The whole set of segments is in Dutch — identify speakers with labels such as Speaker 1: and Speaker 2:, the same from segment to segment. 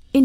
Speaker 1: verscheen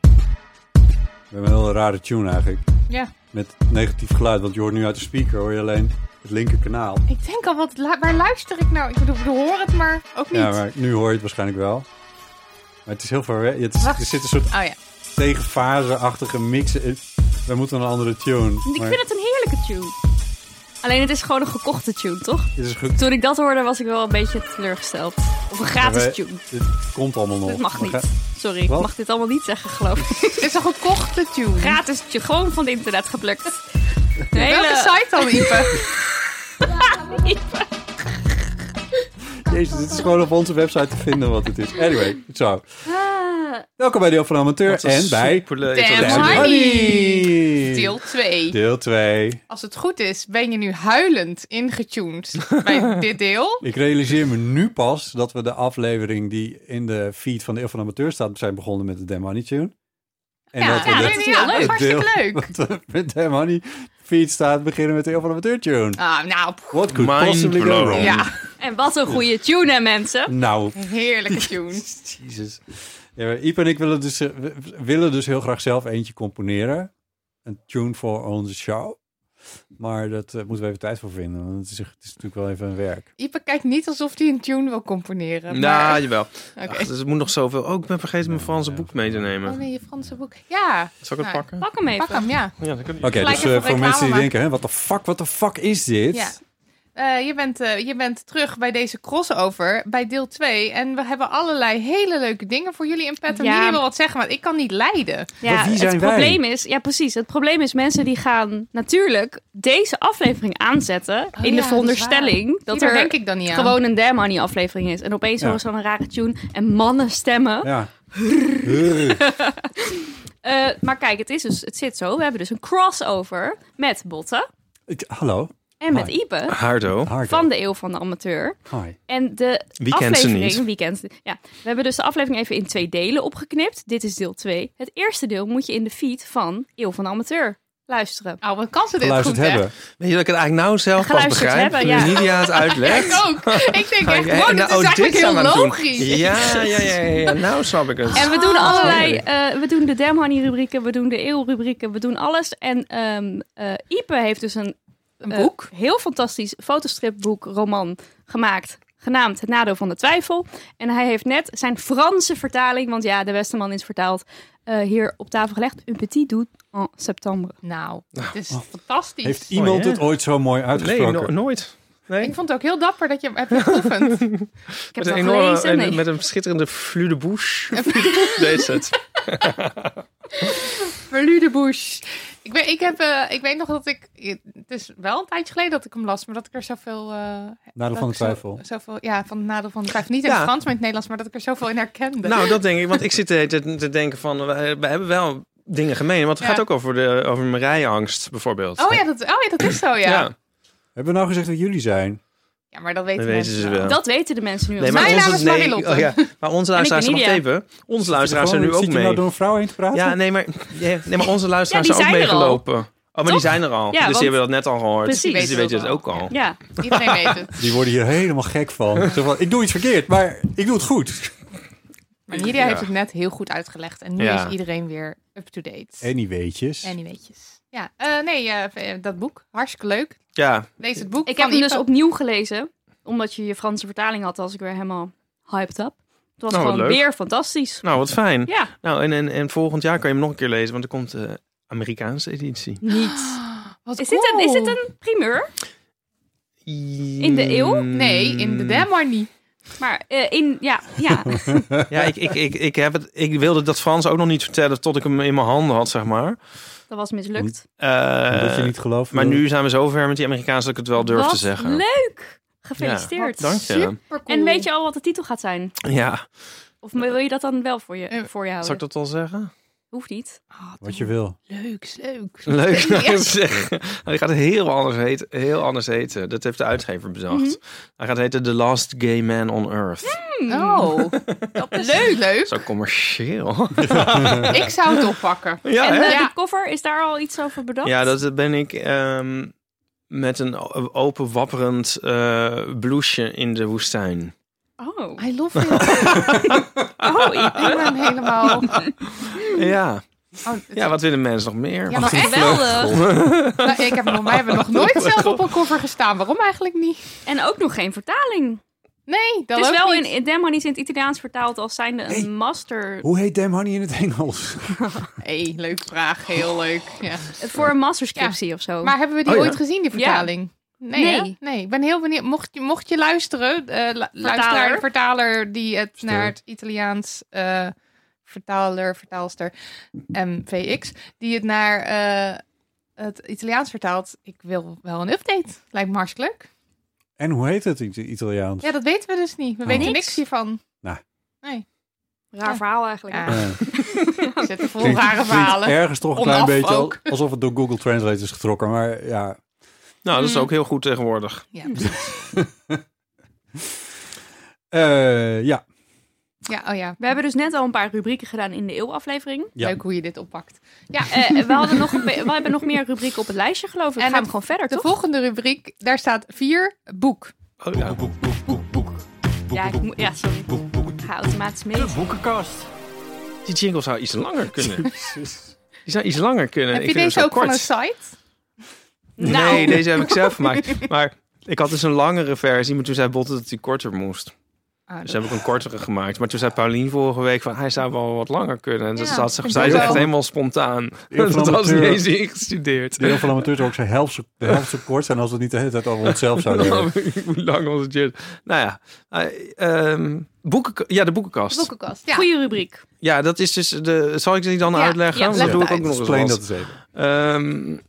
Speaker 2: We hebben een heel rare tune eigenlijk.
Speaker 3: Ja,
Speaker 2: Met negatief geluid, want je hoort nu uit de speaker hoor je alleen het linkerkanaal.
Speaker 3: ik denk al, wat, lu- waar luister ik nou? Ik bedoel, we horen het, maar ook niet.
Speaker 2: Ja, maar nu hoor je het waarschijnlijk wel. Maar het is heel ver weg. Het is-
Speaker 3: Wacht.
Speaker 2: Er zit een soort
Speaker 3: Oh ja.
Speaker 2: tegenfase-achtige mix. in. We moeten een andere tune.
Speaker 4: Ik
Speaker 2: maar
Speaker 4: vind het een heerlijke tune. Alleen het is gewoon een gekochte tune, toch?
Speaker 2: het is goed.
Speaker 4: Toen ik dat hoorde was ik wel een beetje teleurgesteld. Of een gratis
Speaker 2: Wij-
Speaker 4: tune.
Speaker 2: Dit komt allemaal nog.
Speaker 4: Dit mag
Speaker 2: We
Speaker 4: niet.
Speaker 2: gaan-
Speaker 4: Sorry, ik
Speaker 2: Wat?
Speaker 4: mag dit allemaal niet zeggen, geloof ik.
Speaker 3: Het is een gekochte tune.
Speaker 4: Gratis tune, gewoon van het internet geplukt. Een
Speaker 3: Welke
Speaker 4: hele...
Speaker 3: site dan, Ipe?
Speaker 2: Jezus, dit is gewoon op onze website te vinden wat het is. Anyway, zo.
Speaker 4: Ah.
Speaker 2: Welkom bij Deel van de Amateur en bij...
Speaker 3: Damn
Speaker 2: Damn
Speaker 3: Honey.
Speaker 2: Honey.
Speaker 3: Deel 2.
Speaker 2: Deel 2.
Speaker 3: Als het goed is, ben je nu huilend ingetuned bij dit deel.
Speaker 2: Ik realiseer me nu pas dat we de aflevering die in de feed van de Eeuw van de Amateur staat zijn begonnen met de Damn Honey tune. En
Speaker 3: Ja, ja,
Speaker 2: de-
Speaker 3: dat is heel leuk.
Speaker 2: het
Speaker 3: Hartstikke leuk.
Speaker 2: Dat we met Damn Honey feed staat beginnen met de Eeuw van de Amateur tune.
Speaker 3: Ah, nou, pff,
Speaker 2: What could
Speaker 5: Mind
Speaker 2: possibly go
Speaker 5: blown.
Speaker 2: wrong?
Speaker 3: ja,
Speaker 4: En wat een goede tune, hè, mensen?
Speaker 2: Nou,
Speaker 3: heerlijke tune.
Speaker 2: jezus. Ja, maar Iep en ik willen dus, eh, we- we willen dus heel graag zelf eentje componeren. Een tune voor onze show. Maar dat eh, moeten we even tijd voor vinden. Want het is, het is natuurlijk wel even een werk.
Speaker 3: Ipe kijkt niet alsof hij een tune wil componeren. maar-
Speaker 5: Nou, jawel.
Speaker 3: Oké.
Speaker 5: Ach, dus er moet nog zoveel. Oh, ik ben vergeten mijn Franse boek mee te
Speaker 3: Oh
Speaker 5: nemen.
Speaker 3: nee, je Franse boek. Ja,
Speaker 5: Zal ik
Speaker 3: Nou,
Speaker 5: het pakken?
Speaker 4: Pak hem even.
Speaker 3: pak hem, ja.
Speaker 5: Ja, dat kan
Speaker 2: Oké,
Speaker 4: Gelijk
Speaker 2: dus eh,
Speaker 4: even
Speaker 2: voor
Speaker 3: reclame
Speaker 2: mensen die
Speaker 3: maken.
Speaker 2: denken, hè, wat de fuck, wat de fuck is dit?
Speaker 3: Ja. Eh, je, bent, eh, je bent terug bij deze crossover, bij deel 2. En we hebben allerlei hele leuke dingen voor jullie in petto.
Speaker 4: Ja.
Speaker 3: Jullie wil wat zeggen, want ik kan niet leiden.
Speaker 2: Maar wie zijn
Speaker 4: het
Speaker 2: wij?
Speaker 4: probleem is, ja precies, het probleem is mensen die gaan natuurlijk deze aflevering aanzetten
Speaker 3: Oh
Speaker 4: in
Speaker 3: ja, dat
Speaker 4: de
Speaker 3: is
Speaker 4: veronderstelling dat,
Speaker 3: Hier
Speaker 4: er
Speaker 3: denk ik dan niet aan.
Speaker 4: gewoon een Damn Honey aflevering is. En opeens
Speaker 2: Ja.
Speaker 4: horen ze dan een rare tune en mannen stemmen.
Speaker 2: Ja. Brrr.
Speaker 4: Eh, maar kijk, het, is dus, het zit zo. We hebben dus een crossover met Botte
Speaker 2: Ik- hallo.
Speaker 4: en met
Speaker 2: Hi.
Speaker 4: Ipe
Speaker 5: Hardo.
Speaker 2: Hardo.
Speaker 4: van de Eeuw van de Amateur.
Speaker 2: Hi.
Speaker 4: En de
Speaker 5: Wie kent ze
Speaker 4: aflevering...
Speaker 5: niet?
Speaker 4: wie kent ze- Ja, we hebben dus de aflevering even in twee delen opgeknipt. Dit is deel 2. Het eerste deel moet je in de feed van Eeuw van de Amateur luisteren.
Speaker 3: Oh, wat kan ze dit
Speaker 2: Geluisterd
Speaker 3: goed, hè?
Speaker 2: hebben.
Speaker 5: Weet je dat ik het eigenlijk nou zelf pas
Speaker 4: Geluisterd
Speaker 5: begrijp?
Speaker 4: hebben, ja.
Speaker 5: Nu Nidia het
Speaker 3: Ik
Speaker 5: uitlegt.
Speaker 3: ook. Ik denk echt,
Speaker 5: Ga ik-
Speaker 3: wow,
Speaker 5: en,
Speaker 3: dit
Speaker 5: oh,
Speaker 3: is eigenlijk
Speaker 5: zijn
Speaker 3: heel
Speaker 5: we aan het doen.
Speaker 3: logisch.
Speaker 5: Ja, ja, ja, ja, ja. Nou snap ik het.
Speaker 4: En we doen allerlei,
Speaker 5: Heerlijk.
Speaker 4: eh, we doen de Damn Honey rubrieken, we doen de Eeuw rubrieken, we doen alles. En ehm eh, Ipe heeft dus een,
Speaker 3: Een
Speaker 4: eh,
Speaker 3: boek.
Speaker 4: heel fantastisch fotostripboek, roman gemaakt, genaamd Het Nadeel van de Twijfel. En hij heeft net zijn Franse vertaling, want ja, de Westerman is vertaald, eh, hier op tafel gelegd. Un petit doute en septembre.
Speaker 3: Nou, het is fantastisch.
Speaker 2: Heeft iemand
Speaker 5: hè?
Speaker 2: het ooit zo mooi
Speaker 5: Nee,
Speaker 2: uitgesproken?
Speaker 5: no- nooit. Nee.
Speaker 3: Ik vond het ook heel dapper dat je hem hebt geoefend.
Speaker 4: Ik heb
Speaker 5: Met
Speaker 4: het
Speaker 5: een,
Speaker 4: al
Speaker 5: enorme,
Speaker 4: gelezen.
Speaker 5: en-
Speaker 4: nee.
Speaker 5: met een schitterende flux de bouche. Deze het.
Speaker 3: Verludebush. Ik, weet- ik, heb, eh, ik weet nog dat ik... Het is wel een tijdje geleden dat ik hem las, maar dat ik er zoveel... eh,
Speaker 2: Nadeel van
Speaker 3: dat
Speaker 2: de
Speaker 3: ik zo-
Speaker 2: twijfel.
Speaker 3: Zoveel, ja, van het nadeel van de twijfel. Niet in
Speaker 5: Ja.
Speaker 3: het Frans, maar in het Nederlands, maar dat ik er zoveel in herkende.
Speaker 5: Nou, dat denk ik. Want ik zit te, te- te denken van, we, we hebben wel dingen gemeen. Want het
Speaker 3: Ja.
Speaker 5: gaat ook over, de, over mijn rijangst bijvoorbeeld.
Speaker 3: oh, ja, dat, oh ja, dat is zo, ja. Ja,
Speaker 2: Hebben we nou gezegd dat jullie zijn?
Speaker 3: maar dat weten,
Speaker 5: Dat weten
Speaker 3: mensen
Speaker 5: ze wel.
Speaker 4: Dat weten de mensen nu al.
Speaker 5: Nee,
Speaker 3: Mijn
Speaker 5: onze-
Speaker 3: naam is
Speaker 5: nee,
Speaker 3: Marilotte.
Speaker 5: oh ja, maar onze luisteraars,
Speaker 4: ben
Speaker 5: wacht
Speaker 4: Lydia.
Speaker 5: even. Onze luisteraars zijn nu
Speaker 2: Gewoon,
Speaker 5: ook
Speaker 2: Zit je nou
Speaker 5: mee.
Speaker 2: door een vrouw heen te praten?
Speaker 5: Ja, nee, maar, nee, nee, maar onze luisteraars
Speaker 4: Ja, die
Speaker 5: zijn ook
Speaker 4: zijn er al.
Speaker 5: meegelopen. Oh, maar die
Speaker 4: Toch?
Speaker 5: zijn er al.
Speaker 4: Ja,
Speaker 5: dus
Speaker 4: want-
Speaker 5: die hebben dat net al gehoord.
Speaker 4: Precies.
Speaker 5: Dus die weten het ook al.
Speaker 4: Ja,
Speaker 3: Iedereen weet het.
Speaker 2: Die worden hier helemaal gek van. Zo van. Ik doe iets verkeerd, maar ik doe het goed.
Speaker 3: Maar Nidia heeft het net heel goed uitgelegd. En nu
Speaker 5: Ja.
Speaker 3: is iedereen weer up-to-date. En...
Speaker 2: Anywaytjes.
Speaker 3: die weetjes. Ja, eh, nee, eh, dat boek. Hartstikke leuk.
Speaker 5: Ja,
Speaker 3: Lees het boek
Speaker 4: ik
Speaker 3: van
Speaker 4: heb hem dus
Speaker 3: Ipe.
Speaker 4: opnieuw gelezen, omdat je je Franse vertaling had als ik weer helemaal hyped up. Het was
Speaker 5: Nou, wat
Speaker 4: gewoon
Speaker 5: leuk.
Speaker 4: weer fantastisch.
Speaker 5: Nou, wat fijn.
Speaker 4: Ja,
Speaker 5: Nou, en, en, en volgend jaar kan je hem nog een keer lezen, want er komt de Amerikaanse editie.
Speaker 4: niet.
Speaker 3: Wat
Speaker 4: Is dit, een, is dit een primeur? In de eeuw?
Speaker 3: Nee, in
Speaker 5: Hmm. Mm.
Speaker 3: de Denmark niet.
Speaker 4: Maar eh, in, ja, ja.
Speaker 5: Ja, ik, ik, ik, ik, heb het, ik wilde dat Frans ook nog niet vertellen tot ik hem in mijn handen had, zeg maar.
Speaker 4: dat was mislukt.
Speaker 5: Eh,
Speaker 2: dat je niet gelooft.
Speaker 5: maar nu zijn we zover met die Amerikaanse dat ik het wel durf
Speaker 4: Wat
Speaker 5: te zeggen.
Speaker 4: leuk! Gefeliciteerd.
Speaker 5: Ja, dank je.
Speaker 3: Supercool.
Speaker 4: En weet je al wat de titel gaat zijn?
Speaker 5: Ja,
Speaker 4: Of wil je dat dan wel voor je,
Speaker 3: Eh,
Speaker 4: voor je
Speaker 5: zal
Speaker 4: houden?
Speaker 5: ik dat al zeggen?
Speaker 4: Hoeft niet.
Speaker 3: Ah,
Speaker 2: Wat je wil.
Speaker 3: Leuk, leuk.
Speaker 5: Leuk.
Speaker 3: Ja.
Speaker 5: nou, dat zeg. Nou, die gaat heel anders, heten, heel anders heten. Dat heeft de uitgever bedacht.
Speaker 4: Mhm.
Speaker 5: Hij gaat heten The Last Gay Man on Earth.
Speaker 4: Hmm.
Speaker 3: Oh, leuk, leuk.
Speaker 5: Zo commercieel.
Speaker 3: Ik zou het oppakken.
Speaker 5: ja,
Speaker 4: en
Speaker 5: hè?
Speaker 4: eh,
Speaker 3: Ja.
Speaker 4: de cover, is daar al iets over bedacht?
Speaker 5: Ja, dat ben ik ehm, met een o- open wapperend eh bloesje in de woestijn.
Speaker 4: Oh,
Speaker 3: I love it.
Speaker 4: oh
Speaker 3: Ik ben helemaal...
Speaker 5: Ja.
Speaker 3: Oh, het-
Speaker 5: ja, wat willen mensen nog meer?
Speaker 3: Ja, maar echt
Speaker 4: geweldig.
Speaker 3: Nou, ik heb, wij hebben nog nooit zelf op een cover gestaan. Waarom eigenlijk niet?
Speaker 4: En ook nog geen vertaling.
Speaker 3: Nee, dat
Speaker 4: het is
Speaker 3: ook
Speaker 4: wel
Speaker 3: niet.
Speaker 4: in Dem Honey is in het Italiaans vertaald als zijnde een master.
Speaker 2: Hoe heet Damn Honey in het Engels?
Speaker 3: Hey, leuke vraag. Heel leuk. Ja.
Speaker 4: Voor een masterscriptie of zo.
Speaker 3: Oh. Maar hebben we die
Speaker 5: Oh ja.
Speaker 3: ooit gezien, die vertaling? Nee,
Speaker 4: Nee.
Speaker 3: hè? nee. Ik ben heel benieuwd. Mocht je, mocht je luisteren, eh lu- luisteraar, vertaler die het
Speaker 2: Stil.
Speaker 3: naar het Italiaans eh, vertaler, vertaalster, MVX, die het naar eh, het Italiaans vertaalt. Ik wil wel een update. Lijkt me hartstikke leuk.
Speaker 2: En hoe heet het in het Italiaans?
Speaker 3: Ja, dat weten we dus niet. We
Speaker 2: Oh.
Speaker 3: weten niks,
Speaker 4: Niks.
Speaker 3: hiervan.
Speaker 4: Raar verhaal eigenlijk.
Speaker 3: Ja.
Speaker 2: Eh,
Speaker 3: We zitten vol
Speaker 2: klinkt-
Speaker 3: rare
Speaker 2: klinkt
Speaker 3: verhalen.
Speaker 2: Ergens toch een klein
Speaker 3: Onaf
Speaker 2: beetje al-
Speaker 3: ook.
Speaker 2: alsof het door Google Translate is getrokken. Maar ja,
Speaker 5: Nou, dat is
Speaker 3: Mm.
Speaker 5: ook heel goed tegenwoordig.
Speaker 3: Ja, precies.
Speaker 2: Eh, ja.
Speaker 3: ja, oh ja.
Speaker 4: We hebben dus net al een paar rubrieken gedaan in de eeuwaflevering.
Speaker 2: Ja.
Speaker 3: Leuk hoe je dit oppakt. Ja,
Speaker 4: Eh, we, hadden nog een be- we hebben nog meer rubrieken op het lijstje, geloof ik.
Speaker 3: En
Speaker 4: En gaan we
Speaker 3: het-
Speaker 4: gewoon verder,
Speaker 3: de
Speaker 4: toch?
Speaker 3: volgende rubriek, daar staat vier, boek.
Speaker 5: Oh, ja.
Speaker 4: Ja, ik moet- ja, sorry. Ik ga automatisch mee.
Speaker 5: Die jingle zou iets langer kunnen. Die zou iets langer kunnen.
Speaker 3: Heb
Speaker 5: ik
Speaker 3: je
Speaker 5: vind hem
Speaker 3: deze
Speaker 5: zo
Speaker 3: ook van
Speaker 5: kort.
Speaker 3: een site?
Speaker 4: Nou.
Speaker 5: Nee, deze heb ik zelf gemaakt. Maar ik had dus een langere versie, maar toen zei Botte dat hij korter moest.
Speaker 3: Ah,
Speaker 5: Dus
Speaker 3: dat-
Speaker 5: heb ik een kortere gemaakt. Maar toen zei Paulien vorige week van hij zou wel wat langer kunnen. En dat
Speaker 3: Ja,
Speaker 5: had ze,
Speaker 3: ik
Speaker 5: zij
Speaker 3: denk
Speaker 5: is
Speaker 3: wel.
Speaker 5: echt helemaal spontaan.
Speaker 2: Heel
Speaker 5: Dat was niet
Speaker 2: amateur.
Speaker 5: eens ingestudeerd.
Speaker 2: De heel veel amateurs ook zijn helft zo, de helft zo kort zijn als we het niet de hele tijd over onszelf zouden hebben.
Speaker 5: Hoe lang was het? je- Nou ja, eh, ehm, boeken, ja, de boekenkast.
Speaker 3: boekenkast. Ja.
Speaker 4: Goeie rubriek.
Speaker 5: Ja, dat is dus de. Zal ik die dan
Speaker 3: Ja,
Speaker 5: uitleggen?
Speaker 3: ja,
Speaker 5: Want
Speaker 3: leg
Speaker 5: dat doe
Speaker 3: het
Speaker 5: ik ook
Speaker 3: uit.
Speaker 5: nog eens.
Speaker 2: Explain
Speaker 5: wel
Speaker 2: dat
Speaker 5: eens.
Speaker 2: eens even.
Speaker 5: Ehm,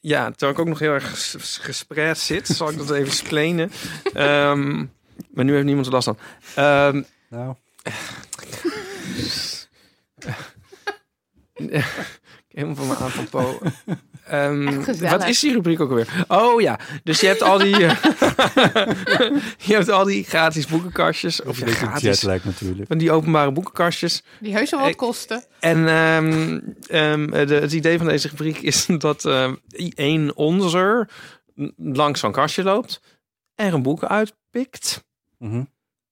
Speaker 5: ja, terwijl ik ook nog heel erg ges- ges- gespreid zit, zal ik dat even splenen. Ehm, maar nu heeft niemand er last van. Ehm,
Speaker 2: Nou,
Speaker 5: Helemaal van mijn apropos. Ehm,
Speaker 3: Echt gezellig.
Speaker 5: wat is die rubriek ook alweer? Oh ja, dus je hebt al die, eh, je hebt al die gratis boekenkastjes. Of
Speaker 2: of
Speaker 5: ja,
Speaker 2: je denkt
Speaker 5: gratis,
Speaker 2: jetlag natuurlijk.
Speaker 5: van die openbare boekenkastjes.
Speaker 3: Die heus wel wat
Speaker 5: Ik-
Speaker 3: kosten.
Speaker 5: En ehm, ehm, de, het idee van deze rubriek is dat ehm, één onzer langs zo'n kastje loopt, er een boek uitpikt,
Speaker 2: Mhm.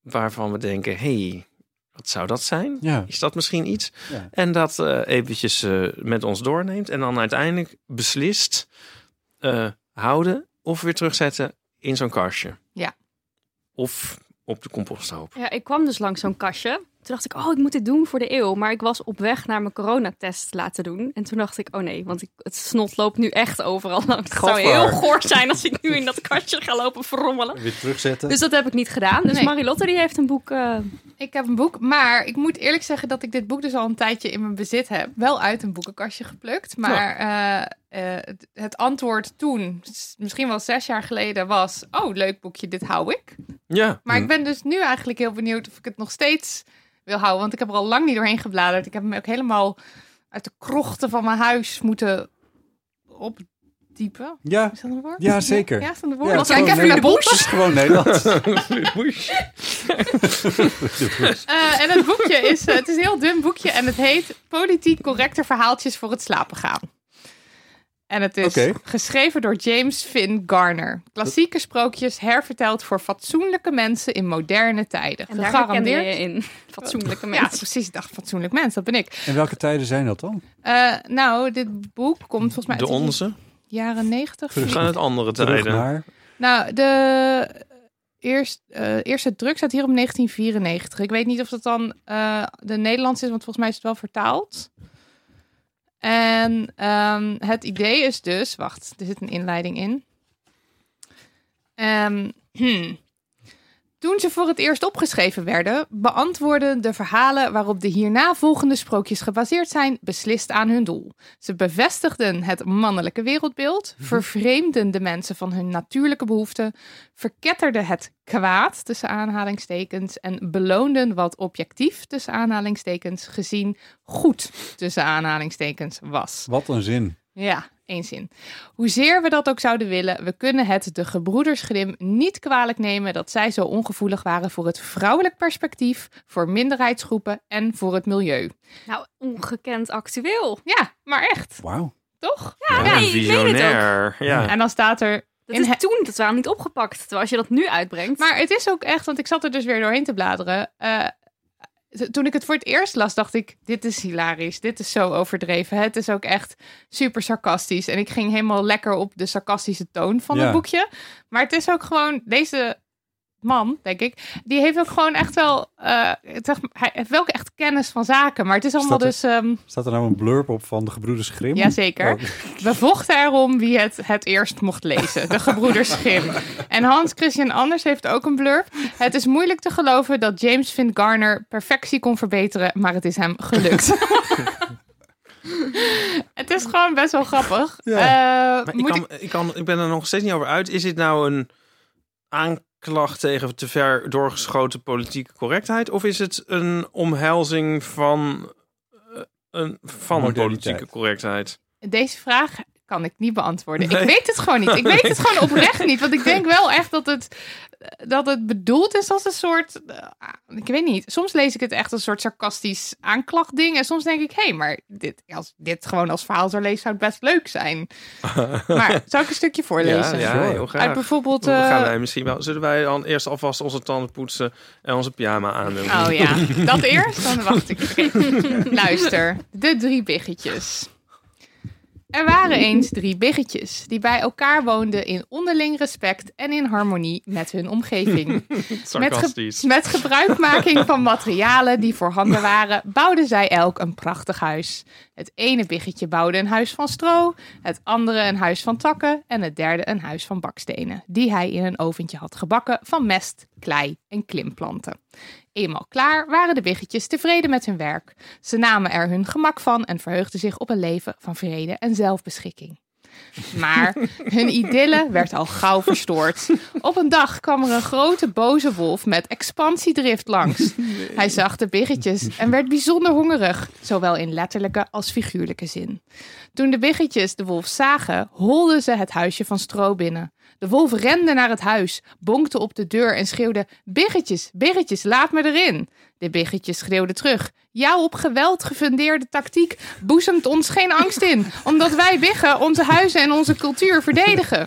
Speaker 5: waarvan we denken, hey, wat zou dat zijn?
Speaker 2: Ja.
Speaker 5: Is dat misschien iets?
Speaker 2: Ja.
Speaker 5: En dat eh, eventjes eh, met ons doorneemt. En dan uiteindelijk beslist eh, houden of weer terugzetten in zo'n kastje.
Speaker 3: Ja.
Speaker 5: Of op de composthoop.
Speaker 4: Ja, ik kwam dus langs zo'n kastje. Toen dacht ik, oh, ik moet dit doen voor de eeuw. Maar ik was op weg naar mijn coronatest laten doen. En toen dacht ik, oh nee, want ik, het snot loopt nu echt overal langs. Het zou
Speaker 5: Gadver.
Speaker 4: heel goor zijn als ik nu in dat kastje ga lopen verrommelen.
Speaker 2: Weer terugzetten.
Speaker 4: Dus dat heb ik niet gedaan. Dus
Speaker 3: Nee.
Speaker 4: Marilotte die heeft een boek. eh,
Speaker 3: Ik heb een boek, maar ik moet eerlijk zeggen dat ik dit boek dus al een tijdje in mijn bezit heb. Wel uit een boekenkastje geplukt, maar eh, eh, het- het antwoord toen, s- misschien wel zes jaar geleden, was... Oh, leuk boekje, dit hou ik.
Speaker 5: Ja.
Speaker 2: Hm.
Speaker 3: Maar ik ben dus nu eigenlijk heel benieuwd of ik het nog steeds wil houden. Want ik heb er al lang niet doorheen gebladerd. Ik heb hem ook helemaal uit de krochten van mijn huis moeten opdiepen.
Speaker 2: Ja,
Speaker 3: Is dat een woord?
Speaker 2: Ja, zeker.
Speaker 3: Ja, is dat een
Speaker 2: Ja,
Speaker 3: woord?
Speaker 2: het is
Speaker 3: ik
Speaker 2: gewoon-
Speaker 3: heb in de
Speaker 2: nee,
Speaker 3: bos.
Speaker 2: Het is gewoon Nederlands.
Speaker 3: Eh, en het boekje is, eh, het is een heel dun boekje en het heet Politiek correcte verhaaltjes voor het slapen gaan. En het is
Speaker 2: Oké.
Speaker 3: geschreven door James Finn Garner. Klassieke sprookjes herverteld voor fatsoenlijke mensen in moderne tijden.
Speaker 4: en daar herkende
Speaker 3: Gegarandeerd.
Speaker 4: je in. Fatsoenlijke
Speaker 3: Ja,
Speaker 4: mensen.
Speaker 3: precies. Ik dacht, fatsoenlijk mens, dat ben ik.
Speaker 2: En welke tijden zijn dat dan?
Speaker 3: Eh, nou, dit boek komt volgens mij
Speaker 5: De
Speaker 3: uit
Speaker 5: onze
Speaker 3: jaren negentig.
Speaker 5: gaan het andere
Speaker 2: Terug
Speaker 5: tijden.
Speaker 2: naar...
Speaker 3: Nou, de eerst, eh, eerste druk staat hier op 1994. Ik weet niet of dat dan eh, de Nederlands is, want volgens mij is het wel vertaald. En ehm, het idee is dus, wacht, er zit een inleiding in. Ehm, hmm. Toen ze voor het eerst opgeschreven werden, beantwoorden de verhalen waarop de hierna volgende sprookjes gebaseerd zijn, beslist aan hun doel. Ze bevestigden het mannelijke wereldbeeld, vervreemden de mensen van hun natuurlijke behoeften, verketterden het kwaad tussen aanhalingstekens en beloonden wat objectief tussen aanhalingstekens gezien goed tussen aanhalingstekens was.
Speaker 2: Wat een zin.
Speaker 3: Ja, één zin. Hoezeer we dat ook zouden willen, we kunnen het de gebroeders Grim niet kwalijk nemen dat zij zo ongevoelig waren voor het vrouwelijk perspectief, voor minderheidsgroepen en voor het milieu.
Speaker 4: Nou, ongekend actueel.
Speaker 3: Ja, maar echt,
Speaker 2: Wauw.
Speaker 3: toch?
Speaker 4: Ja, nee, ik meen het ook.
Speaker 5: visionair. Ja.
Speaker 3: En dan staat er
Speaker 4: Dat
Speaker 3: In
Speaker 4: is
Speaker 3: he-
Speaker 4: toen, dat waren niet opgepakt. Terwijl als je dat nu uitbrengt.
Speaker 3: Maar het is ook echt, want ik zat er dus weer doorheen te bladeren. Eh, t- toen ik het voor het eerst las, dacht ik: dit is hilarisch. Dit is zo overdreven. Het is ook echt super sarcastisch. En ik ging helemaal lekker op de sarcastische toon van
Speaker 2: Ja.
Speaker 3: het boekje. Maar het is ook gewoon deze man, denk ik, die heeft ook gewoon echt wel, eh, zeg maar, hij heeft wel ook echt kennis van zaken. Maar het is allemaal
Speaker 2: dat
Speaker 3: dus, ehm
Speaker 2: Staat er nou een blurb op van de gebroeders Grimm?
Speaker 3: Jazeker.
Speaker 2: Oh,
Speaker 3: we vochten erom wie het het eerst mocht lezen. De gebroeders Grimm. En Hans Christian Anders heeft ook een blurb. Het is moeilijk te geloven dat James Vint Garner perfectie kon verbeteren, maar het is hem gelukt. het is gewoon best wel grappig. Eh,
Speaker 5: Maar ik,
Speaker 3: moet
Speaker 5: kan,
Speaker 3: ik-
Speaker 5: ik, kan, ik ben er nog steeds niet over uit. Is dit nou een aanklacht tegen te ver doorgeschoten politieke correctheid? Of is het een omhelzing van, eh, een, van een
Speaker 2: Moderniteit.
Speaker 5: politieke correctheid?
Speaker 3: Deze vraag kan ik niet beantwoorden.
Speaker 5: Nee.
Speaker 3: Ik weet het gewoon niet. Ik weet het gewoon oprecht niet. Want ik denk wel echt dat het, dat het bedoeld is als een soort... eh, ik weet niet. Soms lees ik het echt als een soort sarcastisch aanklachtding. En soms denk ik, hé, hey, maar dit, als dit gewoon als verhaal zou lezen, zou het best leuk zijn. Maar zou ik een stukje voorlezen?
Speaker 5: ja,
Speaker 2: Sure.
Speaker 5: heel
Speaker 3: Uit
Speaker 5: graag.
Speaker 3: bijvoorbeeld...
Speaker 5: Dan
Speaker 3: eh,
Speaker 5: gaan wij misschien wel. Zullen wij dan eerst alvast onze tanden poetsen en onze pyjama aandoen?
Speaker 3: Oh ja, dat eerst? Dan wacht ik. Oké. Luister, de drie biggetjes. Er waren eens drie biggetjes die bij elkaar woonden in onderling respect en in harmonie met hun omgeving. Met, ge-
Speaker 5: Sarcastisch.
Speaker 3: met gebruikmaking van materialen die voorhanden waren, bouwden zij elk een prachtig huis. Het ene biggetje bouwde een huis van stro, het andere een huis van takken en het derde een huis van bakstenen, die hij in een oventje had gebakken van mest, klei en klimplanten. Eenmaal klaar waren de biggetjes tevreden met hun werk. Ze namen er hun gemak van en verheugden zich op een leven van vrede en zelfbeschikking. Maar hun idylle werd al gauw verstoord. Op een dag kwam er een grote boze wolf met expansiedrift langs. Hij zag de biggetjes en werd bijzonder hongerig, zowel in letterlijke als figuurlijke zin. Toen de biggetjes de wolf zagen, holden ze het huisje van stro binnen. De wolf rende naar het huis, bonkte op de deur en schreeuwde: Biggetjes, biggetjes, laat me erin. De biggetjes schreeuwden terug: Jouw op geweld gefundeerde tactiek boezemt ons geen angst in, omdat wij biggen onze huizen en onze cultuur verdedigen.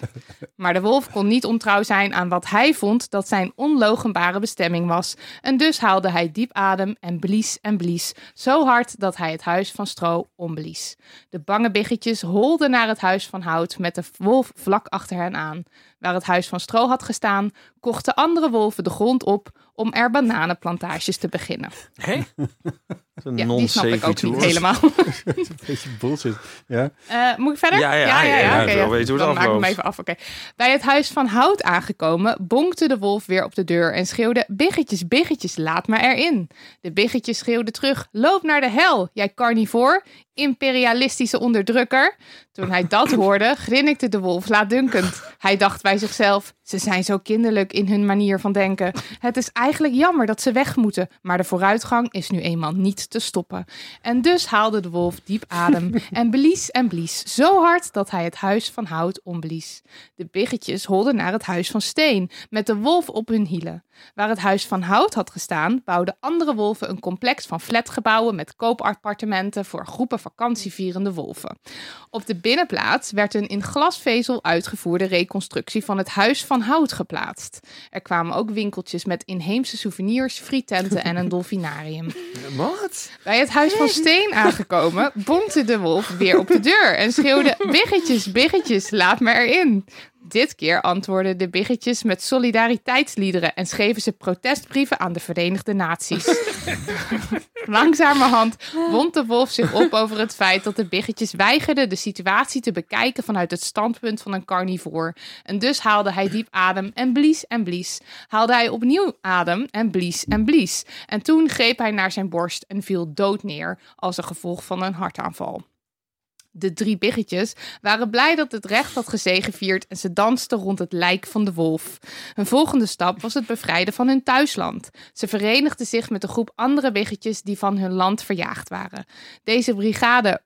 Speaker 3: Maar de wolf kon niet ontrouw zijn aan wat hij vond dat zijn onlogenbare bestemming was. En dus haalde hij diep adem en blies en blies, zo hard dat hij het huis van stro omblies. De bange biggetjes holden naar het huis van hout met de wolf vlak achter hen aan. Waar het huis van stro had gestaan, kochten andere wolven de grond op om er bananenplantages te beginnen.
Speaker 5: Hé? Een
Speaker 3: Ja, die snap ik ook niet
Speaker 5: non-sequitur.
Speaker 3: helemaal.
Speaker 2: een beetje bullshit. Ja.
Speaker 3: Eh, moet ik verder?
Speaker 5: Ja, ja, ja, ja,
Speaker 3: oké,
Speaker 5: ik wil weten
Speaker 3: Dan
Speaker 5: hoe het
Speaker 3: maak ik hem
Speaker 5: afloopt.
Speaker 3: even af. Oké. Bij het huis van hout aangekomen, bonkte de wolf weer op de deur en schreeuwde: Biggetjes, biggetjes, laat maar erin. De biggetjes schreeuwden terug: Loop naar de hel, jij carnivoor, imperialistische onderdrukker. Toen hij dat hoorde, grinnikte de wolf laatdunkend. Hij dacht bij zichzelf: Ze zijn zo kinderlijk in hun manier van denken. Het is eigenlijk jammer dat ze weg moeten, maar de vooruitgang is nu eenmaal niet te stoppen. En dus haalde de wolf diep adem en blies en blies zo hard dat hij het huis van hout omblies. De biggetjes holden naar het huis van steen met de wolf op hun hielen. Waar het huis van hout had gestaan, bouwden andere wolven een complex van flatgebouwen met koopappartementen voor groepen vakantievierende wolven. Op de binnenplaats werd een in glasvezel uitgevoerde reconstructie van het Huis van Hout geplaatst. Er kwamen ook winkeltjes met inheemse souvenirs, frietenten en een dolfinarium.
Speaker 5: Wat?
Speaker 3: Bij het huis van Steen aangekomen, bonkte de wolf weer op de deur en schreeuwde: Biggetjes, biggetjes, laat me erin. Dit keer antwoordden de biggetjes met solidariteitsliederen en schreven ze protestbrieven aan de Verenigde Naties. Langzamerhand wond de wolf zich op over het feit dat de biggetjes weigerden de situatie te bekijken vanuit het standpunt van een carnivoor. En dus haalde hij diep adem en blies en blies. Haalde hij opnieuw adem en blies en blies. En toen greep hij naar zijn borst en viel dood neer als een gevolg van een hartaanval. De drie biggetjes waren blij dat het recht had gezegevierd en ze dansten rond het lijk van de wolf. Hun volgende stap was het bevrijden van hun thuisland. Ze verenigden zich met een groep andere biggetjes die van hun land verjaagd waren. Deze brigade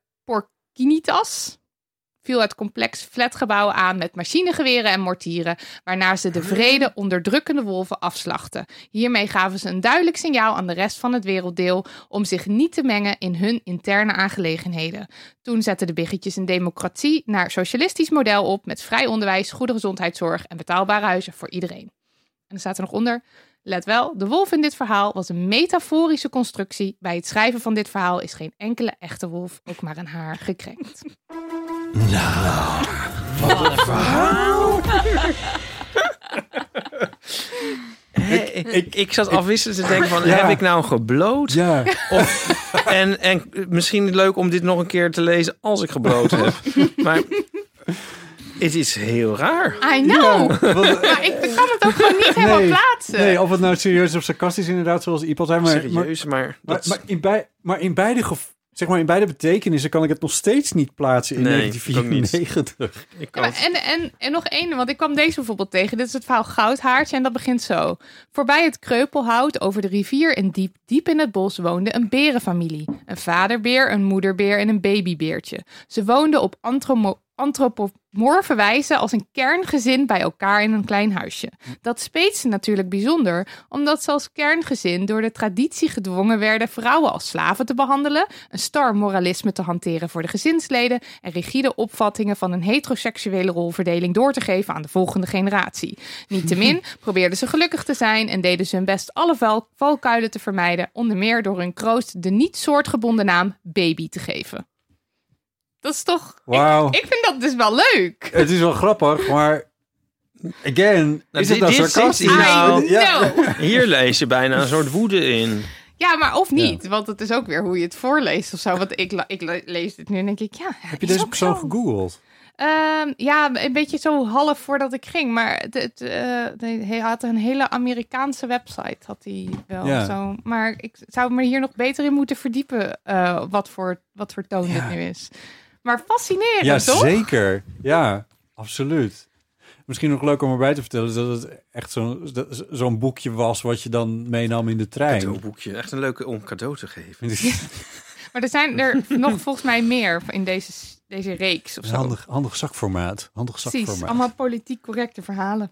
Speaker 3: Porcinitas viel het complex flatgebouw aan met machinegeweren en mortieren, waarna ze de vrede onderdrukkende wolven afslachten. Hiermee gaven ze een duidelijk signaal aan de rest van het werelddeel om zich niet te mengen in hun interne aangelegenheden. Toen zetten de biggetjes een democratie naar socialistisch model op met vrij onderwijs, goede gezondheidszorg en betaalbare huizen voor iedereen. En er staat er nog onder. Let wel, de wolf in dit verhaal was een metaforische constructie. Bij het schrijven van dit verhaal is geen enkele echte wolf ook maar een haar gekrenkt.
Speaker 5: Ik, ik, ik zat afwisselend te denken van,
Speaker 2: Ja.
Speaker 5: heb ik nou gebloot?
Speaker 2: Ja,
Speaker 5: Of, en, en misschien leuk om dit nog een keer te lezen als ik gebloot heb. Maar het is heel raar.
Speaker 3: I know!
Speaker 2: want, eh,
Speaker 3: Maar ik kan het ook gewoon niet helemaal
Speaker 2: Nee,
Speaker 3: plaatsen.
Speaker 2: nee, of het nou serieus of sarcastisch inderdaad, zoals Iepal zei. Maar, maar,
Speaker 5: Serieus, maar...
Speaker 2: maar,
Speaker 5: dat-
Speaker 2: maar in bij, maar, in beide gev- zeg maar in beide betekenissen kan ik het nog steeds niet plaatsen in
Speaker 5: Nee,
Speaker 2: 1994.
Speaker 5: ik
Speaker 3: Ja,
Speaker 5: kan
Speaker 3: maar en, en, en nog één, want ik kwam deze bijvoorbeeld tegen. Dit is het verhaal Goudhaartje en dat begint zo. Voorbij het kreupelhout over de rivier en diep, diep in het bos woonde een berenfamilie. Een vaderbeer, een moederbeer en een babybeertje. Ze woonden op antromo- antropomorfe wijze als een kerngezin bij elkaar in een klein huisje. Dat speet ze natuurlijk bijzonder, omdat ze als kerngezin door de traditie gedwongen werden vrouwen als slaven te behandelen, een star moralisme te hanteren voor de gezinsleden en rigide opvattingen van een heteroseksuele rolverdeling door te geven aan de volgende generatie. Niettemin probeerden ze gelukkig te zijn en deden ze hun best alle val- valkuilen te vermijden, onder meer door hun kroost de niet soortgebonden naam baby te geven. Dat is toch.
Speaker 2: Wauw.
Speaker 3: Ik vind dat dus wel leuk.
Speaker 2: Het is wel grappig, maar again,
Speaker 5: Nou,
Speaker 2: is het
Speaker 5: dit-
Speaker 2: nou
Speaker 5: dit zit
Speaker 2: sarcastisch?
Speaker 5: in-
Speaker 3: I
Speaker 5: Nou,
Speaker 3: know.
Speaker 5: Hier lees je bijna een soort woede in.
Speaker 3: Ja, maar of niet. Want het is ook weer hoe je het voorleest of zo. Want ik, la- ik le- lees dit nu en denk ik, ja.
Speaker 2: Heb je deze persoon gegoogeld?
Speaker 3: Ehm, ja, een beetje zo half voordat ik ging. Maar het, het, eh, nee, hij had een hele Amerikaanse website, had hij wel.
Speaker 2: Ja.
Speaker 3: Zo. Maar ik zou me hier nog beter in moeten verdiepen eh, wat, voor, wat voor toon
Speaker 2: Ja.
Speaker 3: dit nu is. Maar fascinerend,
Speaker 2: Ja,
Speaker 3: toch?
Speaker 2: zeker. Ja, absoluut. Misschien nog leuk om erbij te vertellen dat het echt zo'n dat- zo'n boekje was wat je dan meenam in de trein.
Speaker 5: Cadeauboekje. Echt een leuke om cadeau te geven.
Speaker 3: Maar er zijn er nog volgens mij meer in deze, deze reeks of zo.
Speaker 2: Handig, handig zakformaat. Handig
Speaker 3: Precies,
Speaker 2: zakformaat.
Speaker 3: allemaal politiek correcte verhalen.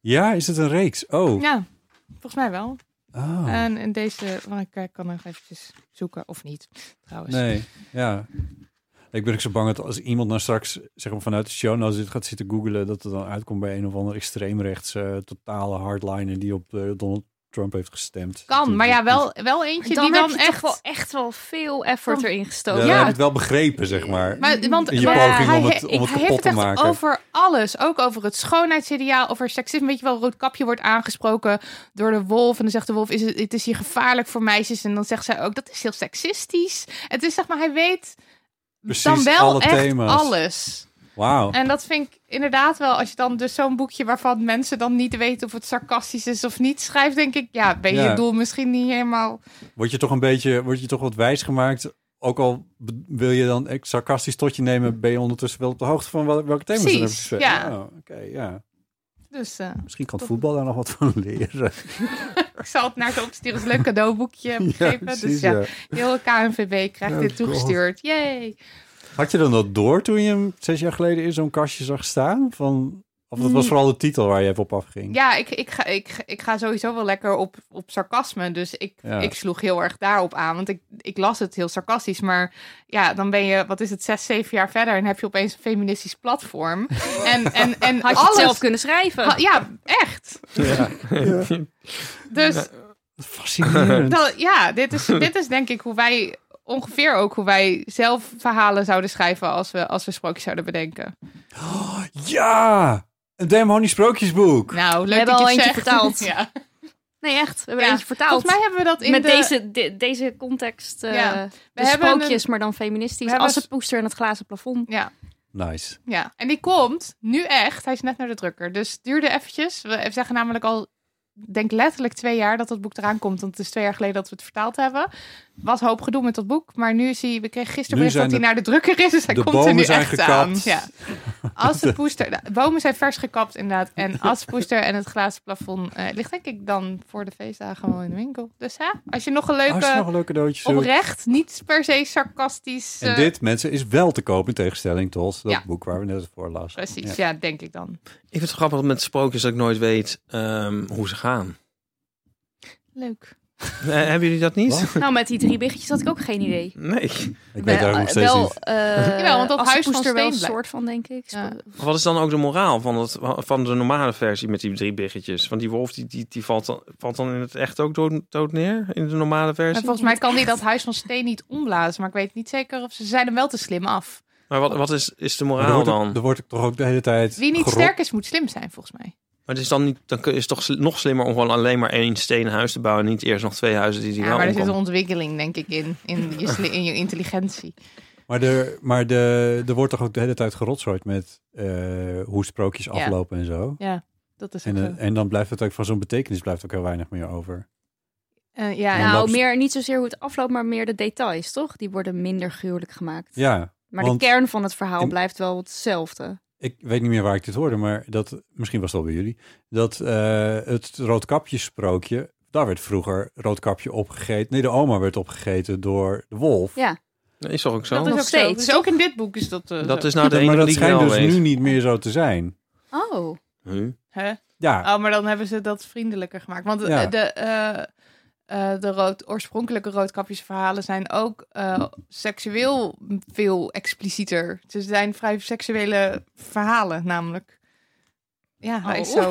Speaker 2: Ja, is het een reeks? Oh.
Speaker 3: Ja, Eh, volgens mij wel.
Speaker 2: Oh.
Speaker 3: En, en deze, maar ik eh, kan nog eventjes zoeken of niet, trouwens.
Speaker 2: Nee, ja. Ik ben ook zo bang dat als iemand nou straks zeg maar, vanuit de show nou dit gaat zitten googelen, dat het dan uitkomt bij een of ander extreemrechts eh, totale hardliner die op eh, Donald Trump heeft gestemd.
Speaker 3: Kan, maar ja, wel, wel
Speaker 4: Maar
Speaker 3: eentje
Speaker 4: dan
Speaker 3: die
Speaker 4: heb
Speaker 3: dan
Speaker 4: je
Speaker 3: echt...
Speaker 4: toch wel echt wel veel effort erin
Speaker 2: Ja,
Speaker 4: gestoken.
Speaker 2: we
Speaker 3: eh, Ja.
Speaker 2: hebben het wel begrepen, zeg maar.
Speaker 3: Maar, want,
Speaker 2: In je
Speaker 3: maar
Speaker 2: poging om
Speaker 3: hij-
Speaker 2: het- om het
Speaker 3: hij
Speaker 2: kapot
Speaker 3: heeft
Speaker 2: te
Speaker 3: echt
Speaker 2: maken.
Speaker 3: over alles. Ook over het schoonheidsideaal, over seksisme. Weet je wel, Roodkapje wordt aangesproken door de wolf. En dan zegt de wolf, is het, het is hier gevaarlijk voor meisjes. En dan zegt zij ook, dat is heel seksistisch. Het is zeg maar, hij weet
Speaker 2: Precies,
Speaker 3: dan wel
Speaker 2: alle
Speaker 3: echt
Speaker 2: thema's.
Speaker 3: alles.
Speaker 2: Wauw.
Speaker 3: En dat vind ik inderdaad wel, als je dan dus zo'n boekje waarvan mensen dan niet weten of het sarcastisch is of niet schrijft, denk ik, ja, ben je
Speaker 2: Ja.
Speaker 3: het doel misschien niet helemaal.
Speaker 2: Word je toch een beetje, word je toch wat wijs gemaakt? Ook al be- wil je dan echt sarcastisch tot je nemen, ben je ondertussen wel op de hoogte van wel- welke thema's er
Speaker 3: Precies,
Speaker 2: hebben
Speaker 3: ja.
Speaker 2: Oh, Oké, ja.
Speaker 3: Dus eh,
Speaker 2: Misschien kan het voetbal daar nog wat van leren.
Speaker 3: ik zal het naar het opsturen. Het is een leuk cadeauboekje, heb ik begrepen. dus
Speaker 2: precies,
Speaker 3: ja,
Speaker 2: ja.
Speaker 3: heel KNVB krijgt
Speaker 2: Oh,
Speaker 3: dit toegestuurd. Yay!
Speaker 2: Had je dan dat door toen je hem zes jaar geleden in zo'n kastje zag staan? Van, Of dat was vooral de titel waar je even op afging?
Speaker 3: Mm. Ja, ik, ik, ga, ik, ik ga sowieso wel lekker op, op sarcasme. Dus ik,
Speaker 2: Ja.
Speaker 3: ik sloeg heel erg daarop aan. Want ik, ik las het heel sarcastisch. Maar ja, dan ben je, wat is het, zes, zeven jaar verder. En heb je opeens een feministisch platform. En, en, en
Speaker 4: Had je
Speaker 3: alles.
Speaker 4: het zelf kunnen schrijven?
Speaker 3: Ha- ja, echt.
Speaker 2: Ja.
Speaker 3: Dus
Speaker 2: Fascinerend.
Speaker 3: dat- ja, dit is, dit is denk ik hoe wij. Ongeveer ook hoe wij zelf verhalen zouden schrijven als we, als we sprookjes zouden bedenken.
Speaker 2: Ja! Een demonisch sprookjesboek.
Speaker 3: Nou, leuk
Speaker 4: hebben
Speaker 3: dat
Speaker 4: al
Speaker 3: je het
Speaker 4: eentje
Speaker 3: zegt.
Speaker 4: vertaald.
Speaker 3: Ja.
Speaker 4: Nee, echt. We hebben
Speaker 3: Ja.
Speaker 4: eentje vertaald.
Speaker 3: Volgens mij hebben we dat in
Speaker 4: Met
Speaker 3: de...
Speaker 4: deze, de- deze context. eh
Speaker 3: Ja.
Speaker 4: de
Speaker 3: hebben
Speaker 4: sprookjes, maar dan feministisch.
Speaker 3: We hebben
Speaker 4: Als het poester en het glazen plafond.
Speaker 3: Ja,
Speaker 2: Nice.
Speaker 3: Ja, en die komt nu echt. Hij is net naar de drukker. Dus het duurde eventjes. We zeggen namelijk al, ik denk letterlijk twee jaar dat dat boek eraan komt. Want het is twee jaar geleden dat we het vertaald hebben. Was hoop gedoe met dat boek. Maar nu zie je, we kregen gisteren
Speaker 2: Nu
Speaker 3: bericht dat
Speaker 2: zijn
Speaker 3: hij
Speaker 2: de-
Speaker 3: naar de drukker is. Dus hij
Speaker 2: de
Speaker 3: komt er
Speaker 2: bomen
Speaker 3: nu
Speaker 2: zijn
Speaker 3: echt
Speaker 2: gekapt.
Speaker 3: aan. Ja. Als de poester... De bomen zijn vers gekapt inderdaad. En als de poester en het glazen plafond... eh, ligt denk ik dan voor de feestdagen wel in de winkel. Dus hè, als je nog een
Speaker 2: Als je nog
Speaker 3: leuke...
Speaker 2: een leuk cadeautje zoekt.
Speaker 3: Oprecht, niet per se sarcastisch.
Speaker 2: En
Speaker 3: eh,
Speaker 2: dit, mensen, is wel te koop in tegenstelling tot dat
Speaker 3: Ja.
Speaker 2: boek waar we net voor lazen.
Speaker 3: Precies,
Speaker 2: Ja.
Speaker 3: ja, denk ik dan.
Speaker 5: Ik vind het grappig met sprookjes dat ik nooit weet ehm, hoe ze gaan.
Speaker 3: Leuk.
Speaker 5: Eh, hebben jullie dat niet?
Speaker 2: Wat?
Speaker 4: Nou, met die drie biggetjes had ik ook geen idee.
Speaker 5: Nee.
Speaker 2: Ik weet daar nog steeds
Speaker 4: wel,
Speaker 2: niet.
Speaker 4: eh,
Speaker 3: Jawel, want dat
Speaker 4: als de
Speaker 3: huis van
Speaker 4: poester wel een
Speaker 3: Steenblijk.
Speaker 4: soort van, denk ik.
Speaker 3: Ja.
Speaker 5: Wat is dan ook de moraal van, het, van de normale versie met die drie biggetjes? Want die wolf die, die, die valt, dan, valt dan in het echt ook dood, dood neer in de normale
Speaker 3: En
Speaker 5: versie?
Speaker 3: volgens mij kan die dat huis van steen niet omblazen. Maar ik weet niet zeker of ze zijn hem wel te slim af.
Speaker 5: Maar wat, wat is, is de
Speaker 2: Maar er
Speaker 5: moraal
Speaker 2: wordt, ook-
Speaker 5: dan?
Speaker 2: er wordt ook toch ook de hele tijd...
Speaker 3: Wie niet
Speaker 2: gerot-
Speaker 3: sterk is, moet slim zijn, volgens mij.
Speaker 5: Maar het is dan, niet, dan kun- is het toch sli- nog slimmer om gewoon alleen maar één stenen huis te bouwen en niet eerst nog twee huizen die die
Speaker 3: Ja,
Speaker 5: wel
Speaker 3: maar er zit een
Speaker 5: omkomen?
Speaker 3: ontwikkeling, denk ik, in. In je, sli- in je intelligentie.
Speaker 2: Maar, er, maar de, er wordt toch ook de hele tijd gerotzooid met eh, hoe sprookjes aflopen en zo.
Speaker 3: Ja, dat is ook
Speaker 2: En,
Speaker 3: zo.
Speaker 2: eh, en dan blijft het ook van zo'n betekenis blijft ook heel weinig meer over.
Speaker 3: Eh, ja,
Speaker 2: dan
Speaker 4: Nou,
Speaker 2: loopt-
Speaker 4: meer, niet zozeer hoe het afloopt, maar meer de details, toch? Die worden minder gruwelijk gemaakt.
Speaker 2: Ja,
Speaker 4: maar
Speaker 2: want-
Speaker 4: de kern van het verhaal
Speaker 2: in-
Speaker 4: blijft wel hetzelfde.
Speaker 2: ik weet niet meer waar ik dit hoorde, maar dat, misschien was het al bij jullie. Dat eh, het roodkapjes sprookje, daar werd vroeger roodkapje opgegeten. Nee, de oma werd opgegeten door de wolf.
Speaker 4: Ja.
Speaker 5: Nee, Is toch ook zo?
Speaker 3: dat is
Speaker 4: Nog
Speaker 3: ook zo.
Speaker 4: steeds,
Speaker 3: Dus ook in dit boek is dat. eh,
Speaker 5: Dat
Speaker 3: zo.
Speaker 5: is nou de
Speaker 2: maar
Speaker 5: enige
Speaker 2: dat
Speaker 5: die ik wel
Speaker 2: schijnt dus
Speaker 5: weet.
Speaker 2: nu niet meer zo te zijn.
Speaker 4: Oh,
Speaker 5: Huh?
Speaker 3: Hè?
Speaker 2: Ja,
Speaker 3: Oh, maar dan hebben ze dat vriendelijker gemaakt. Want eh,
Speaker 2: Ja.
Speaker 3: de, eh, eh, de rood, oorspronkelijke roodkapjesverhalen zijn ook eh, seksueel veel explicieter. Ze zijn vrij seksuele verhalen, namelijk. Ja, hij is
Speaker 4: Oh.
Speaker 3: zo.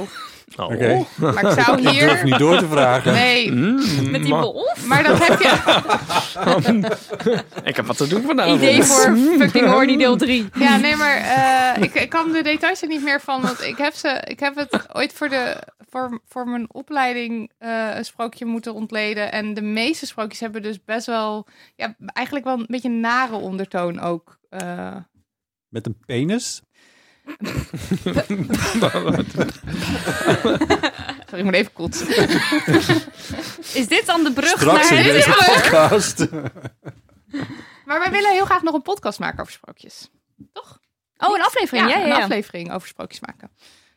Speaker 5: Oh.
Speaker 2: Oké.
Speaker 3: Maar ik zou
Speaker 2: ik durf
Speaker 3: hier...
Speaker 2: niet Hm? door te vragen.
Speaker 3: Nee,
Speaker 5: Mm,
Speaker 4: met die
Speaker 5: ma-
Speaker 4: wolf?
Speaker 3: maar dat heb je...
Speaker 5: Ik heb wat te doen
Speaker 2: Nou,
Speaker 5: vanavond.
Speaker 4: Idee voor fucking Horny deel 3.
Speaker 3: Ja, nee, maar eh, ik, ik kan de details er niet meer van. Want ik heb, ze, ik heb het ooit voor, de, voor, voor mijn opleiding eh, een sprookje moeten ontleden. En de meeste sprookjes hebben dus best wel... Ja, eigenlijk wel een beetje een nare ondertoon ook. eh.
Speaker 2: Met een penis?
Speaker 3: sorry, ik moet even kotsen.
Speaker 4: Is dit dan de brug
Speaker 2: Straks
Speaker 4: naar
Speaker 2: in deze podcast.
Speaker 3: Maar wij willen heel graag nog een podcast maken over sprookjes. Toch?
Speaker 4: Oh, een aflevering. Ja, ja,
Speaker 3: een
Speaker 4: ja.
Speaker 3: aflevering over sprookjes maken.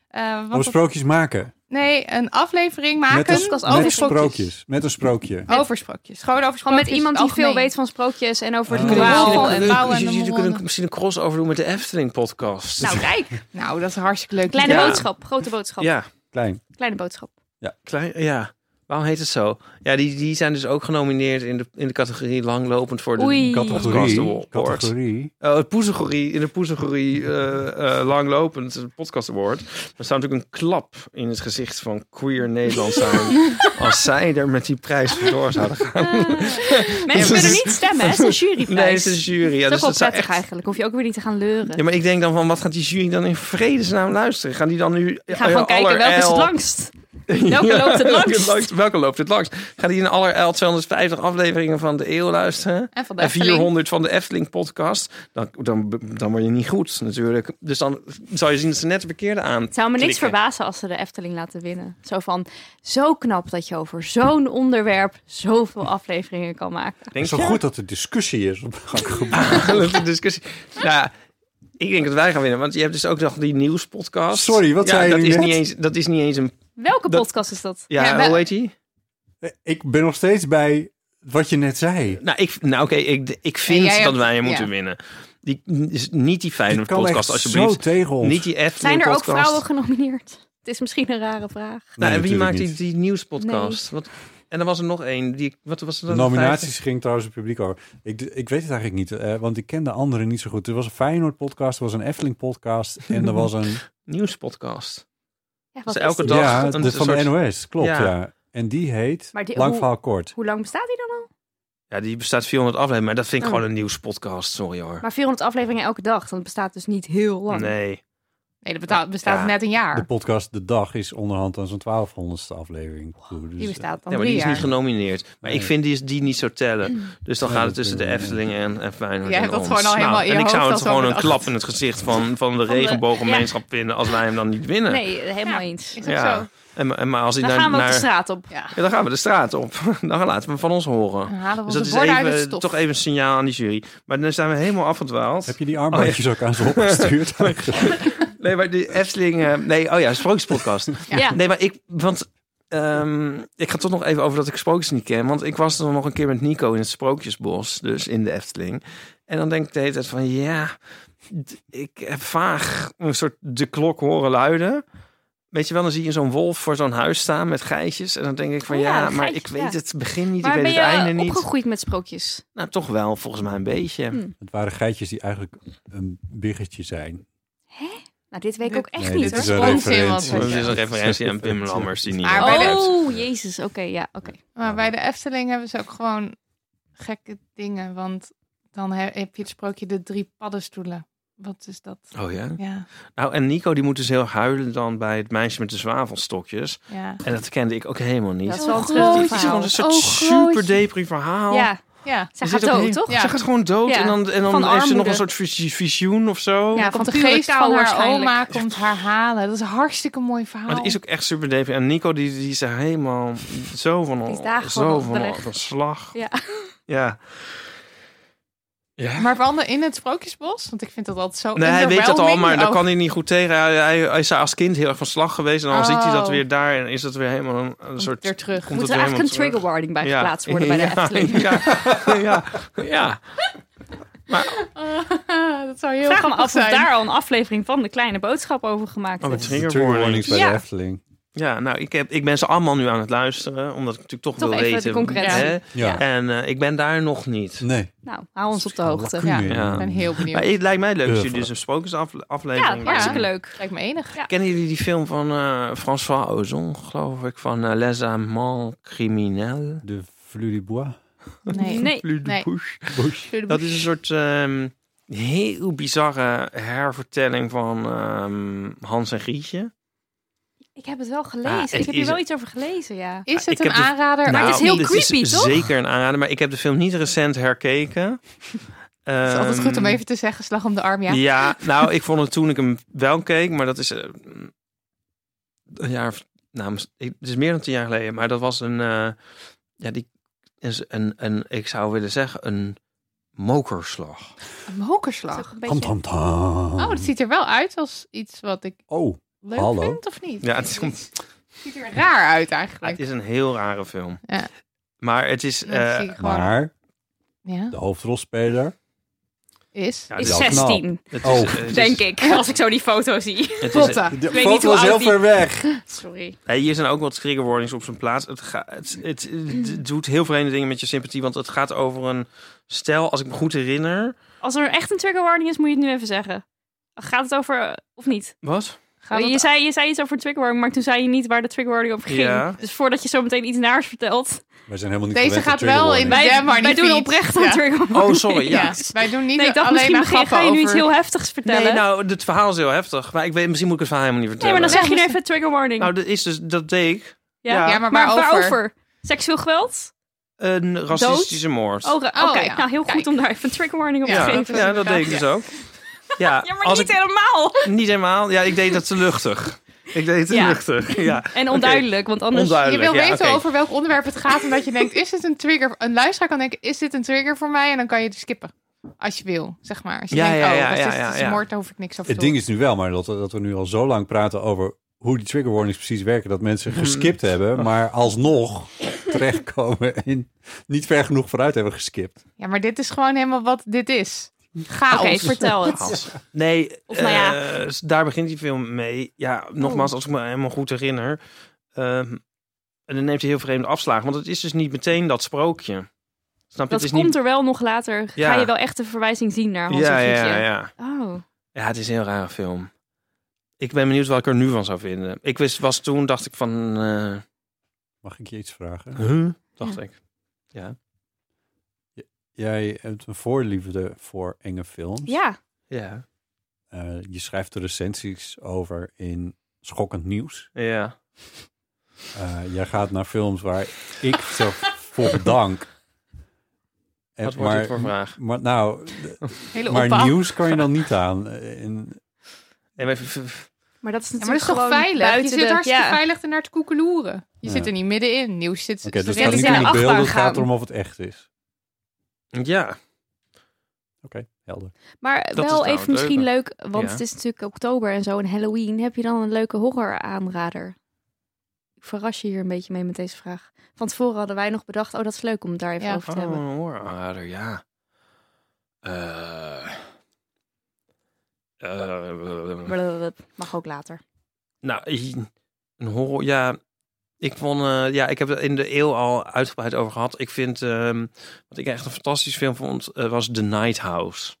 Speaker 3: Eh, want
Speaker 2: Om
Speaker 3: dat-
Speaker 2: sprookjes maken.
Speaker 3: nee, een aflevering maken
Speaker 2: met
Speaker 4: podcast
Speaker 2: een,
Speaker 4: over
Speaker 2: met
Speaker 3: sprookjes.
Speaker 2: sprookjes. Met een sprookje.
Speaker 3: Over sprookjes. Gewoon over
Speaker 4: Gewoon
Speaker 3: sprookjes.
Speaker 4: met iemand die veel
Speaker 3: algemeen.
Speaker 4: weet van sprookjes en over het
Speaker 2: Oh.
Speaker 4: moraal van...
Speaker 3: en bouwen en de
Speaker 5: Jullie
Speaker 3: monden.
Speaker 5: kunnen misschien een crossover doen met de Efteling-podcast.
Speaker 4: Nou, kijk.
Speaker 3: Nou, dat is een hartstikke leuk.
Speaker 4: Kleine
Speaker 5: Ja.
Speaker 4: boodschap, grote boodschap,
Speaker 5: ja,
Speaker 2: Klein.
Speaker 4: kleine boodschap.
Speaker 5: klein, ja. Waarom heet het zo? Ja, die, die zijn dus ook genomineerd in de, in de categorie langlopend voor de
Speaker 4: Oei.
Speaker 5: podcast
Speaker 2: Categorie.
Speaker 5: award.
Speaker 2: Categorie.
Speaker 5: Eh, het poesegorie, in de poesegorie eh, eh, langlopend eh, podcast award. Er staat natuurlijk een klap in het gezicht van queer Nederland zijn. als zij er met die prijs door zouden gaan.
Speaker 4: Eh, Mensen kunnen niet stemmen, hè? Het is een juryprijs.
Speaker 5: Nee, het is een jury.
Speaker 4: Het is
Speaker 5: Ja, dus
Speaker 4: ook wel
Speaker 5: dat zou
Speaker 4: prettig
Speaker 5: echt
Speaker 4: eigenlijk. Hoef je ook weer niet te gaan leuren.
Speaker 5: Ja, maar ik denk dan van, wat gaat die jury dan in vredesnaam luisteren? Gaan die dan nu... eh,
Speaker 4: Je gaat gewoon kijken, welke is het langst? Welke loopt het langst?
Speaker 5: welke loopt het langst? Gaan die in aller 250 afleveringen van de eeuw luisteren?
Speaker 3: En van de
Speaker 5: En
Speaker 3: Efteling.
Speaker 5: 400 van de Efteling podcast? Dan, dan, dan word je niet goed natuurlijk. Dus dan zou je zien dat ze net de verkeerde aan
Speaker 4: Het zou me niks
Speaker 5: klikken.
Speaker 4: verbazen als ze de Efteling laten winnen. Zo van, zo knap dat je over zo'n onderwerp zoveel afleveringen kan maken.
Speaker 2: Het
Speaker 5: Denk
Speaker 2: is wel
Speaker 5: je?
Speaker 2: goed dat er discussie is op gang gebracht.
Speaker 5: Dat de discussie... Nou, ja, ik denk dat wij gaan winnen. Want je hebt dus ook nog die nieuwspodcast.
Speaker 2: Sorry, wat
Speaker 5: ja,
Speaker 2: zei je
Speaker 5: dat
Speaker 2: nu
Speaker 5: is
Speaker 2: net?
Speaker 5: Niet eens, dat is niet eens een...
Speaker 4: Welke
Speaker 5: Dat-
Speaker 4: podcast is dat?
Speaker 5: Ja,
Speaker 3: Ja, wel-
Speaker 5: hoe heet die?
Speaker 2: Ik ben nog steeds bij wat je net zei.
Speaker 5: Nou, ik, nou oké, ik, ik vind
Speaker 3: jij
Speaker 5: dat
Speaker 3: hebt-
Speaker 5: wij
Speaker 3: ja.
Speaker 5: moeten winnen. Die, is niet die fijne
Speaker 2: Dit kan echt
Speaker 5: podcast, alsjeblieft.
Speaker 2: zo tegen ons.
Speaker 5: Niet die F.
Speaker 4: Zijn er ook vrouwen genomineerd? Het is misschien een rare vraag.
Speaker 2: Nee,
Speaker 5: Nou, en wie maakt
Speaker 2: natuurlijk
Speaker 5: die,
Speaker 2: niet.
Speaker 5: die nieuwspodcast? Wat, en er was er nog één. Die, wat was er
Speaker 2: De
Speaker 5: dan?
Speaker 2: nominaties ging trouwens het publiek over. Ik, d- ik weet het eigenlijk niet, eh, want ik ken de anderen niet zo goed. Er was een Feyenoord-podcast, er was een Efteling-podcast en er was een...
Speaker 5: Nieuwspodcast.
Speaker 4: Ja,
Speaker 5: Dus
Speaker 4: wat is
Speaker 5: elke
Speaker 4: dit?
Speaker 5: dag
Speaker 2: ja,
Speaker 5: een
Speaker 2: de, van
Speaker 5: soort-
Speaker 2: de NOS, klopt,
Speaker 5: Ja.
Speaker 2: ja. En die heet
Speaker 4: Maar die-
Speaker 2: Lang
Speaker 4: hoe-
Speaker 2: Verhaal Kort.
Speaker 4: Hoe lang bestaat die dan al?
Speaker 5: Ja, die bestaat 400 afleveringen, maar dat vind ik
Speaker 4: Oh.
Speaker 5: gewoon een nieuwspodcast. Sorry hoor.
Speaker 4: Maar 400 afleveringen elke dag. Dat bestaat dus niet heel lang.
Speaker 5: nee.
Speaker 3: Nee, dat betaalt- bestaat
Speaker 5: Ja.
Speaker 3: net een
Speaker 2: De
Speaker 3: jaar.
Speaker 2: podcast De Dag is onderhand aan zo'n 1200ste aflevering. toe. Dus,
Speaker 3: Die bestaat dan
Speaker 5: Ja, maar
Speaker 3: drie
Speaker 5: die is niet
Speaker 3: jaar. Mm.
Speaker 5: genomineerd. Maar ik
Speaker 2: Nee.
Speaker 5: vind die, die niet zo tellen. Dus dan
Speaker 2: Nee,
Speaker 5: gaat het
Speaker 2: dat
Speaker 5: tussen de
Speaker 2: kunnen we
Speaker 5: Efteling en, en Feyenoord
Speaker 3: Jij
Speaker 5: en
Speaker 3: hebt dat
Speaker 5: ons.
Speaker 3: gewoon al
Speaker 5: Nou,
Speaker 3: helemaal in je
Speaker 5: En ik
Speaker 3: hoofd
Speaker 5: zou
Speaker 3: al
Speaker 5: het
Speaker 3: zo
Speaker 5: gewoon een
Speaker 3: bedacht.
Speaker 5: klap in het gezicht van, van de
Speaker 4: de-
Speaker 5: regenbooggemeenschap vinden als wij hem dan niet winnen.
Speaker 4: Nee, helemaal eens.
Speaker 3: Is ook
Speaker 5: Ja.
Speaker 3: zo.
Speaker 5: En, maar- en maar als hij
Speaker 4: Dan
Speaker 5: naar,
Speaker 4: gaan we op de
Speaker 5: naar-
Speaker 4: straat op.
Speaker 3: Ja.
Speaker 5: Ja, dan gaan we de straat op. Dan laten we hem van ons horen.
Speaker 3: Dan halen we
Speaker 5: Dus dat
Speaker 3: onze
Speaker 5: is
Speaker 3: borden uit het
Speaker 5: even,
Speaker 3: stof.
Speaker 5: toch even een signaal aan die jury. Maar dan zijn we helemaal afgedwaald.
Speaker 2: Heb je die
Speaker 5: Oh,
Speaker 2: armbandjes ook aan ze opgestuurd?
Speaker 5: Nee, maar die Efteling... eh, nee, oh ja, Sprookjespodcast.
Speaker 4: Ja.
Speaker 5: Nee, maar ik... Want ehm, ik ga toch nog even over dat ik sprookjes niet ken. Want ik was er nog een keer met Nico in het Sprookjesbos. Dus in de Efteling. En dan denk ik de hele tijd van... Ja, d- ik heb vaag een soort de klok horen luiden. Weet je wel, dan zie je zo'n wolf voor zo'n huis staan met geitjes. En dan denk ik van
Speaker 4: Oh ja,
Speaker 5: ja,
Speaker 4: de
Speaker 5: maar
Speaker 4: geitjes,
Speaker 5: ik weet
Speaker 4: ja.
Speaker 5: het begin niet,
Speaker 4: Maar ben
Speaker 5: ik weet
Speaker 4: je
Speaker 5: het einde niet.
Speaker 4: opgegroeid met sprookjes?
Speaker 5: Nou, toch wel, volgens mij een beetje.
Speaker 4: Hm.
Speaker 2: Het waren geitjes die eigenlijk een biggetje zijn.
Speaker 4: Nou, dit weet ik
Speaker 3: Nee,
Speaker 4: ook echt
Speaker 2: nee,
Speaker 4: niet
Speaker 2: dit is
Speaker 4: hoor.
Speaker 2: een
Speaker 3: Onzin,
Speaker 2: referentie.
Speaker 3: want-
Speaker 5: Dat is een referentie aan Pim Lammers die niet.
Speaker 3: Maar bij de-
Speaker 4: Oh, jezus. Oké, ja, oké.
Speaker 3: Maar bij de Efteling hebben ze ook gewoon gekke dingen. Want dan he- heb je het sprookje de drie paddenstoelen. Wat is dat?
Speaker 5: Oh ja.
Speaker 3: Ja,
Speaker 5: Nou, en Nico die moet dus heel huilen dan bij het meisje met de zwavelstokjes.
Speaker 3: ja.
Speaker 5: En dat kende ik ook helemaal niet.
Speaker 4: Dat is
Speaker 3: Oh,
Speaker 4: wel een
Speaker 3: grootje.
Speaker 4: treurig
Speaker 5: Het is gewoon
Speaker 4: verhaal.
Speaker 5: een soort
Speaker 3: Oh, grootje.
Speaker 5: super depri verhaal.
Speaker 4: Ja,
Speaker 3: ja.
Speaker 4: zij
Speaker 5: Er
Speaker 4: gaat
Speaker 5: zit Oh. ook
Speaker 4: dood,
Speaker 5: heel-
Speaker 4: toch?
Speaker 3: Ja.
Speaker 5: Ze gaat gewoon dood
Speaker 4: Ja.
Speaker 5: en dan, en dan
Speaker 4: Van
Speaker 5: heeft ze nog
Speaker 4: armoede.
Speaker 5: een soort visie- visioen of
Speaker 3: Ja,
Speaker 5: zo.
Speaker 4: Ja,
Speaker 3: want de
Speaker 4: van pure
Speaker 3: geest
Speaker 4: taal
Speaker 3: van haar
Speaker 4: waarschijnlijk.
Speaker 3: oma komt haar halen. Dat is een hartstikke mooi verhaal.
Speaker 5: Maar het is ook echt super depri. En Nico die, die is er helemaal zo van,
Speaker 4: Die is dagen
Speaker 5: zo
Speaker 4: van
Speaker 5: van,
Speaker 4: onderweg.
Speaker 5: van slag.
Speaker 4: Ja.
Speaker 5: Ja. Ja.
Speaker 3: Maar vooral in het Sprookjesbos? Want ik vind dat altijd zo
Speaker 5: Nee, hij weet dat al,
Speaker 3: underwhelming.
Speaker 5: maar daar
Speaker 3: Oh,
Speaker 5: kan hij niet goed tegen. Hij, hij, hij is daar als kind heel erg van slag geweest. En dan ziet hij dat
Speaker 3: Oh.
Speaker 5: weer daar en is dat weer helemaal een, een soort...
Speaker 3: weer terug.
Speaker 4: Moet
Speaker 5: komt het
Speaker 4: er
Speaker 5: weer
Speaker 4: eigenlijk een
Speaker 5: helemaal
Speaker 4: trigger warning bij
Speaker 5: terug.
Speaker 4: geplaatst worden bij de
Speaker 5: Ja,
Speaker 4: Efteling?
Speaker 5: Ja, ja, ja.
Speaker 3: Ah, dat zou heel
Speaker 4: Vraag me
Speaker 3: grappig
Speaker 4: af of
Speaker 3: zijn.
Speaker 4: daar al een aflevering van de kleine boodschap over gemaakt is.
Speaker 5: Oh, het
Speaker 2: De
Speaker 5: trigger
Speaker 2: trigger warnings bij
Speaker 4: Ja.
Speaker 2: de Efteling.
Speaker 5: Ja, nou, ik, heb, ik ben ze allemaal nu aan het luisteren. Omdat ik natuurlijk toch,
Speaker 4: Toch
Speaker 5: wil
Speaker 4: even de
Speaker 5: weten.
Speaker 4: concurrentie.
Speaker 5: hè.
Speaker 4: Ja.
Speaker 5: En eh, ik ben daar nog niet.
Speaker 2: Nee.
Speaker 4: Nou, hou ons op de hoogte.
Speaker 3: Ja,
Speaker 5: Ja.
Speaker 3: ik ben heel benieuwd.
Speaker 5: Maar het lijkt mij leuk dat
Speaker 2: Ja,
Speaker 5: jullie dus een sprookjesaflevering...
Speaker 4: Ja, hartstikke
Speaker 3: Ja.
Speaker 4: leuk.
Speaker 3: Lijkt me enig.
Speaker 5: Kennen jullie die film van eh, François Ozon, geloof ik? Van eh, Les Amants Criminels?
Speaker 2: De Fleur du Bois.
Speaker 3: Nee.
Speaker 4: Nee.
Speaker 5: Plus de
Speaker 3: Nee.
Speaker 5: Bouche. Dat is een soort ehm, heel bizarre hervertelling van ehm, Hans en Grietje.
Speaker 4: Ik heb het wel gelezen.
Speaker 5: Ah, het
Speaker 4: ik heb
Speaker 5: is-
Speaker 4: hier wel iets over gelezen, ja.
Speaker 3: Is
Speaker 5: Ik
Speaker 3: het een
Speaker 5: heb dus- Nou, de-
Speaker 3: aanrader?
Speaker 4: maar het is heel
Speaker 5: dit
Speaker 4: creepy, toch?
Speaker 5: Zeker een aanrader, maar ik heb de film niet recent herkeken.
Speaker 3: Het is altijd goed om
Speaker 5: Ehm,
Speaker 3: even te zeggen, slag om de arm, ja.
Speaker 5: Ja. nou, ik vond het toen ik hem wel keek, maar dat is eh, een jaar of, nou, mis- ik- het is meer dan tien jaar geleden, maar dat was een, eh, ja, die is een, een, ik zou willen zeggen, een mokerslag.
Speaker 3: Een
Speaker 4: Het
Speaker 3: mokerslag.
Speaker 4: is ook een
Speaker 2: Tam,
Speaker 4: beetje-
Speaker 2: tam, tam.
Speaker 3: Oh, dat ziet er wel uit als iets wat ik
Speaker 2: Oh,
Speaker 3: leuk
Speaker 2: Hallo.
Speaker 3: vind, of niet?
Speaker 5: Ja, het is een-
Speaker 3: ziet er raar uit
Speaker 5: Ja, het
Speaker 3: eigenlijk.
Speaker 5: is een heel rare film.
Speaker 3: Ja.
Speaker 5: Maar het is.
Speaker 3: Dat
Speaker 5: eh,
Speaker 3: zie ik gewoon.
Speaker 2: maar
Speaker 3: ja,
Speaker 2: de hoofdrolspeler.
Speaker 3: is.
Speaker 5: ja,
Speaker 4: Is
Speaker 5: het-
Speaker 2: Ja, knap.
Speaker 4: 16,
Speaker 5: het eh,
Speaker 2: Oh.
Speaker 5: Nou, het
Speaker 4: denk ik, als ik zo die foto zie.
Speaker 5: het is-
Speaker 3: Potta.
Speaker 2: De
Speaker 4: weet niet hoe oud die-
Speaker 2: weg.
Speaker 4: Sorry.
Speaker 5: Hey, hier zijn ook wat trigger warnings op zijn plaats. Het, ga- het, het, het doet heel vreemde dingen met je sympathie, want het gaat over een stel, als ik me goed herinner.
Speaker 4: Als er echt een trigger warning is, moet je het nu even zeggen. Gaat het over, eh, of niet?
Speaker 5: Wat?
Speaker 3: Gaan we
Speaker 4: je,
Speaker 3: dat-
Speaker 4: zei, je zei iets over een trigger warning, maar toen zei je niet waar de trigger warning over ging.
Speaker 5: Ja.
Speaker 4: Dus voordat je zo meteen iets naars vertelt.
Speaker 2: Wij zijn helemaal niet
Speaker 3: Deze
Speaker 2: gewend aan
Speaker 3: gaat wel in
Speaker 2: trigger
Speaker 4: Wij-
Speaker 3: de jam, maar
Speaker 4: wij
Speaker 3: niet
Speaker 4: doen
Speaker 3: fiets.
Speaker 4: oprecht een
Speaker 3: Ja.
Speaker 4: trigger warning.
Speaker 5: Oh, sorry. Ja.
Speaker 3: Ja, wij doen niet
Speaker 4: Nee, ik dacht
Speaker 3: alleen maar
Speaker 4: misschien begin,
Speaker 3: grappen
Speaker 4: ga je nu
Speaker 3: over...
Speaker 4: iets heel heftigs vertellen.
Speaker 5: Nee, nou, het verhaal is heel heftig. Maar ik weet, misschien moet ik het verhaal helemaal niet
Speaker 4: nee
Speaker 5: vertellen.
Speaker 4: maar dan zeg je nu
Speaker 3: Nee,
Speaker 4: even trigger warning.
Speaker 5: Nou, dat is dus, dat deed ik.
Speaker 4: ja.
Speaker 5: ja.
Speaker 3: Ja, maar waarover?
Speaker 4: Seksueel geweld?
Speaker 5: Een racistische moord.
Speaker 4: Oh, ra- oké.
Speaker 3: Oh, ja.
Speaker 4: Nou, heel goed
Speaker 3: Kijk.
Speaker 4: om daar even een trigger warning op
Speaker 3: Ja,
Speaker 4: te
Speaker 5: ja,
Speaker 4: geven.
Speaker 3: dat is
Speaker 5: ja, dat deed ik
Speaker 3: inderdaad,
Speaker 5: dus ook. Ja,
Speaker 4: Ja, maar
Speaker 5: als
Speaker 4: niet
Speaker 5: ik,
Speaker 4: helemaal.
Speaker 5: niet helemaal. Ja, ik deed dat te luchtig. Ik deed het te
Speaker 4: Ja.
Speaker 5: luchtig. Ja.
Speaker 4: En onduidelijk, want anders...
Speaker 3: Je
Speaker 5: Onduidelijk.
Speaker 3: wil
Speaker 5: ja,
Speaker 3: weten
Speaker 5: oké.
Speaker 3: over welk onderwerp het gaat, omdat je denkt, is dit een trigger? Een luisteraar kan denken, is dit een trigger voor mij? En dan kan je het skippen, als je wil, zeg maar. Als je
Speaker 5: Ja,
Speaker 3: denkt,
Speaker 5: ja,
Speaker 3: oh,
Speaker 5: ja,
Speaker 3: racistisch
Speaker 5: ja, ja,
Speaker 3: is
Speaker 5: ja.
Speaker 3: een moord, daar hoef ik niks over
Speaker 2: Het
Speaker 3: te
Speaker 2: ding
Speaker 3: doen.
Speaker 2: is nu wel, maar dat, dat we nu al zo lang praten over hoe die trigger warnings precies werken, dat mensen
Speaker 5: Hmm.
Speaker 2: geskipt hebben, maar alsnog terechtkomen en niet ver genoeg vooruit hebben geskipt.
Speaker 3: Ja, maar dit is gewoon helemaal wat dit is.
Speaker 4: Oké,
Speaker 3: Chaos.
Speaker 4: vertel het.
Speaker 5: Hans. Nee,
Speaker 4: Of nou ja. Oh.
Speaker 5: eh, s- daar begint die film mee. Ja, nogmaals, als ik me helemaal goed herinner. Ehm, en dan neemt hij heel vreemde afslagen. Want het is dus niet meteen dat sprookje. Snap je?
Speaker 4: Dat
Speaker 5: het is
Speaker 4: komt
Speaker 5: niet...
Speaker 4: er wel nog later.
Speaker 5: Ja.
Speaker 4: Ga je wel echt de verwijzing zien naar Hans
Speaker 5: ja,
Speaker 4: en Grietje.
Speaker 5: ja, ja.
Speaker 4: Oh,
Speaker 5: Ja, het is een heel rare film. Ik ben benieuwd wat ik er nu van zou vinden. Ik wist, was toen, dacht ik van... eh,
Speaker 2: Mag ik je iets vragen?
Speaker 5: huh? Dacht
Speaker 4: Ja.
Speaker 5: ik. Ja.
Speaker 2: Jij hebt een voorliefde voor enge films.
Speaker 4: ja.
Speaker 5: Ja.
Speaker 2: Eh, je schrijft er recensies over in schokkend nieuws.
Speaker 5: Ja.
Speaker 2: Eh, jij gaat naar films waar ik zo voor bedank. En-
Speaker 5: Wat wordt dit voor vraag?
Speaker 2: maar nou,
Speaker 3: Hele
Speaker 2: maar
Speaker 3: opbouw.
Speaker 2: nieuws kan je dan niet aan. Eh, en-
Speaker 4: Dus
Speaker 5: En wij- v- v-
Speaker 4: Maar dat is
Speaker 3: Ja, maar dat
Speaker 4: natuurlijk
Speaker 3: is toch
Speaker 4: gewoon
Speaker 3: veilig? Je
Speaker 4: buiten
Speaker 3: zit
Speaker 4: de-
Speaker 3: hartstikke
Speaker 4: ja.
Speaker 3: veilig ernaar te koekeloeren. Je
Speaker 2: Ja.
Speaker 3: zit er niet middenin. Nieuws zit...
Speaker 2: Oké,
Speaker 3: is
Speaker 2: dus het
Speaker 3: redelijk
Speaker 2: gaat niet
Speaker 3: in
Speaker 2: om die
Speaker 3: de
Speaker 2: beelden,
Speaker 3: achtbaan
Speaker 2: het gaat
Speaker 3: gaan.
Speaker 2: erom of het echt is.
Speaker 5: ja.
Speaker 2: Oké, helder.
Speaker 4: Maar
Speaker 5: Dat is
Speaker 4: wel
Speaker 5: nou
Speaker 4: even
Speaker 5: het
Speaker 4: misschien leuk, want
Speaker 5: Ja.
Speaker 4: het is natuurlijk oktober en zo en Halloween. Heb je dan een leuke horror aanrader? Ik verras je hier een beetje mee met deze vraag. Van tevoren hadden wij nog bedacht, oh dat is leuk om het daar even
Speaker 3: Ja.
Speaker 4: over te
Speaker 5: Oh,
Speaker 4: hebben.
Speaker 5: een hoorader, ja. Eh. Eh,
Speaker 4: Blablabla. Mag ook later.
Speaker 5: nou, i- een horror, ja. Ik vond, eh, ja, ik heb het in de eeuw al uitgebreid over gehad. Ik vind, ehm, wat ik echt een fantastisch film vond, eh, was The Night House.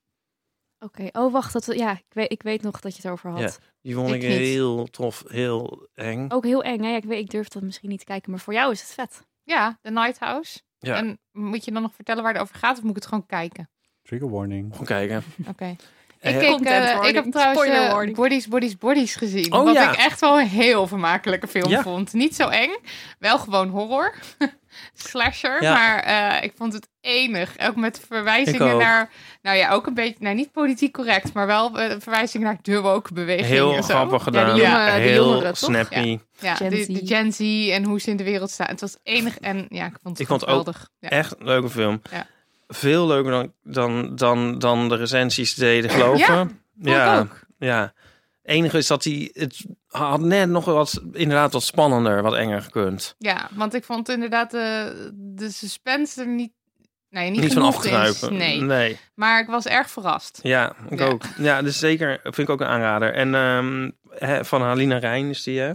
Speaker 4: Oké, oh wacht, dat, ja, ik, weet, ik weet nog dat je het over had.
Speaker 5: Ja. Die vond ik,
Speaker 3: Ik niet. Oh.
Speaker 5: heel tof, heel eng.
Speaker 4: Ook heel eng, hè? Ja, ik, weet, ik durf dat misschien niet te kijken, maar voor jou is het vet.
Speaker 3: Ja, The Night House.
Speaker 5: Ja.
Speaker 3: En moet je dan nog vertellen waar het over gaat? Of moet ik het gewoon kijken?
Speaker 2: Trigger warning.
Speaker 5: Gewoon kijken.
Speaker 3: Oké.
Speaker 5: Eh,
Speaker 3: Ik, keek,
Speaker 4: Content
Speaker 3: eh, ik
Speaker 4: warning.
Speaker 3: heb trouwens
Speaker 4: Spoiler
Speaker 3: eh,
Speaker 4: warning.
Speaker 3: Bodies, Bodies, Bodies gezien.
Speaker 5: Oh,
Speaker 3: wat
Speaker 5: ja.
Speaker 3: ik echt wel een heel vermakelijke film
Speaker 5: Ja.
Speaker 3: vond. Niet zo eng, wel gewoon horror. Slasher,
Speaker 5: Ja.
Speaker 3: maar eh, ik vond het enig. Ook met
Speaker 5: Ik
Speaker 3: verwijzingen
Speaker 5: ook.
Speaker 3: naar... Nou ja, ook een beetje... Nou, niet politiek correct, maar wel eh, verwijzingen naar de woke beweging.
Speaker 5: heel
Speaker 3: en zo.
Speaker 5: grappig gedaan.
Speaker 4: die jongen- de
Speaker 5: heel
Speaker 4: jongeren, toch?
Speaker 5: snappy.
Speaker 3: Ja,
Speaker 4: Gen
Speaker 3: de,
Speaker 4: Z.
Speaker 3: de Gen Z en hoe ze in de wereld staan. Het was enig en ja, ik vond het
Speaker 5: Ik vond het ook
Speaker 3: geweldig. Ja.
Speaker 5: Echt een leuke film.
Speaker 3: Ja.
Speaker 5: Veel leuker dan, dan, dan, dan de recensies deden geloven.
Speaker 3: Ja, ik
Speaker 5: ja,
Speaker 3: ook.
Speaker 5: ja. Enige is dat hij het had net nog wat inderdaad wat spannender, wat enger gekund.
Speaker 3: Ja, want ik vond inderdaad de, de suspense er niet... Nee, niet,
Speaker 5: Niet, van
Speaker 3: genoeg in.
Speaker 5: afgruipen.
Speaker 3: Nee. Maar ik was erg verrast.
Speaker 5: Ja, ik
Speaker 3: Ja.
Speaker 5: ook. Ja, dus zeker vind ik ook een aanrader. En ehm, hè, van Halina Rijn is die hè.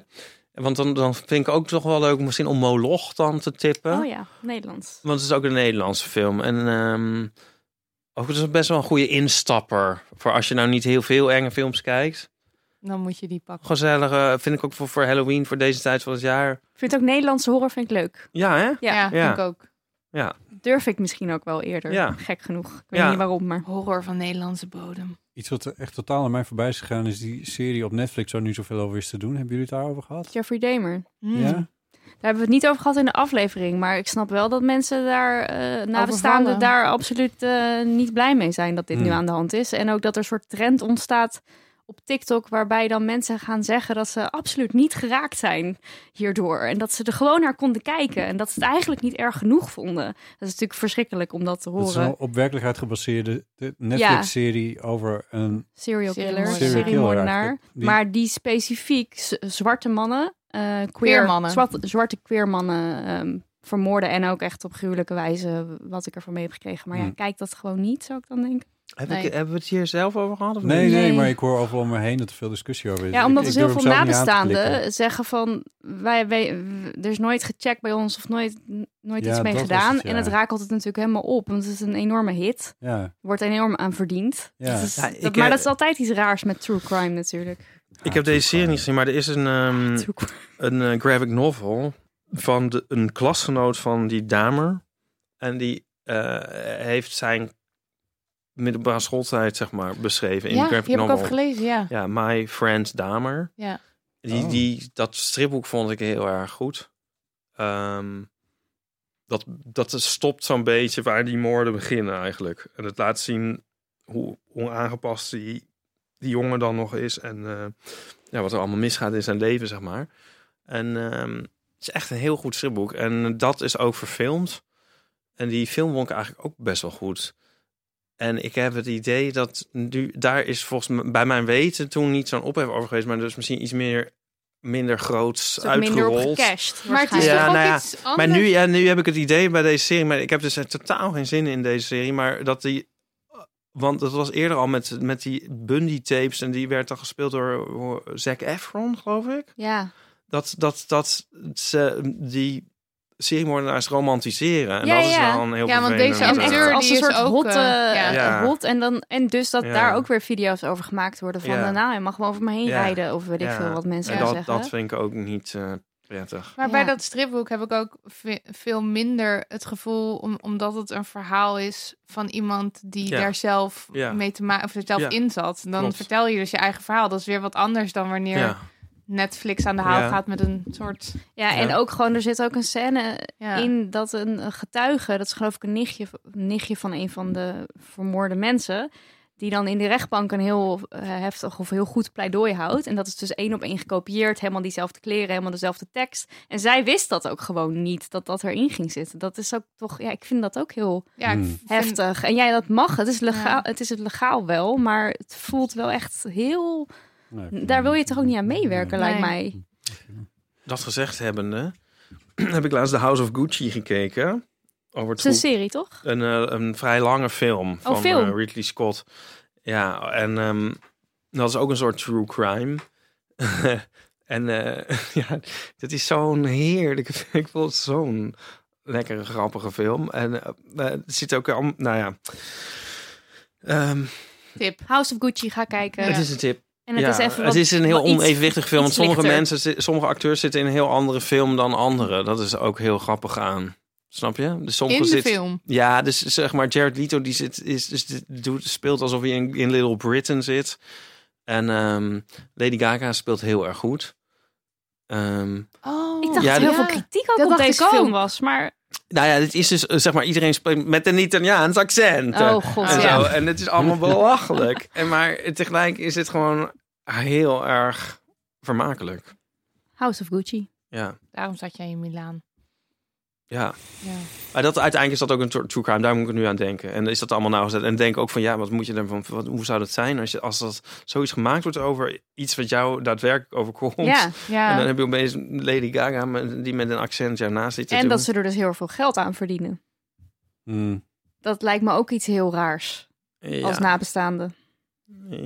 Speaker 5: Want dan, dan vind ik ook toch wel leuk om misschien om Moloch dan te tippen.
Speaker 4: Oh ja, Nederlands.
Speaker 5: Want het is ook een Nederlandse film. En ehm, ook het is best wel een goede instapper. Voor als je nou niet heel veel enge films kijkt.
Speaker 3: Dan moet je die pakken.
Speaker 5: Gezellige, vind ik ook voor, voor Halloween, voor deze tijd van het jaar.
Speaker 4: Ik vind ook Nederlandse horror vind ik leuk.
Speaker 5: Ja, hè?
Speaker 4: Ja.
Speaker 3: Ja,
Speaker 5: Ja.
Speaker 3: vind ik ook.
Speaker 4: Durf ik misschien ook wel eerder.
Speaker 5: Ja.
Speaker 4: Gek genoeg. Ik weet
Speaker 5: Ja.
Speaker 4: niet waarom, maar...
Speaker 3: Horror van Nederlandse bodem.
Speaker 2: Iets wat er echt totaal aan mij voorbij is gegaan is die serie op Netflix waar nu zoveel over is te doen. Hebben jullie het daarover gehad?
Speaker 4: Jeffrey Dahmer.
Speaker 3: Hmm.
Speaker 2: Ja?
Speaker 4: Daar hebben we het niet over gehad in de aflevering. Maar ik snap wel dat mensen daar, eh nabestaanden
Speaker 3: Overvallen.
Speaker 4: daar absoluut eh, niet blij mee zijn dat dit nu
Speaker 2: Hmm.
Speaker 4: aan de hand is. En ook dat er een soort trend ontstaat op TikTok waarbij dan mensen gaan zeggen dat ze absoluut niet geraakt zijn hierdoor. En dat ze er gewoon naar konden kijken. En dat ze het eigenlijk niet erg genoeg vonden. Dat is natuurlijk verschrikkelijk om dat te
Speaker 2: Dat is
Speaker 4: horen.
Speaker 2: een op werkelijkheid gebaseerde eh, Netflix-serie over een
Speaker 4: Serial killer,
Speaker 3: Serial
Speaker 2: killer.
Speaker 4: seriemoordenaar.
Speaker 2: Die-
Speaker 4: Maar die specifiek z- zwarte mannen, eh queer,
Speaker 3: Queer mannen.
Speaker 4: Zwarte, zwarte queer mannen ehm, vermoorden. En ook echt op gruwelijke wijze wat ik ervan mee heb gekregen. Maar ja,
Speaker 2: Hmm.
Speaker 4: kijk dat gewoon niet, zou ik dan denken.
Speaker 5: Heb
Speaker 3: Nee.
Speaker 5: ik, hebben we het hier zelf over gehad? Of
Speaker 2: Nee,
Speaker 5: niet?
Speaker 2: nee,
Speaker 4: Nee.
Speaker 2: maar ik hoor overal om me heen dat er veel discussie over is.
Speaker 4: Ja,
Speaker 2: Ik-
Speaker 4: omdat
Speaker 2: ik
Speaker 4: dus
Speaker 2: durf
Speaker 4: heel veel
Speaker 2: hem zelf niet aan te klikken.
Speaker 4: nabestaanden zeggen van... Wij, wij, er is nooit gecheckt bij ons of nooit, nooit
Speaker 2: Ja,
Speaker 4: iets mee
Speaker 2: dat was
Speaker 4: gedaan.
Speaker 2: het, ja.
Speaker 4: En het raakt altijd natuurlijk helemaal op. Want het is een enorme hit.
Speaker 2: Ja,
Speaker 4: Er wordt enorm aan verdiend.
Speaker 2: Ja.
Speaker 4: Dat is-
Speaker 5: Ja, ik,
Speaker 4: dat- maar
Speaker 5: eh,
Speaker 4: dat is altijd iets raars met true crime natuurlijk.
Speaker 2: Ah,
Speaker 5: Ik heb deze serie niet gezien, maar er is een, ehm,
Speaker 4: True crime.
Speaker 5: een eh, graphic novel van de, een klasgenoot van die Damer. En die eh, heeft zijn middelbare schooltijd, zeg maar, beschreven in
Speaker 3: ja,
Speaker 5: de
Speaker 3: die heb
Speaker 5: graphic
Speaker 3: ik
Speaker 5: novel.
Speaker 3: over gelezen, ja.
Speaker 5: Ja, My Friend Damer.
Speaker 3: Ja.
Speaker 5: Die,
Speaker 2: Oh.
Speaker 5: die, dat stripboek vond ik heel erg goed. Ehm, dat, dat stopt zo'n beetje waar die moorden beginnen eigenlijk. En het laat zien hoe onaangepast die, die jongen dan nog is. En eh, ja, wat er allemaal misgaat in zijn leven, zeg maar. En ehm, het is echt een heel goed stripboek. En dat is ook verfilmd. En die film vond ik eigenlijk ook best wel goed. En ik heb het idee dat nu, daar is volgens mij bij mijn weten toen niet zo'n ophef over geweest, maar dus misschien iets meer minder groots
Speaker 4: Het is ook minder op
Speaker 5: uitgerold.
Speaker 4: gecashed.
Speaker 3: Maar het is
Speaker 5: Ja,
Speaker 3: toch ook
Speaker 5: nou ja,
Speaker 3: iets anders?
Speaker 5: Maar nu, ja, nu heb ik het idee bij deze serie, maar ik heb dus echt totaal geen zin in deze serie, maar dat die Want dat was eerder al met, met die Bundy-tapes. En die werd dan gespeeld door eh, Zac Efron, geloof ik.
Speaker 4: Ja.
Speaker 5: Dat, dat, dat ze die seriemoordenaars romantiseren. En
Speaker 4: Ja,
Speaker 5: dat is
Speaker 4: ja.
Speaker 5: wel een heel
Speaker 3: Ja, want deze
Speaker 4: En
Speaker 5: vervelend, eh,
Speaker 3: acteur
Speaker 4: echt als
Speaker 3: die
Speaker 4: een
Speaker 3: is
Speaker 4: soort
Speaker 3: ook,
Speaker 4: hot,
Speaker 3: eh,
Speaker 4: eh,
Speaker 3: ja.
Speaker 5: Ja.
Speaker 4: hot. En, dan, en dus dat
Speaker 5: Ja.
Speaker 4: daar ook weer video's over gemaakt worden. Van,
Speaker 5: Ja.
Speaker 4: eh, nou, hij mag gewoon over me heen
Speaker 5: Ja.
Speaker 4: rijden. Of weet ik
Speaker 5: Ja.
Speaker 4: veel wat mensen
Speaker 5: En
Speaker 4: daar
Speaker 5: dat,
Speaker 4: zeggen.
Speaker 5: dat vind ik ook niet eh, prettig.
Speaker 3: Maar bij
Speaker 4: Ja.
Speaker 3: dat stripboek heb ik ook ve- veel minder het gevoel, om, omdat het een verhaal is van iemand die
Speaker 5: Ja.
Speaker 3: daar zelf
Speaker 5: Ja.
Speaker 3: mee te maken of er zelf
Speaker 5: Ja.
Speaker 3: in zat. Dan
Speaker 5: Klopt.
Speaker 3: vertel je dus je eigen verhaal. Dat is weer wat anders dan wanneer
Speaker 5: Ja.
Speaker 3: Netflix aan de haal
Speaker 5: Ja.
Speaker 3: gaat met een soort.
Speaker 4: Ja, en
Speaker 5: Ja.
Speaker 4: ook gewoon, er zit ook een scène
Speaker 3: Ja.
Speaker 4: in dat een een getuige, dat is geloof ik een nichtje, nichtje van een van de vermoorde mensen, die dan in de rechtbank een heel eh, heftig of heel goed pleidooi houdt. En dat is dus één op één gekopieerd, helemaal diezelfde kleren, helemaal dezelfde tekst. En zij wist dat ook gewoon niet, dat dat erin ging zitten. Dat is ook toch, ja, ik vind dat ook heel
Speaker 3: Ja, ik
Speaker 2: Hmm.
Speaker 3: vind-
Speaker 4: heftig. En jij, dat mag, het is legaal,
Speaker 3: Ja.
Speaker 4: het is het legaal wel, maar het voelt wel echt heel,
Speaker 2: Nee, ik vind-
Speaker 4: daar wil je toch ook niet aan meewerken,
Speaker 3: Nee.
Speaker 4: lijkt mij.
Speaker 5: Dat gezegd hebbende, heb ik laatst de House of Gucci gekeken. Over
Speaker 4: Het is een
Speaker 5: true-
Speaker 4: serie, toch?
Speaker 5: een, eh, een vrij lange film van
Speaker 4: Oh, film.
Speaker 5: eh, Ridley Scott. Ja, en ehm, dat is ook een soort true crime. en eh, ja, dat is zo'n heerlijke film. Ik vond het zo'n lekkere, grappige film. En eh, eh, het zit ook al, nou ja. Ehm,
Speaker 3: Tip.
Speaker 4: House of Gucci, ga kijken.
Speaker 5: Het is een tip.
Speaker 4: En het
Speaker 5: ja,
Speaker 4: is even wat,
Speaker 5: het is een heel
Speaker 4: wat iets-
Speaker 5: onevenwichtig film. Want
Speaker 4: iets
Speaker 5: sommige
Speaker 4: lichter.
Speaker 5: mensen, zi- sommige acteurs zitten in een heel andere film dan anderen. Dat is ook heel grappig aan. Snap je? Dus sommige
Speaker 3: In de
Speaker 5: zit-
Speaker 3: film.
Speaker 5: ja, dus zeg maar, Jared Leto die zit, is, is, doet, speelt alsof hij in, in Little Britain zit. En ehm, Lady Gaga speelt heel erg goed. Ehm,
Speaker 3: Oh,
Speaker 4: Ik dacht
Speaker 5: Ja,
Speaker 4: dat
Speaker 5: dat-
Speaker 4: heel veel kritiek ook
Speaker 3: Dat
Speaker 4: op
Speaker 3: dacht
Speaker 4: deze
Speaker 3: ik ook.
Speaker 4: film was, maar...
Speaker 5: nou ja, dit is dus, eh, zeg maar, iedereen speelt met een Italiaans accent.
Speaker 4: Oh god,
Speaker 5: en,
Speaker 4: ja.
Speaker 5: zo. en het is allemaal belachelijk. en maar tegelijk is het gewoon heel erg vermakelijk.
Speaker 4: House of Gucci.
Speaker 5: Ja,
Speaker 3: Daarom zat jij in Milaan.
Speaker 5: ja.
Speaker 3: Ja.
Speaker 5: Maar dat, uiteindelijk is dat ook een soort true crime. Daar moet ik nu aan denken. En is dat allemaal nauwgezet. En denk ook van, ja, wat moet je daarvan... Wat, hoe zou dat zijn als, je, als dat zoiets gemaakt wordt over iets wat jou daadwerkelijk overkomt?
Speaker 4: Ja,
Speaker 5: En
Speaker 3: ja.
Speaker 5: dan heb je opeens Lady Gaga met- die met een accent daarnaast zit te
Speaker 4: en
Speaker 5: doen.
Speaker 4: dat ze er dus heel veel geld aan verdienen.
Speaker 2: Hmm.
Speaker 4: Dat lijkt me ook iets heel raars
Speaker 5: ja.
Speaker 4: als nabestaande.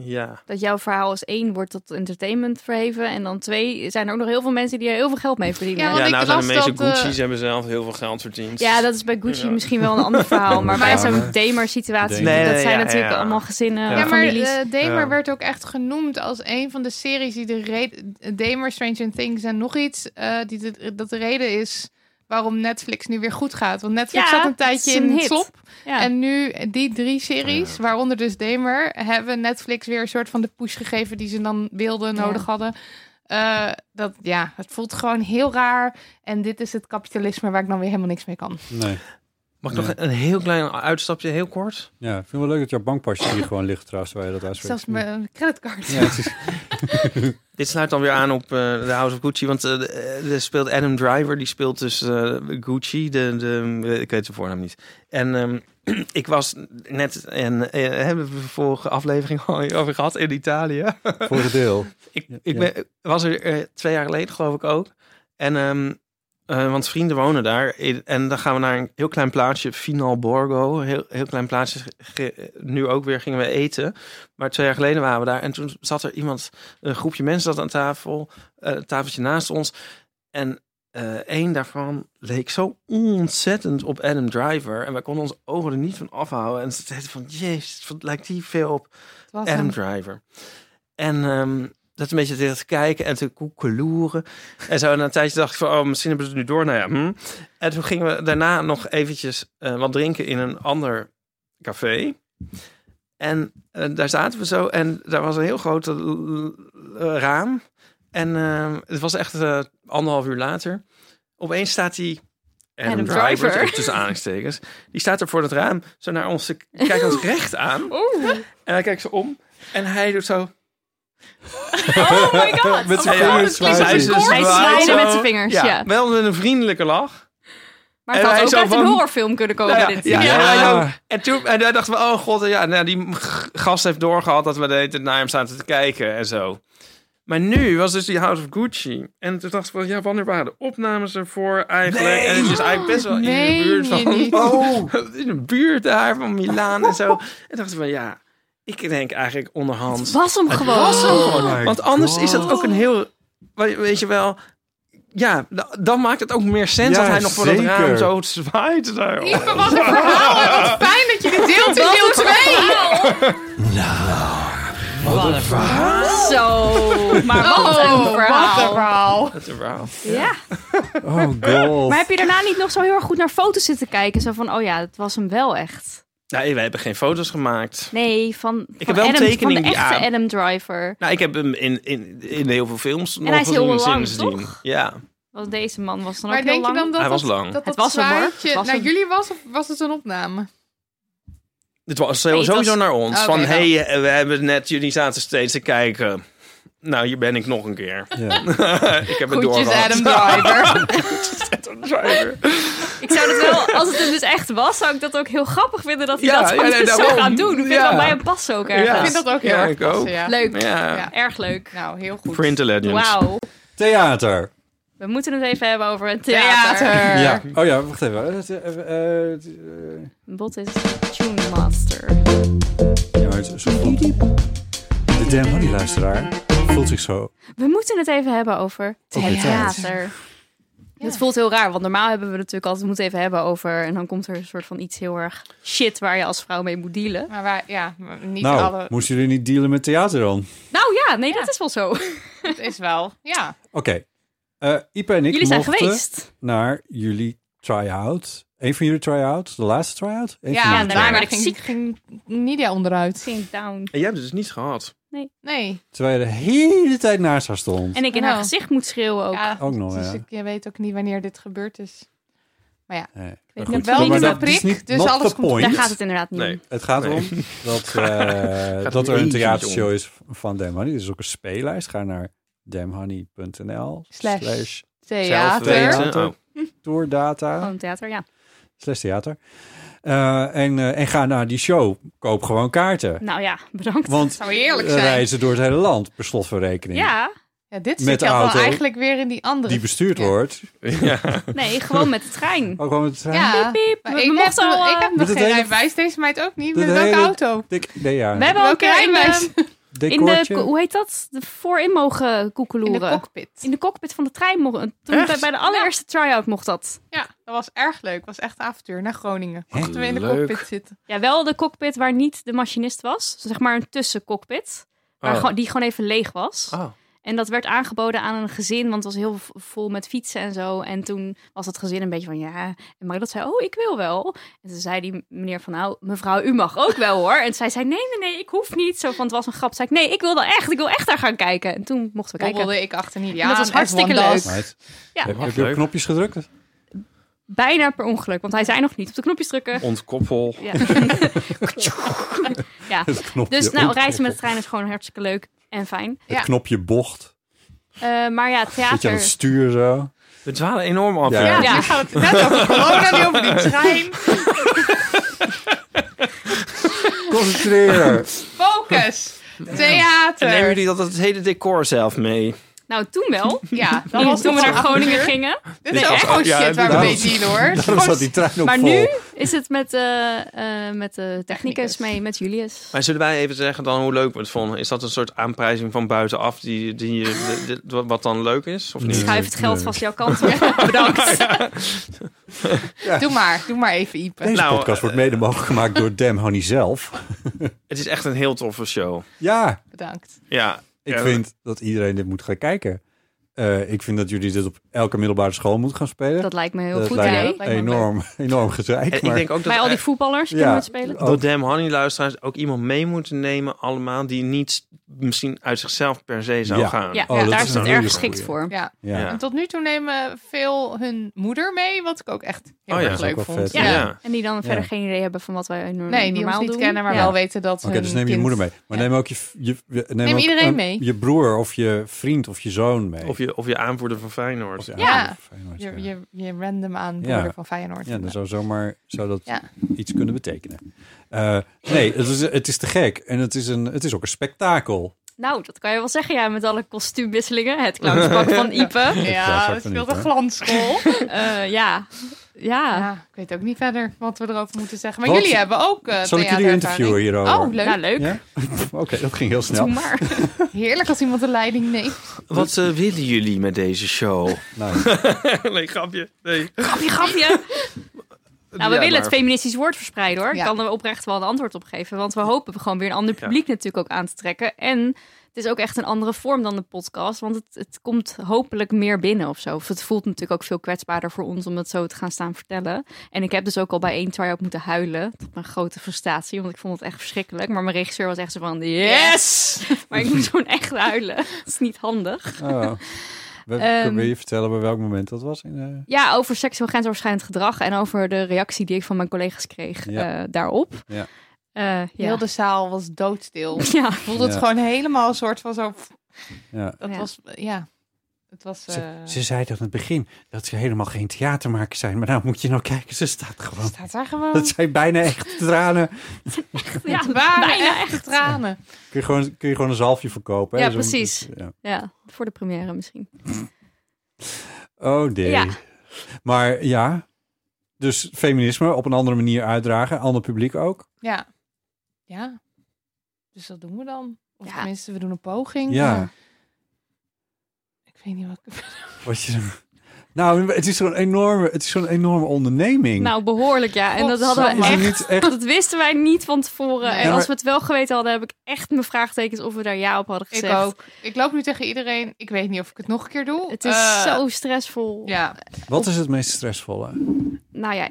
Speaker 5: ja.
Speaker 4: Dat jouw verhaal als één wordt tot entertainment verheven. En dan twee zijn er ook nog heel veel mensen die er heel veel geld mee verdienen.
Speaker 3: Ja,
Speaker 4: Ja,
Speaker 3: want
Speaker 5: ja,
Speaker 3: ik
Speaker 5: nou zijn de
Speaker 3: las
Speaker 5: meeste
Speaker 3: dat, eh,
Speaker 5: Gucci's hebben zelf heel veel geld verdiend.
Speaker 4: dat is bij Gucci
Speaker 5: Ja.
Speaker 4: misschien wel een ander verhaal. Maar bij
Speaker 2: Ja.
Speaker 4: zo'n Damer-situatie,
Speaker 2: Nee,
Speaker 4: dat
Speaker 5: nee,
Speaker 4: zijn
Speaker 5: ja,
Speaker 4: natuurlijk
Speaker 5: ja.
Speaker 4: allemaal gezinnen,
Speaker 5: Ja.
Speaker 3: Ja, maar
Speaker 4: families.
Speaker 3: eh Damer
Speaker 5: Ja.
Speaker 3: werd ook echt genoemd als een van de series die de reden... Damer, Stranger Things en nog iets, eh, die de, dat de reden is waarom Netflix nu weer goed gaat. Want Netflix
Speaker 4: Ja,
Speaker 3: zat een
Speaker 4: het is
Speaker 3: tijdje
Speaker 4: een
Speaker 3: in
Speaker 4: hit.
Speaker 3: het slop.
Speaker 4: ja.
Speaker 3: En nu eh, die drie series, waaronder dus Damer, hebben Netflix weer een soort van de push gegeven die ze dan wilden, en
Speaker 4: Ja.
Speaker 3: nodig hadden. Eh, dat, ja, het voelt gewoon heel raar. En dit is het kapitalisme waar ik dan weer helemaal niks mee kan.
Speaker 2: Nee.
Speaker 5: Mag ik nog een heel klein uitstapje, heel kort?
Speaker 2: Ja, ik vind het wel leuk dat jouw bankpasje hier gewoon ligt trouwens, waar je dat uitspreekt.
Speaker 3: Zelfs mijn creditcard.
Speaker 2: Ja, het is-
Speaker 5: Dit sluit dan weer aan op eh, de House of Gucci. Want eh, de- eh, er speelt Adam Driver, die speelt dus eh, Gucci. De, de, eh, ik weet zijn voornaam niet. En ehm, ik was net, en eh, hebben we de vorige aflevering al over gehad, in Italië.
Speaker 2: voor het deel.
Speaker 5: Ik,
Speaker 2: Ja.
Speaker 5: ik ben, was er eh, twee jaar geleden, geloof ik ook. En, ehm, eh, want vrienden wonen daar. In- En dan gaan we naar een heel klein plaatsje, Final Borgo. Heel, heel klein plaatsje. Ge- eh, Nu ook weer gingen we eten. Maar twee jaar geleden waren we daar. En toen zat er iemand, een groepje mensen zat aan tafel. eh, een tafeltje naast ons. En eh één daarvan leek zo ontzettend op Adam Driver. En wij konden onze ogen er niet van afhouden. En ze zeiden van, jezus, wat lijkt die veel op
Speaker 3: Het was
Speaker 5: Adam
Speaker 3: hem.
Speaker 5: Driver. En ehm, dat een beetje tegen te kijken en te koekeloeren. En zo na een tijdje dacht ik van, oh, misschien hebben ze het nu door. Nou ja, hm. En toen gingen we daarna nog eventjes eh, wat drinken in een ander café. En eh, daar zaten we zo en daar was een heel groot eh, eh, raam. En ehm, het was echt eh, anderhalf uur later. Opeens staat die Adam,
Speaker 4: Adam
Speaker 5: Driver,
Speaker 4: Driver.
Speaker 5: tussen aanhalingstekens. Die staat er voor het raam, zo naar ons, te- kijkt ons recht aan. En hij kijkt ze om en hij doet zo. eh,
Speaker 4: Oh my god!
Speaker 2: Met zijn
Speaker 5: Ja, ja.
Speaker 2: vingers
Speaker 5: Hij
Speaker 2: zwaaien.
Speaker 5: is-
Speaker 4: Hij
Speaker 5: zwaait
Speaker 4: zwaaide
Speaker 5: zo.
Speaker 4: met zijn vingers, ja.
Speaker 5: Wel met een vriendelijke lach.
Speaker 4: Maar het
Speaker 5: En
Speaker 4: had ook
Speaker 5: hij zo
Speaker 4: uit een
Speaker 5: van-
Speaker 4: horrorfilm kunnen komen,
Speaker 5: Nou ja,
Speaker 4: dit.
Speaker 5: ja,
Speaker 2: Ja.
Speaker 5: ja, ja. En toen en daar dachten we, oh god, ja, nou, die g- gast heeft doorgehad dat we de hele tijd naar hem zaten te kijken en zo. Maar nu was dus die House of Gucci. En toen dacht ik van, ja, wanneer waren de opnames ervoor eigenlijk? En het is eigenlijk best wel in
Speaker 3: Meen
Speaker 5: de buurt
Speaker 3: je
Speaker 5: van...
Speaker 3: niet?
Speaker 2: Oh!
Speaker 5: Het is een buurt daar van Milaan en zo. En dacht ik van, ja, ik denk eigenlijk onderhand...
Speaker 4: Was hem gewoon.
Speaker 5: was hem gewoon.
Speaker 2: Oh my
Speaker 5: Want anders
Speaker 2: God.
Speaker 5: is dat ook een heel... we- Weet je wel... Ja, da- dan maakt het ook meer sens
Speaker 2: Ja,
Speaker 5: dat hij nog voor dat
Speaker 2: zeker.
Speaker 5: raam zo zwaait. Daar.
Speaker 3: Lieve, wat een verhaal. En Wat fijn dat je dit deelt in deel 2.
Speaker 4: Zo. Maar wat een
Speaker 3: Oh, wat een
Speaker 4: verhaal.
Speaker 3: verhaal.
Speaker 5: Dat is een verhaal.
Speaker 4: Ja.
Speaker 2: Oh god.
Speaker 4: Maar heb je daarna niet nog zo heel erg goed naar foto's zitten kijken? Zo van, oh ja, dat was hem wel echt.
Speaker 5: Nee, wij hebben geen foto's gemaakt.
Speaker 4: Nee, van, van
Speaker 5: heb wel een
Speaker 4: Adam,
Speaker 5: tekening
Speaker 4: van de
Speaker 5: die
Speaker 4: echte
Speaker 5: aan-
Speaker 4: Adam Driver.
Speaker 5: Nou, ik heb hem in, in, in heel veel films nog
Speaker 4: hij is heel
Speaker 5: gezien
Speaker 4: lang,
Speaker 5: sindsdien.
Speaker 4: toch?
Speaker 5: Ja,
Speaker 4: Want deze man was dan
Speaker 3: Maar
Speaker 4: ook heel
Speaker 3: denk je
Speaker 4: lang.
Speaker 3: dan dat
Speaker 5: Hij was
Speaker 3: dat-
Speaker 5: lang.
Speaker 3: dat
Speaker 4: Het
Speaker 3: dat
Speaker 4: was hem, hoor.
Speaker 3: zwaardje
Speaker 4: Het was
Speaker 3: naar
Speaker 4: hem.
Speaker 3: jullie was of was het een opname?
Speaker 5: Het was
Speaker 4: Nee, het
Speaker 5: sowieso
Speaker 4: was-
Speaker 5: naar ons.
Speaker 3: Oké,
Speaker 5: van,
Speaker 3: wel.
Speaker 5: hé, hey, eh, we hebben net, jullie zaten steeds te kijken. Nou, hier ben ik nog een keer.
Speaker 2: Ja.
Speaker 5: ik heb het
Speaker 3: Goedjes
Speaker 5: doorgehad.
Speaker 3: Adam Driver.
Speaker 5: Adam Driver.
Speaker 4: Ik zou dat wel, als het hem dus echt was, zou ik dat ook heel grappig vinden dat hij
Speaker 5: Ja,
Speaker 4: dat
Speaker 5: ja, nee,
Speaker 4: soms zo
Speaker 5: daarom.
Speaker 4: gaat doen. Ik vind
Speaker 5: Ja.
Speaker 4: dat bij hem past ook ergens.
Speaker 5: Ja.
Speaker 3: Ik vind dat ook heel
Speaker 5: Ja,
Speaker 3: erg
Speaker 5: ik
Speaker 3: passen,
Speaker 5: ook.
Speaker 3: ja.
Speaker 4: Leuk.
Speaker 5: Ja.
Speaker 3: Ja.
Speaker 4: Erg leuk.
Speaker 3: Nou, heel goed.
Speaker 5: Print the Legends.
Speaker 4: Wauw.
Speaker 2: Theater.
Speaker 4: We moeten het even hebben over een theater.
Speaker 3: Theater.
Speaker 2: Ja. Oh ja, wacht even. Eh, eh, eh, eh,
Speaker 4: Bot is Tune Master.
Speaker 2: Ja, maar het is zo vlot. De Damn Honey luisteraar voelt zich zo...
Speaker 4: We moeten het even hebben over
Speaker 2: Over
Speaker 4: theater. Het voelt heel raar, want normaal hebben we natuurlijk altijd moeten even hebben over... en dan komt er een soort van iets heel erg shit waar je als vrouw mee moet dealen.
Speaker 3: Maar wij, ja, maar niet
Speaker 2: nou,
Speaker 3: alle.
Speaker 2: moesten jullie niet dealen met theater dan? Oké.
Speaker 4: Nou ja, nee, dat is wel zo.
Speaker 3: Het is wel. Ja.
Speaker 2: Eh, Ipe en ik
Speaker 4: Jullie zijn
Speaker 2: mochten
Speaker 4: geweest.
Speaker 2: naar jullie try-out. Eén van jullie try-out? De laatste try-out? Eén van
Speaker 3: Ja,
Speaker 2: jullie
Speaker 4: daarna
Speaker 2: try-out.
Speaker 4: werd ik ziek.
Speaker 3: ging, ging Nidia onderuit.
Speaker 4: Sink down.
Speaker 5: En jij hebt het dus niet gehad.
Speaker 3: Nee.
Speaker 2: Terwijl je de hele tijd naast haar stond.
Speaker 4: En ik in haar
Speaker 3: Nou.
Speaker 4: gezicht moet schreeuwen ook.
Speaker 3: Ja,
Speaker 2: Ook nog,
Speaker 3: dus
Speaker 2: Oh, nou ja.
Speaker 3: ik, je weet ook niet wanneer dit gebeurd is.
Speaker 2: Nee,
Speaker 4: weet
Speaker 2: maar
Speaker 4: niet
Speaker 2: goed.
Speaker 4: wel
Speaker 2: Maar
Speaker 4: met
Speaker 2: dat
Speaker 4: een
Speaker 2: is
Speaker 3: prik,
Speaker 2: niet
Speaker 3: dus
Speaker 2: not
Speaker 3: alles
Speaker 2: the
Speaker 3: komt-
Speaker 2: point.
Speaker 4: Daar gaat het inderdaad niet
Speaker 5: Oh, Nee.
Speaker 4: om.
Speaker 2: Het gaat
Speaker 5: Nee.
Speaker 2: erom dat, eh,
Speaker 5: Gaat
Speaker 2: dat
Speaker 5: om
Speaker 2: er een
Speaker 5: één
Speaker 2: theatershow is van Damn Honey. Er is ook een speellijst. Ga naar damhoney.nl
Speaker 3: Slash
Speaker 2: slash
Speaker 5: Zelf
Speaker 3: Theater.
Speaker 5: weten. Oh,
Speaker 2: tourdata
Speaker 4: Gewoon theater, ja.
Speaker 2: slash theater. Eh, en, eh, en ga naar die show. Koop gewoon kaarten.
Speaker 4: Nou ja, bedankt.
Speaker 2: Want
Speaker 3: Zou eerlijk
Speaker 2: eh,
Speaker 3: zijn.
Speaker 2: reizen door het hele land, per slot van rekening.
Speaker 4: Ja,
Speaker 3: Ja, dit
Speaker 2: Met
Speaker 3: zit
Speaker 2: de
Speaker 3: jou
Speaker 2: auto.
Speaker 3: wel eigenlijk weer in die andere.
Speaker 2: Die bestuurd
Speaker 3: Ja.
Speaker 2: wordt.
Speaker 4: nee, gewoon met de trein.
Speaker 2: Ook gewoon met eh, de trein.
Speaker 3: Ja.
Speaker 4: Piep,
Speaker 3: Maar
Speaker 4: we
Speaker 3: ik, heb,
Speaker 4: mochten al,
Speaker 3: nog- ik
Speaker 4: eh,
Speaker 3: heb
Speaker 2: Met
Speaker 3: nog
Speaker 2: het
Speaker 3: geen
Speaker 2: hele-
Speaker 3: rijbewijs. Deze meid ook niet.
Speaker 2: Dit
Speaker 3: Met welke
Speaker 2: hele-
Speaker 3: auto?
Speaker 2: Dik, nee, ja.
Speaker 4: We hebben ook
Speaker 3: Welke
Speaker 4: in
Speaker 3: rijbewijs?
Speaker 4: de, in
Speaker 2: Decoortje.
Speaker 4: de, hoe heet dat? De voorin mogen
Speaker 3: In de
Speaker 4: koekeloeren.
Speaker 3: cockpit.
Speaker 4: In de cockpit van de trein mocht toen bij, bij de allereerste try-out mocht dat.
Speaker 3: Ja, dat was erg leuk. was echt een avontuur naar Groningen.
Speaker 2: Hè?
Speaker 3: Mochten we in de
Speaker 5: Leuk.
Speaker 3: cockpit zitten.
Speaker 4: Ja, wel de cockpit waar niet de machinist was. Dus zeg maar een tussencockpit. Waar
Speaker 5: Oh.
Speaker 4: gewoon- die gewoon even leeg was.
Speaker 5: Oh.
Speaker 4: En dat werd aangeboden aan een gezin, want het was heel v- vol met fietsen en zo. En toen was het gezin een beetje van ja. En Marie dat zei: Oh, ik wil wel. En toen zei die meneer van nou, mevrouw, u mag ook wel hoor. En zij zei: Nee, nee, nee, ik hoef niet. Zo van het was een grap. Zei ik: Nee, ik wil dan echt. Ik wil echt daar gaan kijken. En toen mochten we kijken.
Speaker 3: Bobbelde ik achter Nidia.
Speaker 4: En dat
Speaker 3: aan,
Speaker 4: was hartstikke
Speaker 3: F1 das.
Speaker 4: leuk.
Speaker 2: Meid,
Speaker 4: Ja.
Speaker 2: heb, heb je op
Speaker 5: Leuk.
Speaker 2: knopjes gedrukt?
Speaker 4: Bijna per ongeluk, want hij zei nog niet op de knopjes drukken.
Speaker 5: Ontkoppel.
Speaker 4: Ja.
Speaker 2: Het knopje
Speaker 4: dus nou,
Speaker 2: op.
Speaker 4: reizen met de trein is gewoon hartstikke leuk en fijn.
Speaker 2: Het
Speaker 3: Ja.
Speaker 2: knopje bocht.
Speaker 4: Eh, maar ja,
Speaker 2: Zit je aan het
Speaker 4: theater.
Speaker 2: stuur zo.
Speaker 5: We dwalen enorm af.
Speaker 2: Ja.
Speaker 5: hè?
Speaker 3: Ja,
Speaker 4: Ja.
Speaker 3: nu gaat het net over corona, nu over die trein.
Speaker 2: Concentreer.
Speaker 3: Focus.
Speaker 5: En nemen
Speaker 3: Theater.
Speaker 5: jullie dat het hele decor zelf mee?
Speaker 4: Nou, toen wel.
Speaker 3: Ja, dat
Speaker 4: Toen-
Speaker 3: was
Speaker 4: toen we
Speaker 3: toch wel
Speaker 4: naar Groningen
Speaker 3: avontuur.
Speaker 4: gingen.
Speaker 3: Dit
Speaker 5: Dit
Speaker 3: is
Speaker 5: was
Speaker 3: echt
Speaker 5: ook-
Speaker 3: gewoon
Speaker 5: ja,
Speaker 3: shit waar we
Speaker 2: daarom-
Speaker 3: mee zien hoor.
Speaker 2: Daarom zat die trein ook
Speaker 4: Maar
Speaker 2: vol.
Speaker 4: nu is het met, eh, eh, met de technicus
Speaker 3: Technicus.
Speaker 4: mee, met Julius.
Speaker 5: Maar zullen wij even zeggen dan hoe leuk we het vonden? Is dat een soort aanprijzing van buitenaf die, die, de- de- de- wat dan leuk is? Of
Speaker 2: Nee.
Speaker 5: niet?
Speaker 4: Schuif het geld
Speaker 2: nee.
Speaker 4: vast jouw kant op. Bedankt.
Speaker 3: Doe maar, doe maar even Ipe.
Speaker 2: Deze
Speaker 5: Nou,
Speaker 2: podcast wordt mede mogelijk gemaakt door Dam Honey zelf.
Speaker 5: Het is echt een heel toffe show.
Speaker 2: Ja,
Speaker 3: Bedankt.
Speaker 5: Ja.
Speaker 2: ik
Speaker 5: Ja.
Speaker 2: vind dat iedereen dit moet gaan kijken. Eh, ik vind dat jullie dit op elke middelbare school moeten gaan spelen.
Speaker 4: Dat lijkt me een heel
Speaker 2: Dat
Speaker 4: goed
Speaker 2: lijkt me
Speaker 4: idee.
Speaker 3: dat lijkt me
Speaker 2: enorm, enorm
Speaker 5: En
Speaker 2: gezeik.
Speaker 5: ik
Speaker 2: Maar
Speaker 5: denk ook dat...
Speaker 4: Bij al
Speaker 5: eh,
Speaker 4: die voetballers die
Speaker 2: ja.
Speaker 4: moeten spelen.
Speaker 2: Oh.
Speaker 5: dat Damn Honey luisteraars ook iemand mee moeten nemen allemaal die niet s- misschien uit zichzelf per se zou
Speaker 2: Ja.
Speaker 5: gaan.
Speaker 4: Ja,
Speaker 2: Oh,
Speaker 4: ja,
Speaker 2: dat
Speaker 4: daar
Speaker 2: is
Speaker 4: is
Speaker 2: een
Speaker 4: het
Speaker 2: hele
Speaker 4: erg geschikt
Speaker 2: goeie.
Speaker 4: voor.
Speaker 3: Ja.
Speaker 2: ja.
Speaker 5: Ja.
Speaker 3: En tot nu toe nemen veel hun moeder mee, wat ik ook echt heel
Speaker 5: Oh
Speaker 3: erg
Speaker 5: ja.
Speaker 2: Dat is ook
Speaker 3: leuk
Speaker 2: wel
Speaker 3: vond.
Speaker 2: vet,
Speaker 4: Ja.
Speaker 5: Ja.
Speaker 4: En die dan verder
Speaker 2: Ja.
Speaker 4: geen idee hebben van wat wij no-
Speaker 3: Nee, die ons
Speaker 4: normaal
Speaker 3: niet
Speaker 4: doen.
Speaker 3: kennen, maar
Speaker 2: Ja.
Speaker 3: wel weten dat
Speaker 2: Oké,
Speaker 3: hun
Speaker 2: dus neem je
Speaker 3: kind-
Speaker 2: moeder mee. Maar
Speaker 3: Ja.
Speaker 2: neem ook je, je, je- neem
Speaker 3: Neem
Speaker 2: ook,
Speaker 3: iedereen
Speaker 2: eh,
Speaker 3: mee.
Speaker 2: Je broer of je vriend of je zoon mee.
Speaker 5: Of, je, of je aanvoerder van Feyenoord.
Speaker 2: Of je
Speaker 3: Ja.
Speaker 2: ouders, Feyenoord, ja.
Speaker 3: Je, je, je random aan
Speaker 2: Ja.
Speaker 3: broeder van Feyenoord.
Speaker 2: Ja, dan zou zomaar zou dat
Speaker 3: Ja.
Speaker 2: iets kunnen betekenen. Eh, nee, het is, het is te gek. En het is, een, het is ook een spektakel.
Speaker 4: Nou, dat kan je wel zeggen, ja, met alle kostuumwisselingen. Het clownspak van Ipe.
Speaker 3: Ja,
Speaker 2: zou
Speaker 3: dat
Speaker 2: ik
Speaker 3: speelt
Speaker 2: niet,
Speaker 3: een glansrol.
Speaker 4: Eh, ja. ja.
Speaker 3: Ja, ik weet ook niet verder wat we erover moeten zeggen. Maar
Speaker 2: Wat-
Speaker 3: jullie hebben ook
Speaker 2: Zal
Speaker 3: eh
Speaker 2: ik jullie
Speaker 3: theaterervaring.
Speaker 2: interviewen hierover?
Speaker 3: Oh, leuk.
Speaker 4: Nou, leuk.
Speaker 2: Ja? Oké, dat ging heel snel.
Speaker 4: Doe maar.
Speaker 3: Heerlijk als iemand de leiding neemt.
Speaker 5: Wat eh, willen jullie met deze show?
Speaker 2: Nou,
Speaker 5: nee, grapje. Nee.
Speaker 4: Grapje, grapje. Nou, we willen het feministisch woord verspreiden hoor.
Speaker 3: Ja.
Speaker 4: Ik kan er oprecht wel een antwoord op geven. Want we hopen gewoon weer een ander publiek natuurlijk ook aan te trekken. En het is ook echt een andere vorm dan de podcast. Want het, het komt hopelijk meer binnen of zo. Of het voelt natuurlijk ook veel kwetsbaarder voor ons om het zo te gaan staan vertellen. En ik heb dus ook al bij één try-out moeten huilen. Tot mijn grote frustratie. Want ik vond het echt verschrikkelijk. Maar mijn regisseur was echt zo van yes! maar ik moest gewoon echt huilen. Dat is niet handig.
Speaker 2: oh. We,
Speaker 4: Ehm.
Speaker 2: kunnen we je vertellen bij welk moment dat was? In, eh,
Speaker 4: Ja, over seksueel grensoverschrijdend gedrag en over de reactie die ik van mijn collega's kreeg
Speaker 2: Ja.
Speaker 4: eh, daarop.
Speaker 2: Ja.
Speaker 4: Eh, ja.
Speaker 3: Heel de zaal was doodstil.
Speaker 4: ja.
Speaker 3: Voelde het
Speaker 2: Ja.
Speaker 3: gewoon helemaal een soort van zo...
Speaker 2: eh, ja.
Speaker 3: Dat
Speaker 4: Ja.
Speaker 3: was... Ja. Het was...
Speaker 2: Ze,
Speaker 3: eh
Speaker 2: ze zei dat in het begin, dat ze helemaal geen theatermaker zijn. Maar nou moet je nou kijken, ze staat gewoon.
Speaker 3: staat daar gewoon...
Speaker 2: Dat zijn bijna echt tranen.
Speaker 4: ja,
Speaker 3: Het waren
Speaker 4: bijna
Speaker 3: echt de tranen.
Speaker 2: Kun je gewoon, kun je gewoon een zalfje verkopen. hè?
Speaker 4: Ja,
Speaker 2: Zo'n-
Speaker 4: precies.
Speaker 2: ja.
Speaker 4: ja, voor de première misschien.
Speaker 2: Oh, nee.
Speaker 4: Ja.
Speaker 2: Maar ja, dus feminisme op een andere manier uitdragen. Ander publiek ook.
Speaker 3: Ja. Ja. Dus dat doen we dan. Of
Speaker 4: Ja.
Speaker 3: tenminste, we doen een poging.
Speaker 2: Ja.
Speaker 3: Ik weet niet wat ik...
Speaker 2: Wat je... Nou, het is zo'n enorme, het is zo'n enorme onderneming.
Speaker 4: Nou, behoorlijk ja. En dat hadden we
Speaker 3: Godsamme.
Speaker 2: is het
Speaker 4: echt.
Speaker 2: niet echt...
Speaker 4: Dat wisten wij niet van tevoren.
Speaker 3: Nee.
Speaker 4: En
Speaker 2: Ja,
Speaker 4: als
Speaker 2: maar-
Speaker 4: we het wel geweten hadden, heb ik echt mijn vraagtekens of we daar ja op hadden
Speaker 3: Ik
Speaker 4: gezegd.
Speaker 3: ook. Ik loop nu tegen iedereen. Ik weet niet of ik het nog een keer doe.
Speaker 4: Het is
Speaker 3: Eh,
Speaker 4: zo stressvol.
Speaker 3: Ja.
Speaker 2: Wat is het meest stressvolle?
Speaker 4: nou ja,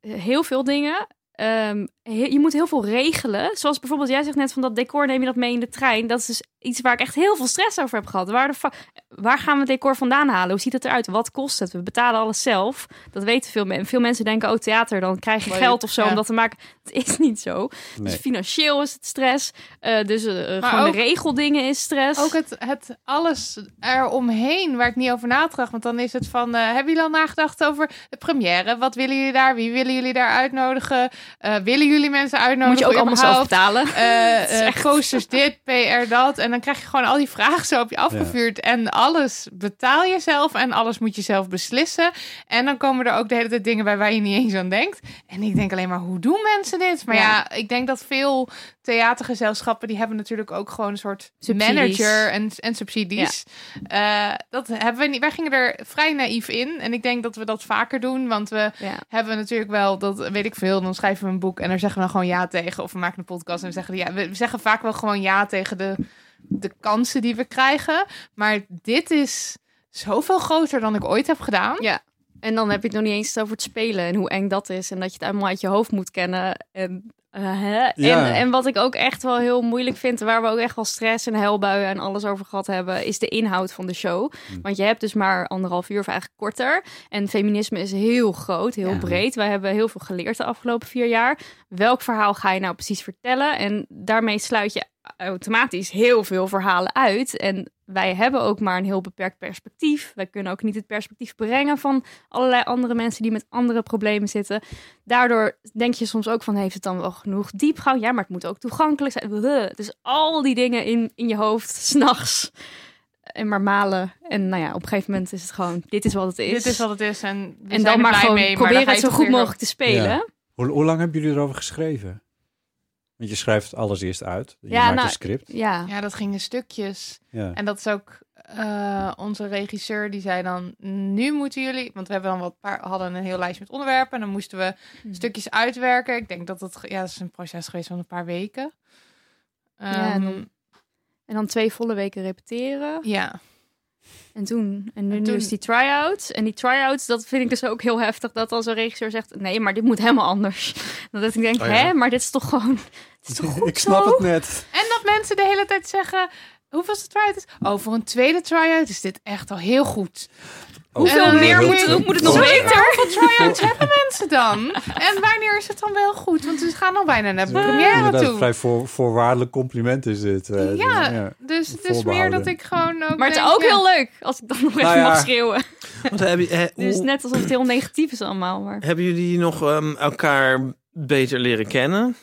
Speaker 4: heel veel dingen. Ehm, he- je moet heel veel regelen. Zoals bijvoorbeeld, jij zegt net van dat decor, neem je dat mee in de trein? Dat is dus iets waar ik echt heel veel stress over heb gehad. Waar, de fa- waar gaan we het decor vandaan halen? Hoe ziet het eruit? Wat kost het? We betalen alles zelf. Dat weten veel mensen. Veel mensen denken, oh theater, dan krijg je
Speaker 3: Leuk,
Speaker 4: geld of zo
Speaker 3: ja.
Speaker 4: om dat te maken. Het is niet zo. Dus
Speaker 2: Nee.
Speaker 4: financieel is het stress. Eh, dus eh,
Speaker 3: Maar
Speaker 4: gewoon de
Speaker 3: ook-
Speaker 4: regeldingen is stress.
Speaker 3: Ook het, het alles eromheen waar ik niet over nadacht. Want dan is het van, eh, hebben jullie al nagedacht over de première? Wat willen jullie daar? Wie willen jullie daar uitnodigen? Eh, willen jullie mensen uitnodigen?
Speaker 4: moet je ook allemaal zelf
Speaker 3: überhaupt?
Speaker 4: betalen.
Speaker 3: Eh,
Speaker 4: Het is
Speaker 3: eh,
Speaker 4: echt-
Speaker 3: posters dit, PR dat. En dan krijg je gewoon al die vragen zo op je afgevuurd. En alles betaal je zelf en alles moet je zelf beslissen. En dan komen er ook de hele tijd dingen bij waar je niet eens aan denkt. En ik denk alleen maar, hoe doen mensen dit? Maar ja,
Speaker 4: Ja.
Speaker 3: ik denk dat veel theatergezelschappen... die hebben natuurlijk ook gewoon een soort
Speaker 4: Subsidies.
Speaker 3: manager en, en subsidies. Eh, dat hebben we niet. Wij gingen er vrij naïef in. En ik denk dat we dat vaker doen, want we
Speaker 4: Ja.
Speaker 3: hebben we natuurlijk wel, dat weet ik veel, dan schrijven we een boek en daar zeggen we dan gewoon ja tegen. Of we maken een podcast en we zeggen ja. We we zeggen vaak wel gewoon ja tegen de, de kansen die we krijgen. Maar dit is zoveel groter dan ik ooit heb gedaan.
Speaker 4: Ja. En dan heb je het nog niet eens over het spelen en hoe eng dat is. En dat je het allemaal uit je hoofd moet kennen. En, eh, hè?
Speaker 2: Ja.
Speaker 4: en, en wat ik ook echt wel heel moeilijk vind, waar we ook echt wel stress en huilbuien en alles over gehad hebben, is de inhoud van de show. Want je hebt dus maar anderhalf uur of eigenlijk korter. En feminisme is heel groot, heel
Speaker 3: Ja.
Speaker 4: breed. Wij hebben heel veel geleerd de afgelopen vier jaar. Welk verhaal ga je nou precies vertellen? En daarmee sluit je automatisch heel veel verhalen uit. En wij hebben ook maar een heel beperkt perspectief. Wij kunnen ook niet het perspectief brengen van allerlei andere mensen die met andere problemen zitten. Daardoor denk je soms ook van, heeft het dan wel genoeg diepgang? Ja, maar het moet ook toegankelijk zijn. Bleh. Dus al die dingen in, in je hoofd, s'nachts. En maar malen. En nou ja, op een gegeven moment is het gewoon, dit is wat het is.
Speaker 3: Dit is wat het is en we
Speaker 4: en
Speaker 3: zijn
Speaker 4: dan
Speaker 3: er
Speaker 4: maar
Speaker 3: blij
Speaker 4: gewoon
Speaker 3: mee. maar
Speaker 4: proberen
Speaker 3: dan ga
Speaker 4: het
Speaker 3: je
Speaker 4: zo
Speaker 3: toch
Speaker 4: goed
Speaker 3: weer-
Speaker 4: mogelijk te spelen.
Speaker 2: Ja. Hoe, hoe lang hebben jullie erover geschreven? Want je schrijft alles eerst uit. Je
Speaker 4: Ja,
Speaker 2: maakt
Speaker 4: nou,
Speaker 2: een script.
Speaker 4: ja.
Speaker 3: Ja, dat ging in stukjes.
Speaker 2: Ja.
Speaker 3: En dat is ook eh, onze regisseur die zei dan: nu moeten jullie, want we hebben dan wat paar, hadden een heel lijst met onderwerpen en dan moesten we stukjes uitwerken. Ik denk dat dat ge- ja, dat is een proces geweest van een paar weken.
Speaker 4: Ja,
Speaker 3: Ehm,
Speaker 4: en dan- En dan twee volle weken repeteren.
Speaker 3: ja.
Speaker 4: En toen, en nu,
Speaker 3: En
Speaker 4: nu
Speaker 3: toen-
Speaker 4: is die try-out. En die try-outs, dat vind ik dus ook heel heftig. Dat als een regisseur zegt, nee, maar dit moet helemaal anders. Dat ik denk,
Speaker 5: Oh ja.
Speaker 4: hè, maar dit is toch gewoon... Het is toch goed
Speaker 2: Ik snap
Speaker 4: zo?
Speaker 2: het net.
Speaker 3: En dat mensen de hele tijd zeggen. Hoeveelste try-out is? Oh, voor een tweede try-out is dit echt al heel goed.
Speaker 4: Hoeveel
Speaker 2: Oh,
Speaker 3: En dan
Speaker 4: meer
Speaker 3: heel
Speaker 4: moet,
Speaker 3: veel-
Speaker 4: het, moet het nog
Speaker 3: Sorry,
Speaker 4: beter?
Speaker 3: maar hoeveel try-outs hebben mensen dan? En wanneer is het dan wel goed? Want ze gaan al bijna naar de première
Speaker 2: Inderdaad, een
Speaker 3: toe.
Speaker 2: vrij voor, voorwaardelijk compliment is dit. eh,
Speaker 3: Ja,
Speaker 2: dus, ja.
Speaker 3: Dus het is meer
Speaker 2: Voorbehouden.
Speaker 3: dat ik gewoon ook
Speaker 4: Maar het is
Speaker 3: denk,
Speaker 4: ook
Speaker 3: ja.
Speaker 4: heel leuk, als ik dan nog even
Speaker 2: Nou ja.
Speaker 4: mag schreeuwen.
Speaker 5: Want heb je, eh,
Speaker 4: Dus
Speaker 5: hoe-
Speaker 4: net alsof het heel negatief is allemaal. Maar
Speaker 5: Hebben jullie nog ehm, elkaar beter leren kennen?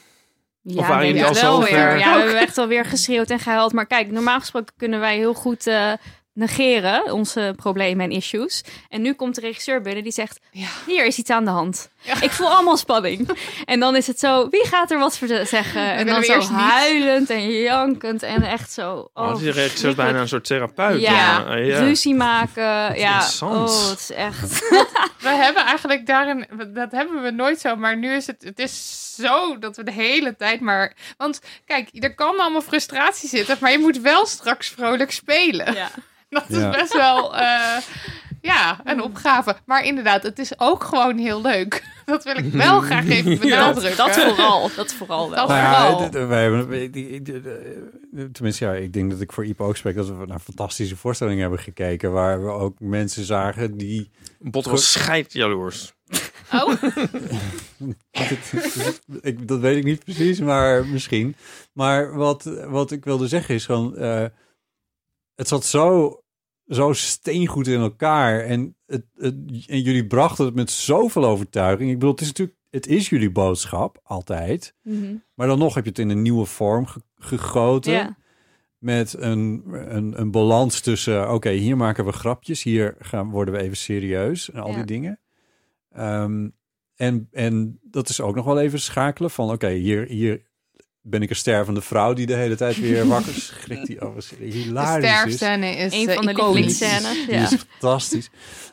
Speaker 4: Ja,
Speaker 5: waren
Speaker 4: denk
Speaker 5: jullie
Speaker 4: ik
Speaker 5: al
Speaker 4: wel
Speaker 5: zo
Speaker 4: weer.
Speaker 5: ver?
Speaker 4: Ja, we hebben echt alweer geschreeuwd en gehuild. Maar kijk, normaal gesproken kunnen wij heel goed eh, negeren onze problemen en issues. En nu komt de regisseur binnen die zegt,
Speaker 3: Ja.
Speaker 4: hier is iets aan de hand. Ik voel allemaal spanning. en dan is het zo, wie gaat er wat voor te zeggen? En
Speaker 3: willen
Speaker 4: dan
Speaker 3: we
Speaker 4: zo
Speaker 3: eerst niet.
Speaker 4: huilend en jankend en echt zo.
Speaker 5: Oh,
Speaker 4: Oh,
Speaker 5: die regisseur is bijna een soort therapeut.
Speaker 4: Ja,
Speaker 5: dan, eh, ja.
Speaker 4: ruzie maken. Ja,
Speaker 5: interessant.
Speaker 4: oh, het is echt...
Speaker 3: We hebben eigenlijk daarin, dat hebben we nooit zo, maar nu is het, het is zo dat we de hele tijd maar. Want kijk, er kan allemaal frustratie zitten, maar je moet wel straks vrolijk spelen.
Speaker 4: Ja.
Speaker 3: Dat
Speaker 2: Ja.
Speaker 3: is best wel, eh, ja,
Speaker 4: Hmm.
Speaker 3: een opgave. Maar inderdaad, het is ook gewoon heel leuk. Dat wil ik wel graag even benadrukken.
Speaker 4: Dat vooral, dat Oh, vooral wel.
Speaker 3: Dat-
Speaker 2: Nou ja,
Speaker 3: Vooral.
Speaker 2: d- d- wij hebben, die- die- die- die- tenminste, ja, ik denk dat ik voor Iep ook spreek dat we naar fantastische voorstellingen hebben gekeken. Waar we ook mensen zagen die.
Speaker 5: Bot was scheidjaloers.
Speaker 3: Oh,
Speaker 2: ik, dat weet ik niet precies, maar misschien. Maar wat, wat ik wilde zeggen is gewoon. eh, het zat zo, zo steengoed in elkaar. En, het, het, en jullie brachten het met zoveel overtuiging. Ik bedoel, het is natuurlijk. Het is jullie boodschap, altijd.
Speaker 4: Mhm.
Speaker 2: Maar dan nog heb je het in een nieuwe vorm ge- gegoten.
Speaker 4: Ja.
Speaker 2: met een, een, een balans tussen, oké, hier maken we grapjes, hier gaan, worden we even serieus en al
Speaker 4: Ja.
Speaker 2: die dingen. Ehm, en, en dat is ook nog wel even schakelen van, oké, hier, hier ben ik een stervende vrouw die de hele tijd weer wakker schrikt. Die overigens
Speaker 3: de
Speaker 2: hilarisch is. dus.
Speaker 3: sterfscène is
Speaker 4: Een
Speaker 3: eh,
Speaker 4: van de
Speaker 3: iconisch.
Speaker 4: lievelingsscènes.
Speaker 2: Die
Speaker 4: Ja.
Speaker 2: is fantastisch.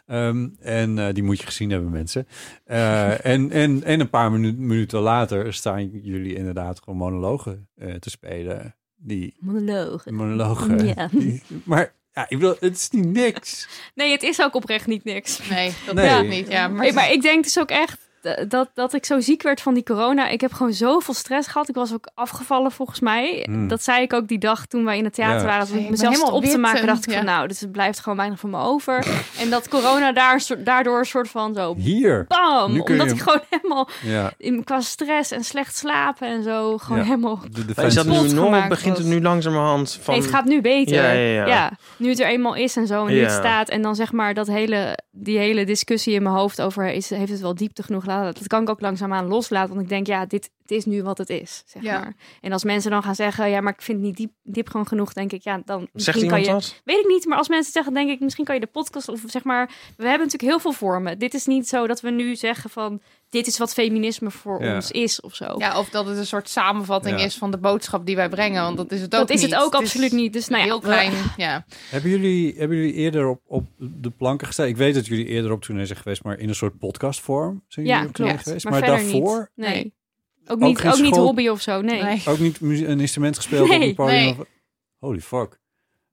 Speaker 2: Ehm, en eh, die moet je gezien hebben, mensen. Eh, en, en, en een paar minu- minuten later staan jullie inderdaad gewoon monologen eh, te spelen. Die
Speaker 4: Monologen.
Speaker 2: monologen.
Speaker 4: Ja.
Speaker 2: Die- maar ja, ik bedoel, het is niet niks.
Speaker 4: Nee, het is ook oprecht niet niks.
Speaker 3: Nee, dat
Speaker 2: Nee.
Speaker 3: weet ik niet. Ja, maar,
Speaker 4: Hey, maar ik denk dus ook echt eh, dat, dat ik zo ziek werd van die corona. Ik heb gewoon zoveel stress gehad. Ik was ook afgevallen volgens mij.
Speaker 2: Hmm.
Speaker 4: Dat zei ik ook die dag toen wij in het theater
Speaker 2: Ja.
Speaker 4: waren. Toen
Speaker 3: Nee,
Speaker 4: ik
Speaker 3: ik ben
Speaker 4: mezelf zat
Speaker 3: helemaal
Speaker 4: op te
Speaker 3: wit
Speaker 4: maken,
Speaker 3: en-
Speaker 4: dacht ik
Speaker 3: ja.
Speaker 4: van nou, dus het blijft gewoon weinig van me over. en dat corona daar, een soort- daardoor een soort van zo
Speaker 2: Hier.
Speaker 4: bam.
Speaker 2: Nu kun je
Speaker 4: Omdat
Speaker 2: hem-
Speaker 4: ik gewoon helemaal
Speaker 2: Ja,
Speaker 4: in, qua stress en slecht slapen en zo gewoon
Speaker 2: Ja.
Speaker 4: helemaal...
Speaker 2: de
Speaker 5: Maar Is
Speaker 2: defensie.
Speaker 5: dat nu
Speaker 4: Spot
Speaker 5: nog?
Speaker 4: gemaakt
Speaker 5: Begint
Speaker 4: was.
Speaker 5: het nu langzamerhand van...
Speaker 4: Nee, het gaat nu beter.
Speaker 5: Ja, ja, ja.
Speaker 4: nu het er eenmaal is en zo en nu het
Speaker 5: Ja.
Speaker 4: staat. En dan zeg maar dat hele, die hele discussie in mijn hoofd over is, heeft het wel diepte genoeg laten. Dat kan ik ook langzaamaan loslaten. Want ik denk, ja, dit het is nu wat het is. Zeg
Speaker 3: Ja.
Speaker 4: maar. En als mensen dan gaan zeggen, ja, maar ik vind het niet diep, diep gewoon genoeg, denk ik, ja, dan
Speaker 5: Zegt
Speaker 4: kan
Speaker 5: iemand
Speaker 4: je.
Speaker 5: dat?
Speaker 4: Weet ik niet, maar als mensen zeggen, denk ik, misschien kan je de podcast of zeg maar. We hebben natuurlijk heel veel vormen. Dit is niet zo dat we nu zeggen van dit is wat feminisme voor
Speaker 2: Ja.
Speaker 4: ons is of zo.
Speaker 3: ja, of dat het een soort samenvatting
Speaker 2: Ja.
Speaker 3: is van de boodschap die wij brengen. Want dat is het ook
Speaker 4: Dat is het
Speaker 3: niet.
Speaker 4: ook absoluut niet. Dus nou ja,
Speaker 3: heel
Speaker 4: we-
Speaker 3: klein, ja.
Speaker 2: Hebben, jullie, hebben jullie eerder op, op de planken gestaan? Ik weet dat jullie eerder op tournee zijn geweest, maar in een soort podcastvorm zijn jullie
Speaker 4: Ja,
Speaker 2: op tournee
Speaker 4: klopt.
Speaker 2: geweest.
Speaker 4: Maar,
Speaker 2: Maar,
Speaker 4: verder
Speaker 2: daarvoor
Speaker 4: niet. Nee.
Speaker 3: Nee.
Speaker 4: Ook
Speaker 2: Ook
Speaker 4: niet,
Speaker 2: geen
Speaker 4: ook niet
Speaker 2: school-
Speaker 4: hobby of zo, nee.
Speaker 3: Nee.
Speaker 2: ook niet muzie- een instrument gespeeld op
Speaker 4: Nee,
Speaker 2: een podium.
Speaker 3: nee.
Speaker 2: of- holy fuck.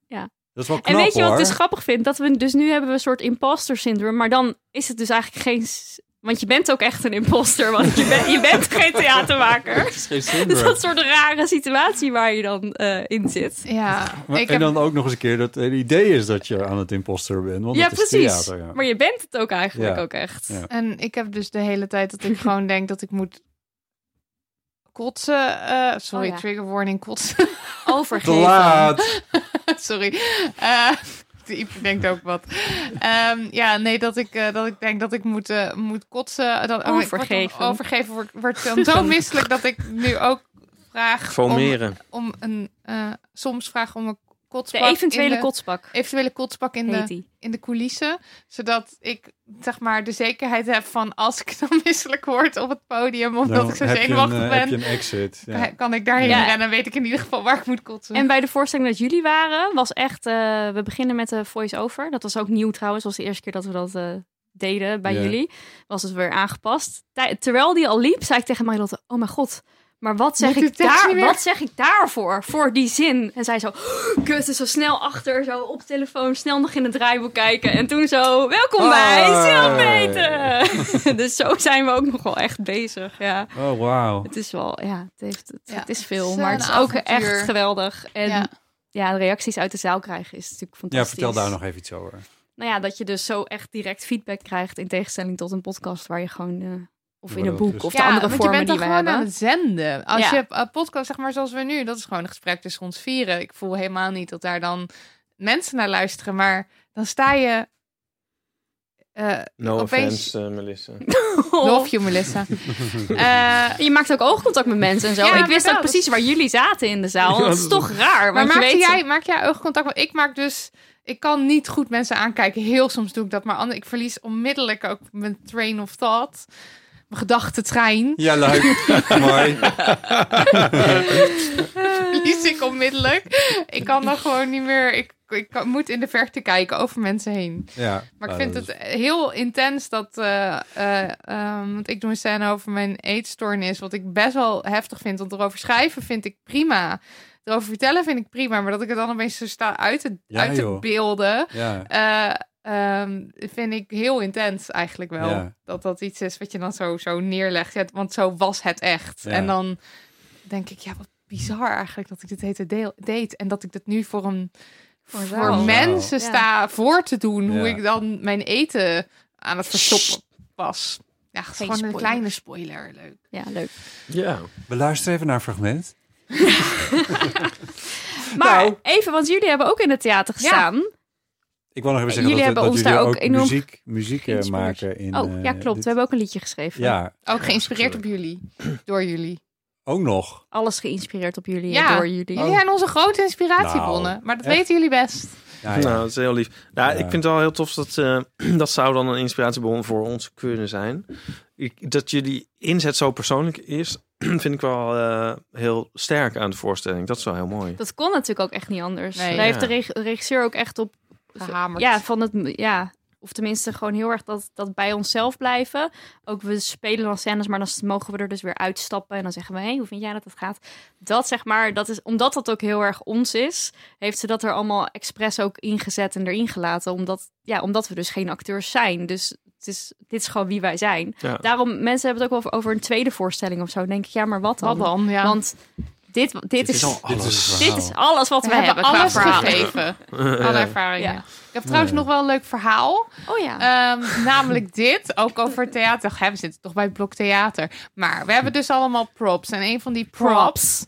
Speaker 4: Ja.
Speaker 2: Dat is wel knap
Speaker 4: En weet je wat
Speaker 2: hoor.
Speaker 4: ik dus grappig vind? Dat we dus nu hebben we een soort imposter syndroom, maar dan is het dus eigenlijk geen... s- Want je bent ook echt een imposter, want je, bent- je bent geen theatermaker.
Speaker 2: is geen
Speaker 4: Dus
Speaker 2: syndrome.
Speaker 4: dat soort rare situatie waar je dan eh, in zit.
Speaker 3: Ja,
Speaker 2: Maar-
Speaker 3: ik
Speaker 2: en
Speaker 3: heb
Speaker 2: dan ook nog eens een keer dat het idee is dat je aan het imposter bent. Want
Speaker 4: Ja,
Speaker 2: dat is
Speaker 4: precies.
Speaker 2: theater, ja.
Speaker 4: Maar je bent het ook eigenlijk
Speaker 2: Ja.
Speaker 4: ook echt.
Speaker 2: Ja.
Speaker 3: En ik heb dus de hele tijd dat ik gewoon denk dat ik moet kotsen. eh, sorry,
Speaker 4: Oh ja.
Speaker 3: trigger warning kotsen.
Speaker 2: Te
Speaker 4: Overgeven.
Speaker 2: laat.
Speaker 3: sorry. Eh Iep denkt ook wat. Ehm, ja, nee, dat ik, eh, dat ik denk dat ik moet, eh, moet kotsen. Dat, oh, ik word dan
Speaker 4: Overgeven.
Speaker 3: overgeven wordt wordt dan zo misselijk dat ik nu ook vraag om,
Speaker 5: Formeren.
Speaker 3: om een... eh, soms vraag om een
Speaker 4: De
Speaker 3: kotspak.
Speaker 4: eventuele
Speaker 3: in de,
Speaker 4: kotspak
Speaker 3: Eventuele kotspak in de,
Speaker 4: heet die.
Speaker 3: in de coulissen. Zodat ik zeg maar de zekerheid heb van als ik dan misselijk word op het podium. Omdat
Speaker 2: Dan
Speaker 3: ik zo
Speaker 2: heb je een,
Speaker 3: zenuwachtig
Speaker 2: eh,
Speaker 3: ben.
Speaker 2: Heb je een exit. Ja.
Speaker 3: Kan- Kan ik daarheen
Speaker 4: Ja.
Speaker 3: rennen? Dan weet ik in ieder geval waar ik moet kotsen.
Speaker 4: En bij de voorstelling dat jullie waren, was echt... eh, we beginnen met de voice-over. Dat was ook nieuw trouwens. was de eerste keer dat we dat eh, deden bij
Speaker 2: Ja.
Speaker 4: jullie. Was het weer aangepast. Tij- terwijl die al liep, zei ik tegen Marilotte... Oh mijn god, maar wat zeg,
Speaker 3: Weet de
Speaker 4: ik,
Speaker 3: tekst niet
Speaker 4: daar,
Speaker 3: meer?
Speaker 4: wat zeg ik daarvoor? Voor die zin. En zij zo... "Oh, Kut, en zo snel achter, zo op de telefoon. Snel nog in het draaiboek kijken. En toen zo... Welkom
Speaker 3: Oh.
Speaker 4: bij
Speaker 2: Hoi.
Speaker 4: Zelfmeten! dus zo zijn we ook nog wel echt bezig, ja.
Speaker 2: Oh, wauw.
Speaker 4: Het is wel, ja, het, heeft, het,
Speaker 3: Ja,
Speaker 4: het is
Speaker 3: het
Speaker 4: veel,
Speaker 3: is, eh,
Speaker 4: maar het
Speaker 3: een
Speaker 4: is ook
Speaker 3: avontuur.
Speaker 4: echt geweldig. En
Speaker 3: Ja.
Speaker 4: ja. de reacties uit de zaal krijgen is natuurlijk
Speaker 2: Ja,
Speaker 4: fantastisch.
Speaker 2: vertel daar nog even iets over.
Speaker 4: Nou ja, dat je dus zo echt direct feedback krijgt in tegenstelling tot een podcast waar je gewoon... eh, of in
Speaker 2: Worden
Speaker 4: een
Speaker 2: we
Speaker 4: boek
Speaker 2: dus-
Speaker 4: of de andere
Speaker 3: want
Speaker 4: vormen
Speaker 3: je bent
Speaker 4: die
Speaker 3: dan
Speaker 4: we
Speaker 3: gewoon
Speaker 4: hebben.
Speaker 3: aan het zenden. Als
Speaker 4: Ja.
Speaker 3: je een podcast, zeg maar zoals we nu, dat is gewoon een gesprek tussen ons vieren. Ik voel helemaal niet dat daar dan mensen naar luisteren. Maar dan sta je eh,
Speaker 5: No
Speaker 3: opeens-
Speaker 5: offense, eh, Melissa.
Speaker 4: Oh.
Speaker 3: Love you, Melissa. Eh,
Speaker 4: Je maakt ook oogcontact met mensen en zo.
Speaker 3: Ja,
Speaker 4: ik wist ook
Speaker 3: inderdaad.
Speaker 4: precies waar jullie zaten in de zaal.
Speaker 5: Ja,
Speaker 4: Dat is
Speaker 5: dat-
Speaker 4: toch raar.
Speaker 3: maar
Speaker 4: Want je
Speaker 3: maak
Speaker 4: weet
Speaker 3: jij, maak jij oogcontact? Want ik maak dus... Ik kan niet goed mensen aankijken. Heel soms doe ik dat. Maar ander- ik verlies onmiddellijk ook mijn train of thought. Mijn gedachtentrein.
Speaker 2: Ja, leuk. Mooi.
Speaker 3: Verlies ik onmiddellijk. Ik kan dan gewoon niet meer... Ik, ik kan- moet in de verte kijken over mensen heen.
Speaker 2: Ja.
Speaker 3: Maar ik
Speaker 2: Nou,
Speaker 3: vind
Speaker 2: dat is-
Speaker 3: het heel intens dat. eh, eh, ehm, want ik doe een scène over mijn eetstoornis. Wat ik best wel heftig vind. Want erover schrijven vind ik prima. Erover vertellen vind ik prima. Maar dat ik het dan opeens zo sta uit te,
Speaker 2: Ja,
Speaker 3: uit te
Speaker 2: joh.
Speaker 3: beelden.
Speaker 2: Ja.
Speaker 3: eh, ehm, vind ik heel intens eigenlijk wel.
Speaker 2: Ja.
Speaker 3: Dat dat iets is wat je dan zo, zo neerlegt. Ja, want zo was het echt.
Speaker 2: Ja.
Speaker 3: En dan denk ik, ja, wat bizar eigenlijk dat ik dit hete deel deed. En dat ik dit nu voor een
Speaker 4: Voor een
Speaker 3: voor
Speaker 4: zaal.
Speaker 3: mensen
Speaker 4: Ja.
Speaker 3: sta voor te doen hoe
Speaker 2: Ja.
Speaker 3: ik dan mijn eten aan het verstoppen was. Ja, het is
Speaker 4: Geen
Speaker 3: gewoon een
Speaker 4: spoilers.
Speaker 3: kleine spoiler. Leuk.
Speaker 4: Ja, leuk.
Speaker 5: Ja.
Speaker 2: Beluister even naar een fragment.
Speaker 4: Maar
Speaker 2: Nou.
Speaker 4: even, want jullie hebben ook in het theater
Speaker 3: Ja.
Speaker 4: gestaan.
Speaker 2: Ik wil nog even
Speaker 4: Jullie
Speaker 2: zeggen dat,
Speaker 4: hebben
Speaker 2: dat
Speaker 4: ons
Speaker 2: jullie
Speaker 4: daar ook
Speaker 2: ook,
Speaker 4: enorm
Speaker 2: muziek, muziek eh,
Speaker 4: geïnspireerd.
Speaker 2: maken. In,
Speaker 4: oh,
Speaker 2: eh,
Speaker 4: ja, klopt. We
Speaker 2: dit-
Speaker 4: hebben ook een liedje geschreven.
Speaker 2: Ja,
Speaker 3: Ook geïnspireerd op
Speaker 2: tuurlijk.
Speaker 3: jullie. Door jullie.
Speaker 2: ook nog.
Speaker 4: Alles geïnspireerd op jullie en
Speaker 3: Ja.
Speaker 4: door jullie.
Speaker 3: Jullie zijn onze grote inspiratiebronnen.
Speaker 2: Oh. Nou,
Speaker 3: maar dat
Speaker 2: echt?
Speaker 3: weten jullie best.
Speaker 2: Ja, ja.
Speaker 5: Nou, dat is heel lief. Ja,
Speaker 2: Ja.
Speaker 5: Ik vind het wel heel tof dat eh, dat zou dan een inspiratiebron voor ons kunnen zijn. Ik, dat jullie inzet zo persoonlijk is, vind ik wel eh, heel sterk aan de voorstelling. Dat is wel heel mooi.
Speaker 4: Dat kon natuurlijk ook echt niet anders.
Speaker 3: Nee.
Speaker 4: Daar heeft de
Speaker 5: Ja.
Speaker 4: reg- regisseur ook echt op
Speaker 3: Gehamerd.
Speaker 4: Ja, van het, ja, of tenminste gewoon heel erg dat, dat bij onszelf blijven. Ook we spelen dan scènes, maar dan mogen we er dus weer uitstappen. En dan zeggen we, hé, hoe vind jij dat dat gaat? Dat zeg maar, dat is, omdat dat ook heel erg ons is, heeft ze dat er allemaal expres ook ingezet en erin gelaten. Omdat, ja, omdat we dus geen acteurs zijn. Dus het is, dit is gewoon wie wij zijn.
Speaker 5: Ja.
Speaker 4: Daarom, mensen hebben het ook wel over een tweede voorstelling of zo. Dan denk ik, ja, maar wat dan?
Speaker 3: Wat dan? Ja.
Speaker 4: Want dit, dit, is,
Speaker 5: al
Speaker 2: Dit is het
Speaker 4: dit
Speaker 2: verhaal.
Speaker 4: is alles wat
Speaker 3: we
Speaker 4: we,
Speaker 3: hebben
Speaker 4: qua
Speaker 3: alles
Speaker 4: verhalen.
Speaker 3: gegeven.
Speaker 4: Oh,
Speaker 5: Eh,
Speaker 3: Alle ervaringen.
Speaker 4: Ja.
Speaker 3: Ik heb trouwens nog wel een leuk verhaal.
Speaker 4: Oh ja.
Speaker 3: Ehm, namelijk dit, ook over theater. Hè, we zitten toch bij het blok theater. Maar we hebben dus allemaal props. En een van die props...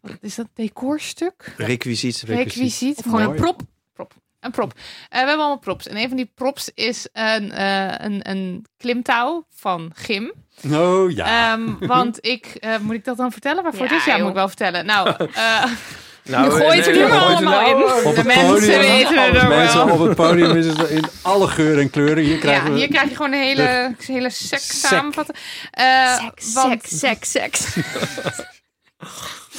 Speaker 3: Wat is dat decorstuk?
Speaker 5: Requisiet.
Speaker 3: requisiet.
Speaker 4: Of gewoon een
Speaker 2: Mooi.
Speaker 4: prop.
Speaker 3: prop. Een prop. Eh, we hebben allemaal props. En een van die props is een, eh, een, een klimtouw van Gim.
Speaker 2: Oh ja.
Speaker 3: Ehm, want ik... eh, moet ik dat dan vertellen? Waarvoor
Speaker 4: Ja,
Speaker 3: het is? Ja,
Speaker 4: joh.
Speaker 3: moet ik wel vertellen. Nou, eh,
Speaker 5: Nou,
Speaker 4: Gooi het er
Speaker 5: nee,
Speaker 4: nu maar
Speaker 5: gooi het
Speaker 4: allemaal in.
Speaker 2: Op
Speaker 3: de
Speaker 2: het
Speaker 3: mensen
Speaker 2: podium.
Speaker 3: weten het er
Speaker 2: Mensen
Speaker 3: wel.
Speaker 2: op het podium is het in alle geuren en kleuren. Hier krijgen
Speaker 3: ja,
Speaker 2: we...
Speaker 3: hier krijg je gewoon een hele, hele seks
Speaker 2: Sek.
Speaker 3: samenvatting. Eh,
Speaker 4: Seks,
Speaker 3: want-
Speaker 4: seks, seks, seks.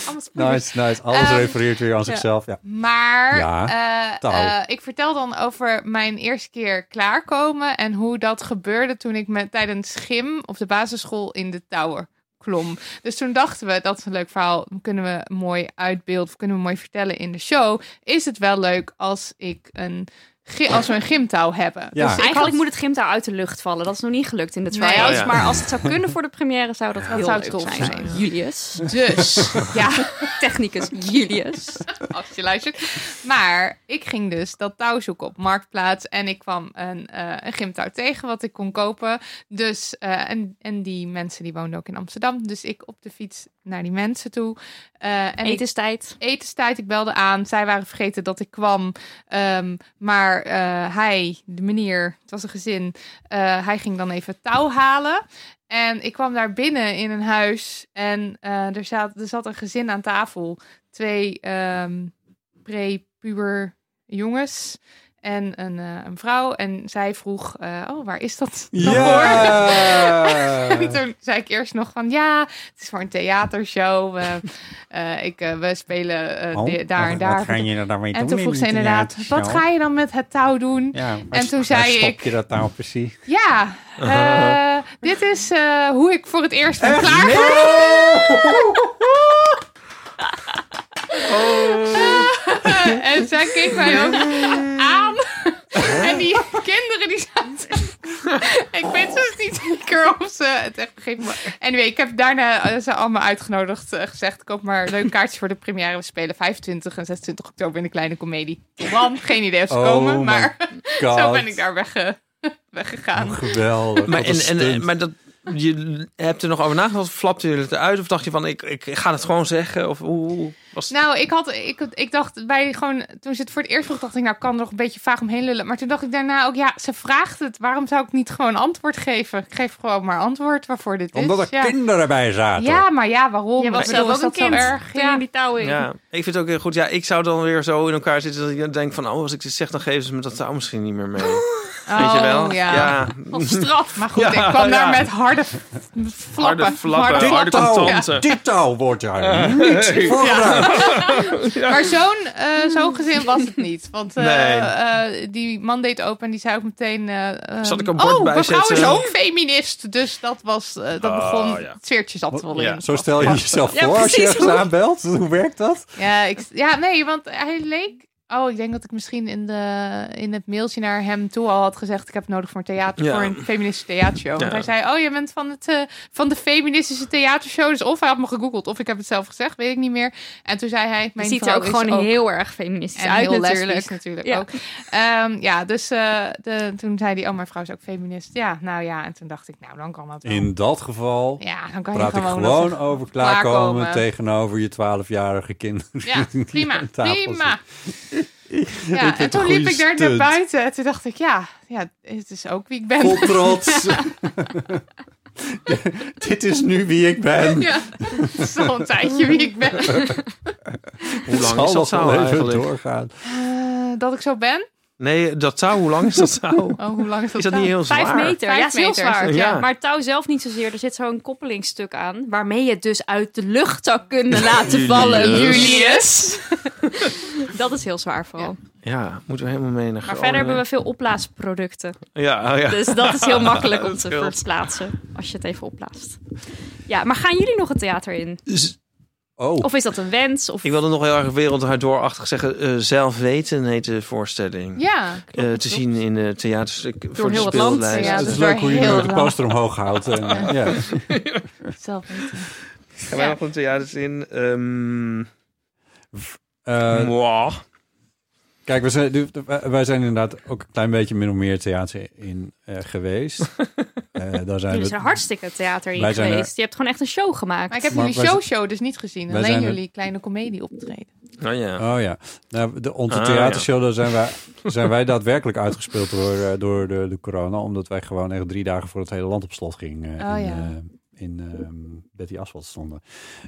Speaker 3: Allemaal spoilers.
Speaker 2: Nice, nice. Alles
Speaker 3: Ehm,
Speaker 2: refereert weer aan
Speaker 4: ja.
Speaker 2: zichzelf. Ja.
Speaker 3: Maar
Speaker 2: Ja,
Speaker 3: eh,
Speaker 2: touw.
Speaker 3: eh, ik vertel dan over mijn eerste keer klaarkomen en hoe dat gebeurde toen ik met, tijdens gym op de basisschool in de tower klom. Dus toen dachten we, dat is een leuk verhaal, kunnen we mooi uitbeelden of kunnen we mooi vertellen in de show. Is het wel leuk als ik een gy- als we een gymtouw hebben?
Speaker 2: Ja.
Speaker 3: Dus ik
Speaker 4: Eigenlijk
Speaker 3: had-
Speaker 4: moet het gym daar uit de lucht vallen. Dat is nog niet gelukt in de
Speaker 3: Nee.
Speaker 4: try-outs.
Speaker 5: Oh ja.
Speaker 4: Maar als het zou kunnen voor de première, zou dat heel
Speaker 3: zou
Speaker 4: leuk
Speaker 3: tof
Speaker 4: zijn.
Speaker 3: zijn.
Speaker 4: Julius.
Speaker 3: dus
Speaker 4: Ja, technicus Julius.
Speaker 3: als je luistert. Maar ik ging dus dat touw zoeken op Marktplaats. En ik kwam een, eh, een gymtouw tegen wat ik kon kopen. Dus, eh, en, en die mensen die woonden ook in Amsterdam. Dus ik op de fiets naar die mensen toe. Eh, en ik
Speaker 4: Etenstijd.
Speaker 3: etenstijd. Ik belde aan. Zij waren vergeten dat ik kwam. Ehm, maar eh, hij, de meneer, het was een gezin, eh, hij ging dan even touw halen. En ik kwam daar binnen in een huis. En eh, er, zat, er zat een gezin aan tafel. Twee ehm pre-puber jongens en een, eh, een vrouw. En zij vroeg, eh, oh, waar is dat dan voor?
Speaker 2: Eh.
Speaker 3: En
Speaker 2: Oh,
Speaker 3: toen zei ik eerst nog van ja, het is voor een theatershow. We, eh, ik, eh, we spelen eh,
Speaker 2: Oh,
Speaker 3: di- daar en
Speaker 2: wat-
Speaker 3: daar.
Speaker 2: Wat ga je er dan mee doen
Speaker 3: en toen
Speaker 2: in
Speaker 3: vroeg ze
Speaker 2: die
Speaker 3: inderdaad,
Speaker 2: theatershow?
Speaker 3: wat ga je dan met het touw doen?
Speaker 2: Ja, waar
Speaker 3: En
Speaker 2: st-
Speaker 3: toen
Speaker 2: waar
Speaker 3: zei
Speaker 2: stop
Speaker 3: ik-
Speaker 2: je dat nou precies?
Speaker 3: Ja, eh, dit is eh, hoe ik voor het eerst ben klaar.
Speaker 2: Oh.
Speaker 3: Eh, en zij keek mij ook aan. en die kinderen die zaten... ik weet dus niet zeker of ze het echt begrepen. maar- Anyway, ik heb daarna eh, ze allemaal uitgenodigd eh, gezegd... koop maar leuke kaartjes voor de première. We spelen 25 en 26 oktober in de Kleine Comedie. Dan, geen idee of ze
Speaker 2: Oh
Speaker 3: komen,
Speaker 2: my
Speaker 3: maar
Speaker 2: God.
Speaker 3: zo ben ik daar wegge- weggegaan.
Speaker 2: Geweldig.
Speaker 5: Maar,
Speaker 2: wat een
Speaker 5: en, en,
Speaker 2: stunt.
Speaker 5: maar dat je hebt er nog over nagedacht? Flapte je het eruit? Of dacht je van, ik, ik ga het gewoon zeggen? Of hoe hoe was het?
Speaker 3: Nou, ik, had, ik, ik dacht bij gewoon, toen ze het voor het eerst vroeg, dacht ik, nou ik kan er nog een beetje vaag omheen lullen. Maar toen dacht ik daarna ook, ja, ze vraagt het. Waarom zou ik niet gewoon antwoord geven? Ik geef gewoon maar antwoord waarvoor dit
Speaker 2: Omdat er
Speaker 3: is. ja.
Speaker 2: kinderen bij zaten.
Speaker 3: ja, maar ja, waarom?
Speaker 4: Je
Speaker 3: Ik
Speaker 4: was
Speaker 3: bedoel,
Speaker 4: zelf
Speaker 3: is
Speaker 4: ook een
Speaker 3: dat zo
Speaker 4: kind.
Speaker 3: erg?
Speaker 4: Ging je
Speaker 3: Ja.
Speaker 4: die touw in.
Speaker 5: Ja, ik vind het ook heel goed. Ja, ik zou dan weer zo in elkaar zitten dat ik denk van... Oh, als ik dit zeg, dan geven ze me dat touw misschien niet meer mee. Weet je wel?
Speaker 3: Oh, ja.
Speaker 4: Als straf.
Speaker 3: Maar goed,
Speaker 5: Ja,
Speaker 3: ik kwam daar
Speaker 5: ja.
Speaker 3: met harde f- flappen.
Speaker 5: Harde flappen, harde
Speaker 2: touw,
Speaker 5: contanten.
Speaker 2: dit touw wordt daar niet voor gebruikt.
Speaker 3: Maar zo'n eh zo'n gezin was het niet. Want eh,
Speaker 5: Nee.
Speaker 3: eh, die man deed open en die zei ook meteen... eh,
Speaker 5: Zal ik een
Speaker 3: ehm,
Speaker 5: bord
Speaker 3: oh,
Speaker 5: bijzetten?
Speaker 3: mevrouw is ook feminist. Dus dat, was, eh, dat
Speaker 5: Oh,
Speaker 3: begon...
Speaker 5: ja.
Speaker 3: Het zweertje zat er wel
Speaker 5: Ja.
Speaker 3: in.
Speaker 2: Zo stel je jezelf
Speaker 4: Ja,
Speaker 2: voor als je
Speaker 4: precies.
Speaker 2: ergens aanbelt. Hoe werkt dat?
Speaker 3: Ja, ik, ja, nee, want hij leek... Oh, ik denk dat ik misschien in, de, in het mailtje naar hem toe al had gezegd... ik heb het nodig voor een, theater,
Speaker 5: Ja.
Speaker 3: voor een feministische theatershow. Want
Speaker 5: Ja.
Speaker 3: hij zei, oh, je bent van, het, eh, van de feministische theatershow. Dus of hij had me gegoogeld of ik heb het zelf gezegd, weet ik niet meer. En toen zei hij...
Speaker 4: Je
Speaker 3: Mijn
Speaker 4: ziet er
Speaker 3: vrouw
Speaker 4: ook
Speaker 3: is
Speaker 4: gewoon
Speaker 3: ook
Speaker 4: heel erg feministisch
Speaker 3: En
Speaker 4: uit
Speaker 3: heel
Speaker 4: natuurlijk.
Speaker 3: lesbisch natuurlijk
Speaker 4: Ja.
Speaker 3: ook. Ehm, ja, dus eh, de, toen zei hij, oh, mijn vrouw is ook feminist. Ja, nou ja, en toen dacht ik, nou, dan kan dat wel.
Speaker 2: In dat geval
Speaker 3: ja, dan kan
Speaker 2: praat
Speaker 3: je
Speaker 2: ik
Speaker 3: gewoon...
Speaker 2: gewoon
Speaker 3: dat-
Speaker 2: over klaarkomen,
Speaker 3: Klaarkomen.
Speaker 2: tegenover je 12-jarige kinderen.
Speaker 3: Ja,
Speaker 2: die
Speaker 3: prima,
Speaker 2: aan tafel
Speaker 3: prima.
Speaker 2: vind
Speaker 3: Ja, en
Speaker 2: het
Speaker 3: toen
Speaker 2: een
Speaker 3: liep
Speaker 2: goede
Speaker 3: ik daar naar
Speaker 2: stunt.
Speaker 3: buiten. En toen dacht ik, ja, ja, het is ook wie ik ben.
Speaker 2: zitten. Vol trots. Dit is nu wie ik ben.
Speaker 3: Ja, het is al een tijdje wie ik ben.
Speaker 5: Hoe lang
Speaker 2: Zal
Speaker 5: is dat
Speaker 2: nog wel
Speaker 5: touw
Speaker 2: even
Speaker 5: eigenlijk?
Speaker 2: doorgaan.
Speaker 3: Eh, dat ik zo ben?
Speaker 5: Nee, dat touw, hoe lang is dat touw?
Speaker 3: Oh, hoe lang is dat
Speaker 5: Is dat
Speaker 3: nou?
Speaker 5: niet heel zwaar?
Speaker 4: Vijf meter.
Speaker 3: Vijf
Speaker 4: ja, het is heel
Speaker 3: meter.
Speaker 4: zwaar.
Speaker 5: Ja.
Speaker 4: Maar het touw zelf niet zozeer. Er zit zo'n koppelingstuk aan. Waarmee je het dus uit de lucht zou kunnen laten vallen. Julius. dat is heel zwaar vooral.
Speaker 5: Ja, moeten we helemaal mee naar
Speaker 4: Maar verder
Speaker 5: Groningen.
Speaker 4: hebben we veel opblaasproducten.
Speaker 5: Ja, oh ja.
Speaker 4: Dus dat is heel makkelijk om
Speaker 5: Dat
Speaker 4: te
Speaker 5: scheelt.
Speaker 4: verplaatsen. Als je het even opblaast. Ja, maar gaan jullie nog het theater in?
Speaker 2: Oh,
Speaker 4: Of is dat een wens? Of...
Speaker 5: Ik wilde nog heel erg wereldwijd doorachtig zeggen. eh, zelf weten heet de voorstelling.
Speaker 3: Ja,
Speaker 5: Eh, te zien in de theaters. ik- voor de
Speaker 4: heel wat land,
Speaker 5: speellijst.
Speaker 3: ja.
Speaker 2: het dus
Speaker 3: dat
Speaker 2: is
Speaker 3: is
Speaker 2: leuk
Speaker 3: waar
Speaker 2: hoe je
Speaker 3: heel
Speaker 2: de
Speaker 3: lang.
Speaker 2: poster omhoog houdt. En, eh, ja.
Speaker 3: zelf weten.
Speaker 5: Gaan wij nog een theaters in? Ehm
Speaker 2: Eh,
Speaker 5: moi.
Speaker 2: Kijk, we zijn, du- wij zijn inderdaad ook een klein beetje min of meer theater in eh, geweest. Eh, daar zijn
Speaker 4: Jullie
Speaker 2: we,
Speaker 4: zijn hartstikke het theater in
Speaker 2: Wij zijn
Speaker 4: geweest. Je hebt gewoon echt een show gemaakt.
Speaker 3: Maar ik heb
Speaker 2: Maar
Speaker 3: jullie
Speaker 2: wij-
Speaker 3: showshow dus niet gezien.
Speaker 2: wij
Speaker 3: Alleen
Speaker 2: zijn er-
Speaker 3: jullie kleine komedie optreden.
Speaker 5: Nou ja.
Speaker 2: Oh ja, nou, de, onze
Speaker 5: Ah,
Speaker 2: theatershow, daar zijn wij, zijn wij daadwerkelijk uitgespeeld door, eh, door de, de corona. Omdat wij gewoon echt drie dagen voor het hele land op slot gingen. eh,
Speaker 3: Oh
Speaker 2: in,
Speaker 3: ja.
Speaker 2: eh, in ehm, Betty Asphalt stonden.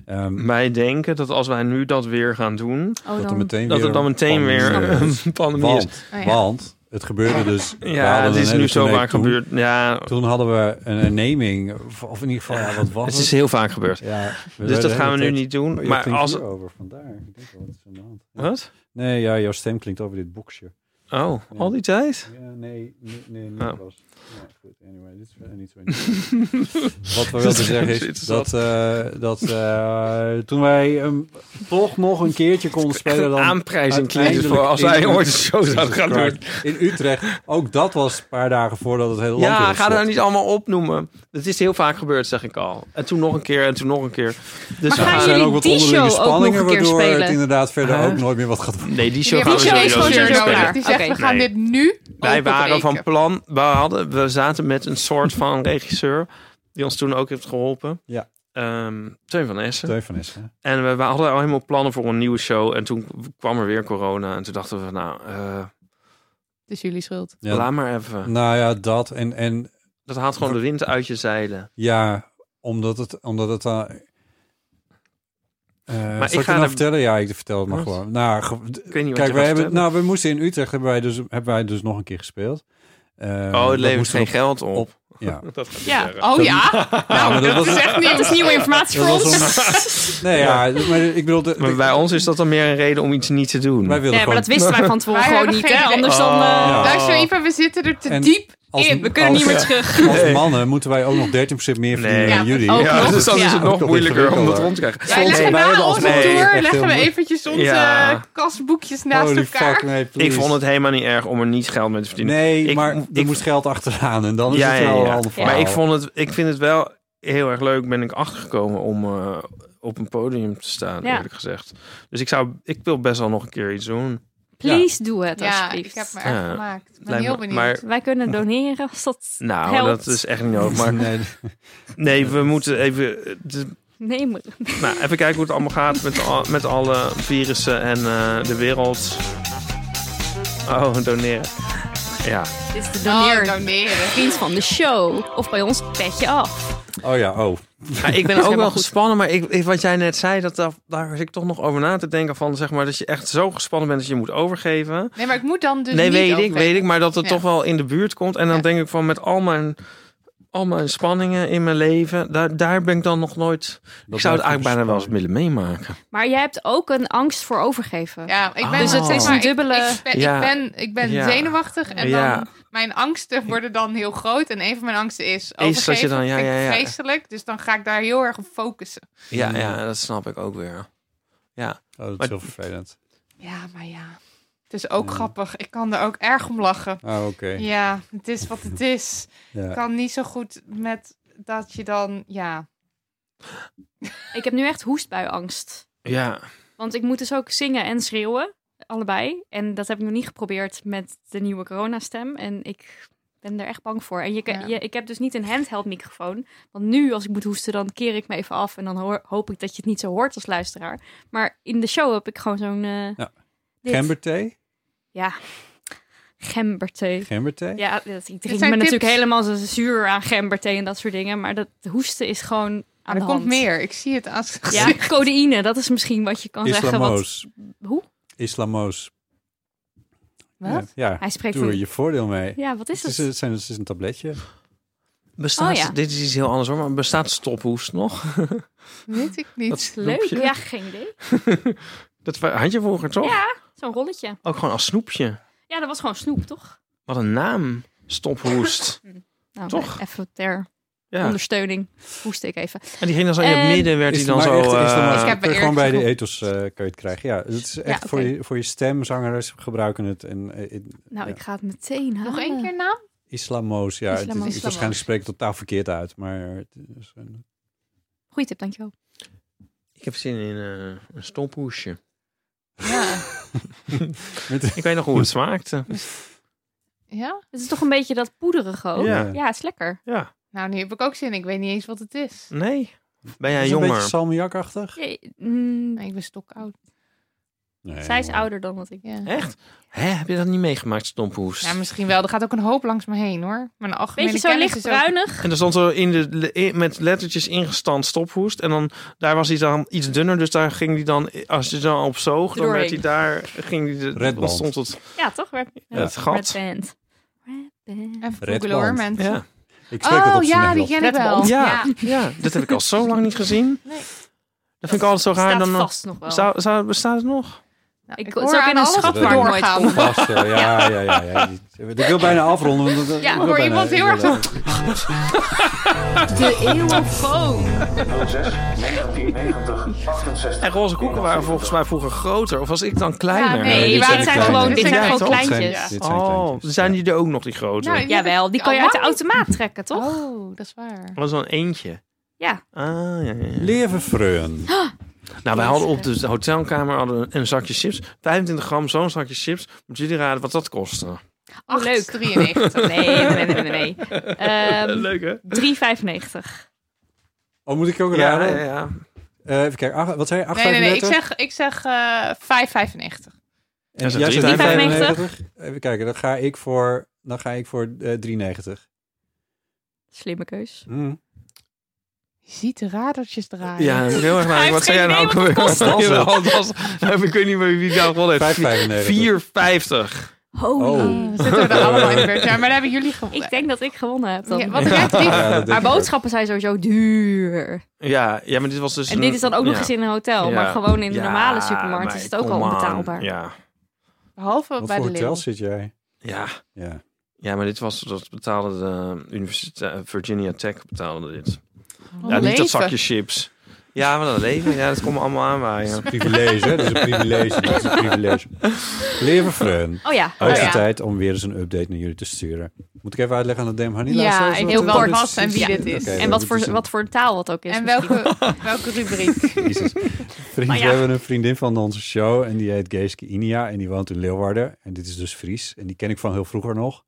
Speaker 2: Ehm,
Speaker 5: Wij denken dat als wij nu dat weer gaan doen,
Speaker 3: Oh,
Speaker 2: dat er
Speaker 3: dan-
Speaker 2: meteen
Speaker 5: dat
Speaker 2: weer
Speaker 5: er dan meteen weer
Speaker 2: pandemie is.
Speaker 5: een pandemie is.
Speaker 2: Want,
Speaker 3: Oh ja.
Speaker 2: want het gebeurde dus. we
Speaker 5: Ja,
Speaker 2: hadden
Speaker 5: het
Speaker 2: een
Speaker 5: is
Speaker 2: hele
Speaker 5: nu zo
Speaker 2: tournee
Speaker 5: vaak
Speaker 2: toen.
Speaker 5: gebeurd. Ja,
Speaker 2: Toen hadden we een herneming, of, of in ieder geval, ja, wat was
Speaker 5: het
Speaker 2: het?
Speaker 5: is heel vaak gebeurd.
Speaker 2: Ja, we
Speaker 5: Dus
Speaker 2: werden
Speaker 5: dat
Speaker 2: de
Speaker 5: gaan
Speaker 2: hele
Speaker 5: we nu
Speaker 2: tijd-
Speaker 5: niet doen.
Speaker 2: Maar,
Speaker 5: Maar als...
Speaker 2: over vandaar. Ik denk wel, wat is aan de hand?
Speaker 5: Wat?
Speaker 2: Nee, ja, jouw stem klinkt over dit boxje.
Speaker 5: Oh,
Speaker 2: Ja.
Speaker 5: al die tijd?
Speaker 2: Ja, nee, nee, nee, niet
Speaker 5: Oh.
Speaker 2: was. Ja, goed, anyway, dit is verder niet zo interessant. Wat we wilden zeggen
Speaker 5: Dit
Speaker 2: is
Speaker 5: is
Speaker 2: dat, eh, dat eh, toen wij hem toch nog een keertje konden spelen
Speaker 5: Een
Speaker 2: dan...
Speaker 5: aanprijzing klinkt het
Speaker 2: uiteindelijk
Speaker 5: voor als
Speaker 2: in-
Speaker 5: wij ooit een show zouden gaan doen.
Speaker 2: Christ, In Utrecht, ook dat was een paar dagen voordat het hele land weer
Speaker 5: Ja,
Speaker 2: op
Speaker 5: ga
Speaker 2: slot
Speaker 5: dat niet allemaal opnoemen. Het is heel vaak gebeurd, zeg ik al. En toen nog een keer, en toen nog een keer. Dus
Speaker 4: Maar gaan
Speaker 2: Er
Speaker 5: ja,
Speaker 4: jullie-
Speaker 2: zijn ook wat
Speaker 4: die
Speaker 2: onderlinge
Speaker 4: show ook nog
Speaker 2: spanningen,
Speaker 4: een keer
Speaker 2: waardoor
Speaker 4: spelen?
Speaker 2: het inderdaad verder
Speaker 5: Huh?
Speaker 2: ook nooit meer wat gaat worden.
Speaker 5: Nee, die show
Speaker 3: Ja,
Speaker 5: gaan we
Speaker 3: die show is
Speaker 5: sowieso
Speaker 3: gewoon
Speaker 4: niet
Speaker 3: zo
Speaker 4: spelen.
Speaker 3: nodig.
Speaker 5: spelen.
Speaker 3: Die zegt,
Speaker 4: Oké.
Speaker 3: we gaan
Speaker 5: Nee.
Speaker 3: dit nu
Speaker 5: Wij waren van
Speaker 3: openbreken.
Speaker 5: plan, we, hadden, we zaten met een soort van regisseur... die ons toen ook heeft geholpen.
Speaker 2: Ja.
Speaker 5: Ehm, Teun van Essen.
Speaker 2: Steun van Essen, hè?
Speaker 5: En we, we hadden al helemaal plannen voor een nieuwe show. En toen kwam er weer corona. En toen dachten we, van, nou, eh,
Speaker 3: Het is jullie schuld.
Speaker 2: Ja,
Speaker 5: laat maar even.
Speaker 2: Nou ja, dat en, en
Speaker 5: Dat haalt gewoon de wind uit je zeilen.
Speaker 2: ja, omdat het, omdat het dan. maar
Speaker 5: ik
Speaker 2: ik
Speaker 5: ga
Speaker 2: ga nou
Speaker 5: er-
Speaker 2: vertellen? Ja, ik vertel het maar
Speaker 5: Wat?
Speaker 2: gewoon. Nou, ge- d-
Speaker 5: Ik weet niet wat
Speaker 2: kijk,
Speaker 5: je
Speaker 2: wij
Speaker 5: gaat
Speaker 2: hebben,
Speaker 5: vertellen.
Speaker 2: nou, we moesten in Utrecht hebben wij dus, hebben wij dus nog een keer gespeeld. Eh,
Speaker 5: oh,
Speaker 2: dat
Speaker 5: het levert
Speaker 2: moesten
Speaker 5: geen
Speaker 2: we
Speaker 5: geld op.
Speaker 2: op- Ja.
Speaker 5: Dat gaat
Speaker 4: Ja.
Speaker 5: ja.
Speaker 3: Oh ja? Nou,
Speaker 2: maar
Speaker 3: dat,
Speaker 2: dat was-
Speaker 3: is echt
Speaker 4: Dat is
Speaker 3: nieuws.
Speaker 4: nieuwe informatie voor
Speaker 2: Dat
Speaker 4: ons.
Speaker 2: was Nee, ja, maar ik bedoel, de-
Speaker 5: Maar bij ons is dat dan meer een reden om iets niet te doen.
Speaker 2: wij wilden
Speaker 4: Nee, maar
Speaker 2: gewoon.
Speaker 4: dat wisten wij van tevoren
Speaker 3: Wij
Speaker 4: gewoon
Speaker 3: hebben
Speaker 4: niet.
Speaker 3: geen
Speaker 4: Hè?
Speaker 3: idee.
Speaker 4: Anders dan... eh,
Speaker 5: Oh.
Speaker 3: Luister even, we zitten er te
Speaker 2: En
Speaker 3: diep
Speaker 2: als-
Speaker 3: in.
Speaker 4: We kunnen
Speaker 2: Als-
Speaker 4: niet meer terug.
Speaker 2: Als mannen moeten wij ook nog 13% meer verdienen
Speaker 5: Nee.
Speaker 2: dan
Speaker 3: Ja,
Speaker 2: jullie.
Speaker 3: ook
Speaker 5: ja,
Speaker 3: nog.
Speaker 5: dus dan is het
Speaker 3: Ja.
Speaker 5: nog
Speaker 2: Ook nog
Speaker 5: moeilijker om dat
Speaker 2: ingewikkelder.
Speaker 5: rond te krijgen.
Speaker 3: Wij
Speaker 2: Soms-
Speaker 3: leggen
Speaker 2: wij
Speaker 3: na
Speaker 2: hebben
Speaker 3: onze
Speaker 5: altijd- Nee,
Speaker 3: tour
Speaker 2: echt
Speaker 3: leggen we
Speaker 2: heel moeilijk.
Speaker 3: eventjes onze
Speaker 5: Ja.
Speaker 3: eh, kastboekjes naast
Speaker 2: Holy
Speaker 3: elkaar.
Speaker 2: fuck, nee,
Speaker 5: Ik
Speaker 2: please.
Speaker 5: vond het helemaal niet erg om er niet geld mee te verdienen.
Speaker 2: Nee,
Speaker 5: Ik-
Speaker 2: maar er
Speaker 5: ik-
Speaker 2: moest geld achteraan en dan is
Speaker 5: Ja,
Speaker 2: het
Speaker 5: ja,
Speaker 2: wel
Speaker 5: ja.
Speaker 2: een ander verhaal.
Speaker 5: Maar ik, vond het, ik vind het wel heel erg leuk, ben ik achtergekomen om eh, op een podium te staan,
Speaker 4: Ja.
Speaker 5: eerlijk gezegd. Dus ik, zou, ik wil best wel nog een keer iets doen.
Speaker 4: Please doe het
Speaker 3: Ja, ik
Speaker 4: alsjeblieft.
Speaker 3: heb me erg
Speaker 5: Ja,
Speaker 3: gemaakt. Ik ben
Speaker 5: lijkt
Speaker 3: heel
Speaker 5: me-
Speaker 3: benieuwd.
Speaker 5: maar-
Speaker 4: Wij kunnen doneren als dat
Speaker 5: Nou,
Speaker 4: helpt.
Speaker 5: dat is echt niet nodig. Maar
Speaker 2: Nee,
Speaker 5: nee, we moeten even... eh, de-
Speaker 4: Nee, maar-
Speaker 5: nou, even kijken hoe het allemaal gaat met, al- met alle virussen en eh, de wereld. Oh, doneren. Ja.
Speaker 4: Dit is de
Speaker 3: Oh,
Speaker 4: doneer.
Speaker 3: doneren.
Speaker 4: Vriend van de show. Of bij ons petje af.
Speaker 2: oh ja, oh.
Speaker 5: Ja, ik ben ook
Speaker 4: helemaal
Speaker 5: wel
Speaker 4: goed.
Speaker 5: gespannen, maar ik, ik- wat jij net zei, dat, daar- daar was ik toch nog over na te denken van, zeg maar, dat je echt zo gespannen bent dat je moet overgeven.
Speaker 3: Nee, maar ik moet dan dus
Speaker 5: nee,
Speaker 3: niet
Speaker 5: weet ik,
Speaker 3: overgeven.
Speaker 5: weet ik, maar dat het
Speaker 3: Ja.
Speaker 5: toch wel in de buurt komt. En dan
Speaker 3: Ja.
Speaker 5: denk ik van, met al mijn, al mijn spanningen in mijn leven, daar, daar ben ik dan nog nooit... ik zou het eigenlijk bijna wel eens willen meemaken.
Speaker 4: Maar jij hebt ook een angst voor overgeven.
Speaker 3: Ja, ik ben
Speaker 5: Dus het
Speaker 3: zeg
Speaker 5: is
Speaker 3: maar,
Speaker 4: een
Speaker 3: ik-
Speaker 4: dubbele-
Speaker 3: Ik, ben,
Speaker 5: Ja.
Speaker 3: ik ben, ik ben
Speaker 5: Ja.
Speaker 3: zenuwachtig en
Speaker 5: Ja.
Speaker 3: dan mijn angsten worden dan heel groot. En een van mijn angsten is
Speaker 5: dat je
Speaker 3: overgeven.
Speaker 5: dan- ja,
Speaker 3: Vind ik
Speaker 5: ja, ja.
Speaker 3: vreselijk. Dus dan ga ik daar heel erg op focussen.
Speaker 5: Ja, ja, dat snap ik ook weer. Ja,
Speaker 2: Oh, dat is
Speaker 5: Maar-
Speaker 2: heel vervelend.
Speaker 3: Ja, maar ja. Het is ook grappig. Ik kan er ook erg om lachen.
Speaker 2: Ah, oké.
Speaker 3: Ja, het is wat het is. Ik
Speaker 2: Ja.
Speaker 3: kan niet zo goed met dat je dan... Ja,
Speaker 4: Ik heb nu echt hoestbuiangst.
Speaker 5: ja.
Speaker 4: Want ik moet dus ook zingen en schreeuwen. Allebei. En dat heb ik nog niet geprobeerd met de nieuwe coronastem. En ik ben er echt bang voor. En je, kan-
Speaker 3: Ja.
Speaker 4: je, ik heb dus niet een handheld microfoon. Want nu, als ik moet hoesten, dan keer ik me even af. En dan hoor- hoop ik dat je het niet zo hoort als luisteraar. Maar in de show heb ik gewoon zo'n... eh
Speaker 2: Ja.
Speaker 4: dit.
Speaker 2: Gemberthee?
Speaker 4: Ja. Gemberthee.
Speaker 2: Gemberthee?
Speaker 4: Ja, dat, ik
Speaker 3: zijn
Speaker 4: drink me natuurlijk
Speaker 3: tips.
Speaker 4: helemaal zo zuur aan gemberthee en dat soort dingen. Maar dat hoesten is gewoon aan
Speaker 3: maar Ah, er
Speaker 4: de
Speaker 3: komt
Speaker 4: hand.
Speaker 3: meer. Ik zie het aan zijn
Speaker 4: Ja,
Speaker 3: gezicht.
Speaker 4: codeïne, dat is misschien wat je kan
Speaker 2: Islamoos.
Speaker 4: zeggen. Wat, hoe?
Speaker 2: Islamoos.
Speaker 3: Wat?
Speaker 2: Ja, ja.
Speaker 4: Hij spreekt
Speaker 2: doe er
Speaker 4: van-
Speaker 2: je voordeel mee.
Speaker 4: Ja, wat is
Speaker 2: Het is,
Speaker 4: het?
Speaker 2: een- het zijn, het is een tabletje.
Speaker 5: Bestaat,
Speaker 4: Oh, ja.
Speaker 5: Dit is iets heel anders hoor, maar bestaat stophoest nog?
Speaker 3: Weet ik niet.
Speaker 5: Dat
Speaker 4: Leuk.
Speaker 5: snoepje?
Speaker 4: Ja, geen idee.
Speaker 5: Dat had je vroeger toch?
Speaker 4: Ja, zo'n rolletje.
Speaker 5: Ook gewoon als snoepje.
Speaker 4: Ja, dat was gewoon snoep, toch?
Speaker 5: Wat een naam. Stophoest.
Speaker 4: Nou,
Speaker 5: Toch?
Speaker 4: Even ter
Speaker 5: Ja.
Speaker 4: ondersteuning. Hoest ik even.
Speaker 5: En die ging dan zo in het
Speaker 4: En-
Speaker 5: midden, werd hij
Speaker 2: Is-
Speaker 5: dan
Speaker 2: maar
Speaker 5: zo...
Speaker 2: echt, is dan
Speaker 5: eh,
Speaker 2: maar-
Speaker 3: Ik heb
Speaker 2: kun je
Speaker 3: er
Speaker 2: gewoon bij
Speaker 3: eerlijk
Speaker 2: de ethos eh, kun je het krijgen. Ja, het is echt
Speaker 4: oké.
Speaker 2: voor, je, voor je stem. Zangers gebruiken het. En, eh, in-
Speaker 4: Nou,
Speaker 2: Ja.
Speaker 4: ik ga het meteen halen.
Speaker 3: Nog één keer naam?
Speaker 2: Islamoos, ja. Het,
Speaker 4: Islamoos.
Speaker 2: het is waarschijnlijk spreek ik totaal verkeerd uit. Maar het is een-
Speaker 4: Goeie tip, dankjewel.
Speaker 5: Ik heb zin in eh, een stophoesje.
Speaker 3: Ja.
Speaker 2: met-
Speaker 5: Ik weet nog hoe het smaakte.
Speaker 3: ja?
Speaker 4: Het is toch een beetje dat poederige ook?
Speaker 5: Ja.
Speaker 4: ja het is lekker.
Speaker 5: Ja.
Speaker 3: Nou, nu heb ik ook zin. Ik weet niet eens wat het is.
Speaker 5: Nee. Ben jij
Speaker 2: is een beetje
Speaker 5: jonger?
Speaker 2: salmiakachtig.
Speaker 4: Je- mm,
Speaker 3: Nee, ik ben stokoud.
Speaker 2: Nee,
Speaker 4: Zij is
Speaker 2: jongen.
Speaker 4: ouder dan wat ik.
Speaker 3: Ja.
Speaker 5: Echt? Hè, heb je dat niet meegemaakt, stompoes?
Speaker 3: Ja, misschien wel. Er gaat ook een hoop langs me heen, hoor. Mijn algemene
Speaker 4: Beetje zo
Speaker 3: kennis is ook-
Speaker 4: lichtbruinig.
Speaker 5: En er stond zo in de, le- in- met lettertjes ingestand stophoest. En dan, daar was hij dan iets dunner. Dus daar ging hij dan, als je dan op zoog, dan werd hij
Speaker 4: Doorheen.
Speaker 5: daar, ging hij de,
Speaker 2: Red Band.
Speaker 5: ontstond het,
Speaker 4: Ja, toch? Red,
Speaker 5: het gat.
Speaker 4: Red Band. Red Band.
Speaker 3: Even
Speaker 2: Red
Speaker 3: googelen, hoor,
Speaker 2: band.
Speaker 3: mensen.
Speaker 5: Ja.
Speaker 2: Ik spreek dat
Speaker 3: Oh
Speaker 2: op z'n
Speaker 3: ja, die
Speaker 2: Nederlands.
Speaker 3: ken ik wel.
Speaker 4: Redband.
Speaker 5: Ja. ja, dat heb ik al zo lang niet gezien.
Speaker 3: Nee.
Speaker 5: Dat vind ik altijd zo raar.
Speaker 4: Staat
Speaker 5: dan, eh,
Speaker 4: vast nog wel.
Speaker 5: Zou, zou, bestaat het nog?
Speaker 3: Nou,
Speaker 4: Ik-
Speaker 3: ik
Speaker 4: het
Speaker 3: hoor
Speaker 4: is ook in
Speaker 3: aan
Speaker 4: een
Speaker 3: alles
Speaker 4: schat
Speaker 3: wat we
Speaker 2: waar nooit
Speaker 3: doorgaan.
Speaker 2: Vast, eh, ja, ja, ja. ja. Die- Ik wil bijna afronden. Want dat-
Speaker 4: Ja,
Speaker 2: ik wil
Speaker 3: hoor
Speaker 2: bijna-
Speaker 3: iemand heel
Speaker 2: ik wil-
Speaker 1: De eeuwofoon.
Speaker 6: 06 1990 68.
Speaker 5: En roze koeken waren volgens mij vroeger groter. Of was ik dan kleiner?
Speaker 3: nee,
Speaker 2: dit
Speaker 4: die
Speaker 2: zijn
Speaker 4: waren-
Speaker 2: de
Speaker 4: zijn
Speaker 2: kleine.
Speaker 4: gewoon, dit
Speaker 3: Dit
Speaker 4: zijn
Speaker 3: zijn
Speaker 4: gewoon
Speaker 3: kleintjes.
Speaker 4: kleintjes.
Speaker 3: Ja.
Speaker 2: Dit zijn
Speaker 5: Oh,
Speaker 2: kleintjes,
Speaker 5: zijn
Speaker 2: ja.
Speaker 5: die er ook nog, die grote?
Speaker 3: Nou, die heb
Speaker 4: Jawel,
Speaker 3: ik
Speaker 4: die kan je uit
Speaker 3: allemaal
Speaker 4: de automaat trekken, toch?
Speaker 3: Oh, dat is waar.
Speaker 5: Dat was wel een eentje.
Speaker 4: Ja.
Speaker 5: Ah, ja, ja, ja.
Speaker 2: Leven freun.
Speaker 5: Nou, wij hadden op de hotelkamer hadden we een zakje chips. 25 gram, zo'n zakje chips. Moeten jullie raden wat dat kostte?
Speaker 4: Oh, leuk.
Speaker 3: 93.
Speaker 4: Nee, nee, nee, nee. nee. Ehm,
Speaker 5: Leuk, hè?
Speaker 4: 3,95.
Speaker 2: Oh, moet ik ook
Speaker 5: Ja,
Speaker 2: raden?
Speaker 5: ja, ja.
Speaker 2: Eh, even kijken, ach- wat zei je? 8,35?
Speaker 3: Nee, nee, nee. Ik zeg, ik zeg eh 5,95.
Speaker 2: En
Speaker 5: Ja,
Speaker 2: jij
Speaker 5: zo'n
Speaker 2: zegt
Speaker 4: 3,95.
Speaker 2: 3,95. Even kijken, dan ga ik voor, dan ga ik voor eh, 3,90.
Speaker 4: Slimme keus.
Speaker 2: Hm.
Speaker 3: Je ziet de radertjes draaien. Oh,
Speaker 5: Ja, dat moet ik heel erg
Speaker 4: Hij heeft
Speaker 5: nadenken. Wat zei jij
Speaker 4: geen
Speaker 5: nou ook
Speaker 4: idee wat het
Speaker 5: alweer?
Speaker 2: kost.
Speaker 5: Jawel, dat was- Ik nou weet niet meer wie daar gewonnen heeft.
Speaker 2: 5,95.
Speaker 5: 4,50.
Speaker 4: Holy.
Speaker 2: Oh.
Speaker 3: We zitten er allemaal in de beurt. Ja, maar daar hebben jullie gewonnen.
Speaker 4: Ik denk dat ik gewonnen heb dan.
Speaker 3: Ja, want jij hebt drie-
Speaker 2: Ja, dat denk
Speaker 4: maar
Speaker 2: ik ook.
Speaker 4: boodschappen zijn sowieso duur.
Speaker 5: Ja, ja, maar dit was dus...
Speaker 4: En dit is dan ook nog
Speaker 5: ja.
Speaker 4: eens in een hotel.
Speaker 5: Ja.
Speaker 4: Maar gewoon in de
Speaker 5: Ja,
Speaker 4: normale supermarkt
Speaker 5: maar
Speaker 4: is het ook
Speaker 5: kom
Speaker 4: al
Speaker 5: aan.
Speaker 4: onbetaalbaar.
Speaker 5: Ja.
Speaker 3: Behalve
Speaker 2: Wat
Speaker 3: bij
Speaker 2: voor
Speaker 3: de
Speaker 2: hotel
Speaker 3: Lidl.
Speaker 2: zit jij?
Speaker 5: ja,
Speaker 2: Ja.
Speaker 5: ja, maar dit was... Dat betaalde de universiteit... Virginia Tech betaalde dit.
Speaker 3: Wat
Speaker 5: ja,
Speaker 3: een
Speaker 5: niet dat
Speaker 3: leven.
Speaker 5: zakje chips. Ja, wat een leven. Ja, dat komt me allemaal aanwaaien.
Speaker 2: Privilege, hè? Dat is een privilege. Dat is een privilege. Lieve Freun,
Speaker 4: Oh ja.
Speaker 2: het is de
Speaker 3: ja.
Speaker 2: tijd om weer eens een update naar jullie te sturen. Moet ik even uitleggen aan de Dame Hanila?
Speaker 3: Ja,
Speaker 2: zelfs
Speaker 3: ik
Speaker 2: wat
Speaker 3: wil
Speaker 2: er
Speaker 3: wel
Speaker 2: dus-
Speaker 3: vast en wie dit is.
Speaker 2: Oké,
Speaker 4: En wat
Speaker 2: we
Speaker 4: voor,
Speaker 2: moeten-
Speaker 4: wat voor taal dat ook is.
Speaker 3: En
Speaker 4: misschien.
Speaker 3: welke, welke rubriek?
Speaker 2: Jezus. Vriend,
Speaker 4: Maar ja.
Speaker 2: We hebben een vriendin van onze show en die heet Geeske Inia en die woont in Leeuwarden. En dit is dus Fries en die ken ik van heel vroeger nog.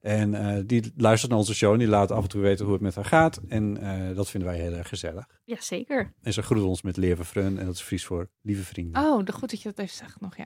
Speaker 2: En eh, die luistert naar onze show en die laat af en toe weten hoe het met haar gaat. En eh, dat vinden wij heel erg gezellig.
Speaker 4: Ja, zeker.
Speaker 2: En ze groet ons met Leven Frun en dat is Fries voor lieve vrienden.
Speaker 3: Oh, de- goed dat je dat even zegt nog, ja.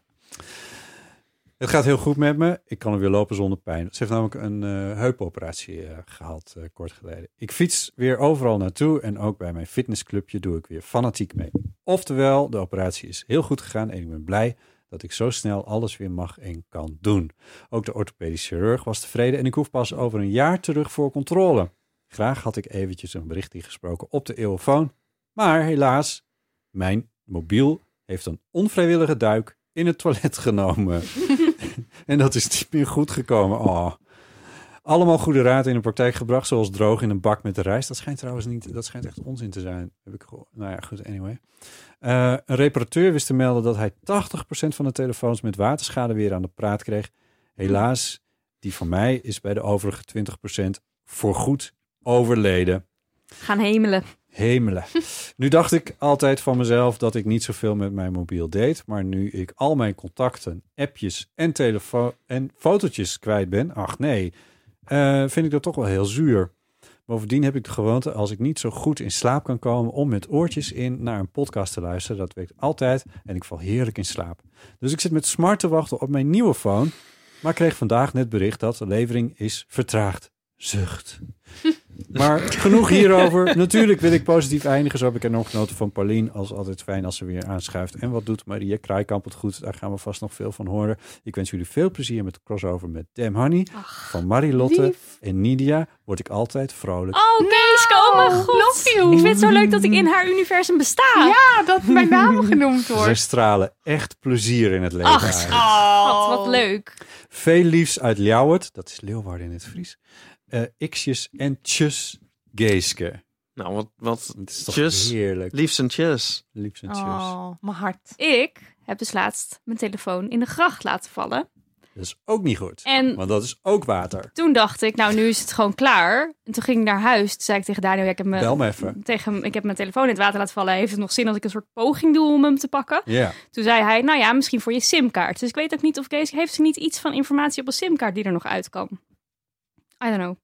Speaker 2: Het gaat heel goed met me. Ik kan er weer lopen zonder pijn. Ze heeft namelijk een eh, heupoperatie eh, gehad eh, kort geleden. Ik fiets weer overal naartoe en ook bij mijn fitnessclubje doe ik weer fanatiek mee. Oftewel, de operatie is heel goed gegaan en ik ben blij dat ik zo snel alles weer mag en kan doen. Ook de orthopedische chirurg was tevreden en ik hoef pas over een jaar terug voor controle. Graag had ik eventjes een bericht ingesproken op de eeuwfoon, maar helaas, mijn mobiel heeft een onvrijwillige duik in het toilet genomen. En dat is niet meer goed gekomen. Oh. Allemaal goede raad in de praktijk gebracht, zoals droog in een bak met de rijst. Dat schijnt trouwens niet, dat schijnt echt onzin te zijn. Heb ik gehoord. Nou ja, goed, anyway. Eh, een reparateur wist te melden dat hij 80% van de telefoons met waterschade weer aan de praat kreeg. Helaas, die van mij is bij de overige 20% voorgoed overleden.
Speaker 4: Gaan hemelen.
Speaker 2: Hemelen. nu dacht ik altijd van mezelf dat ik niet zoveel met mijn mobiel deed. Maar nu ik al mijn contacten, appjes en, telefo- en fotootjes kwijt ben, ach nee, eh, vind ik dat toch wel heel zuur. Bovendien heb ik de gewoonte, als ik niet zo goed in slaap kan komen, om met oortjes in naar een podcast te luisteren. Dat werkt altijd en ik val heerlijk in slaap. Dus ik zit met smart te wachten op mijn nieuwe phone. Maar kreeg vandaag net bericht dat de levering is vertraagd. Zucht. Maar genoeg hierover. Natuurlijk wil ik positief eindigen. Zo heb ik enorm genoten van Pauline. Als altijd fijn als ze weer aanschuift. En wat doet Maria Kraaikamp het goed? Daar gaan we vast nog veel van horen. Ik wens jullie veel plezier met de crossover met Dem Honey. van Marilotte en Nidia word ik altijd vrolijk.
Speaker 4: Oh, Geeske, oh mijn god.
Speaker 3: love you.
Speaker 4: Ik vind het zo leuk dat ik in haar universum besta.
Speaker 3: Ja, dat mijn naam genoemd
Speaker 2: Zij
Speaker 3: wordt.
Speaker 2: stralen echt plezier in het leven
Speaker 4: Ach,
Speaker 2: uit.
Speaker 3: Oh.
Speaker 4: Wat, wat leuk.
Speaker 2: Veel liefs uit Ljouwert. Dat is Leeuwarden in het Fries. Eh X'jes en tjus Geeske.
Speaker 5: Nou, wat... wat
Speaker 2: Het is toch
Speaker 5: Tjus.
Speaker 2: heerlijk.
Speaker 5: liefst en cheers.
Speaker 2: Liefs en tjus.
Speaker 3: Oh, mijn hart.
Speaker 4: Ik heb dus laatst mijn telefoon in de gracht laten vallen.
Speaker 2: Dat is ook niet goed.
Speaker 4: En
Speaker 2: Want dat is ook water.
Speaker 4: toen dacht ik, nou nu is het gewoon klaar. En toen ging ik naar huis. Toen zei ik tegen Daniel, ja, ik heb mijn,
Speaker 2: Bel me even.
Speaker 4: tegen, hem- ik heb mijn telefoon in het water laten vallen. Heeft het nog zin dat ik een soort poging doe om hem te pakken?
Speaker 2: Ja.
Speaker 4: Toen zei hij, nou ja, misschien voor je simkaart. Dus ik weet ook niet of Kees, heeft ze niet iets van informatie op een simkaart die er nog uit kan? I don't know.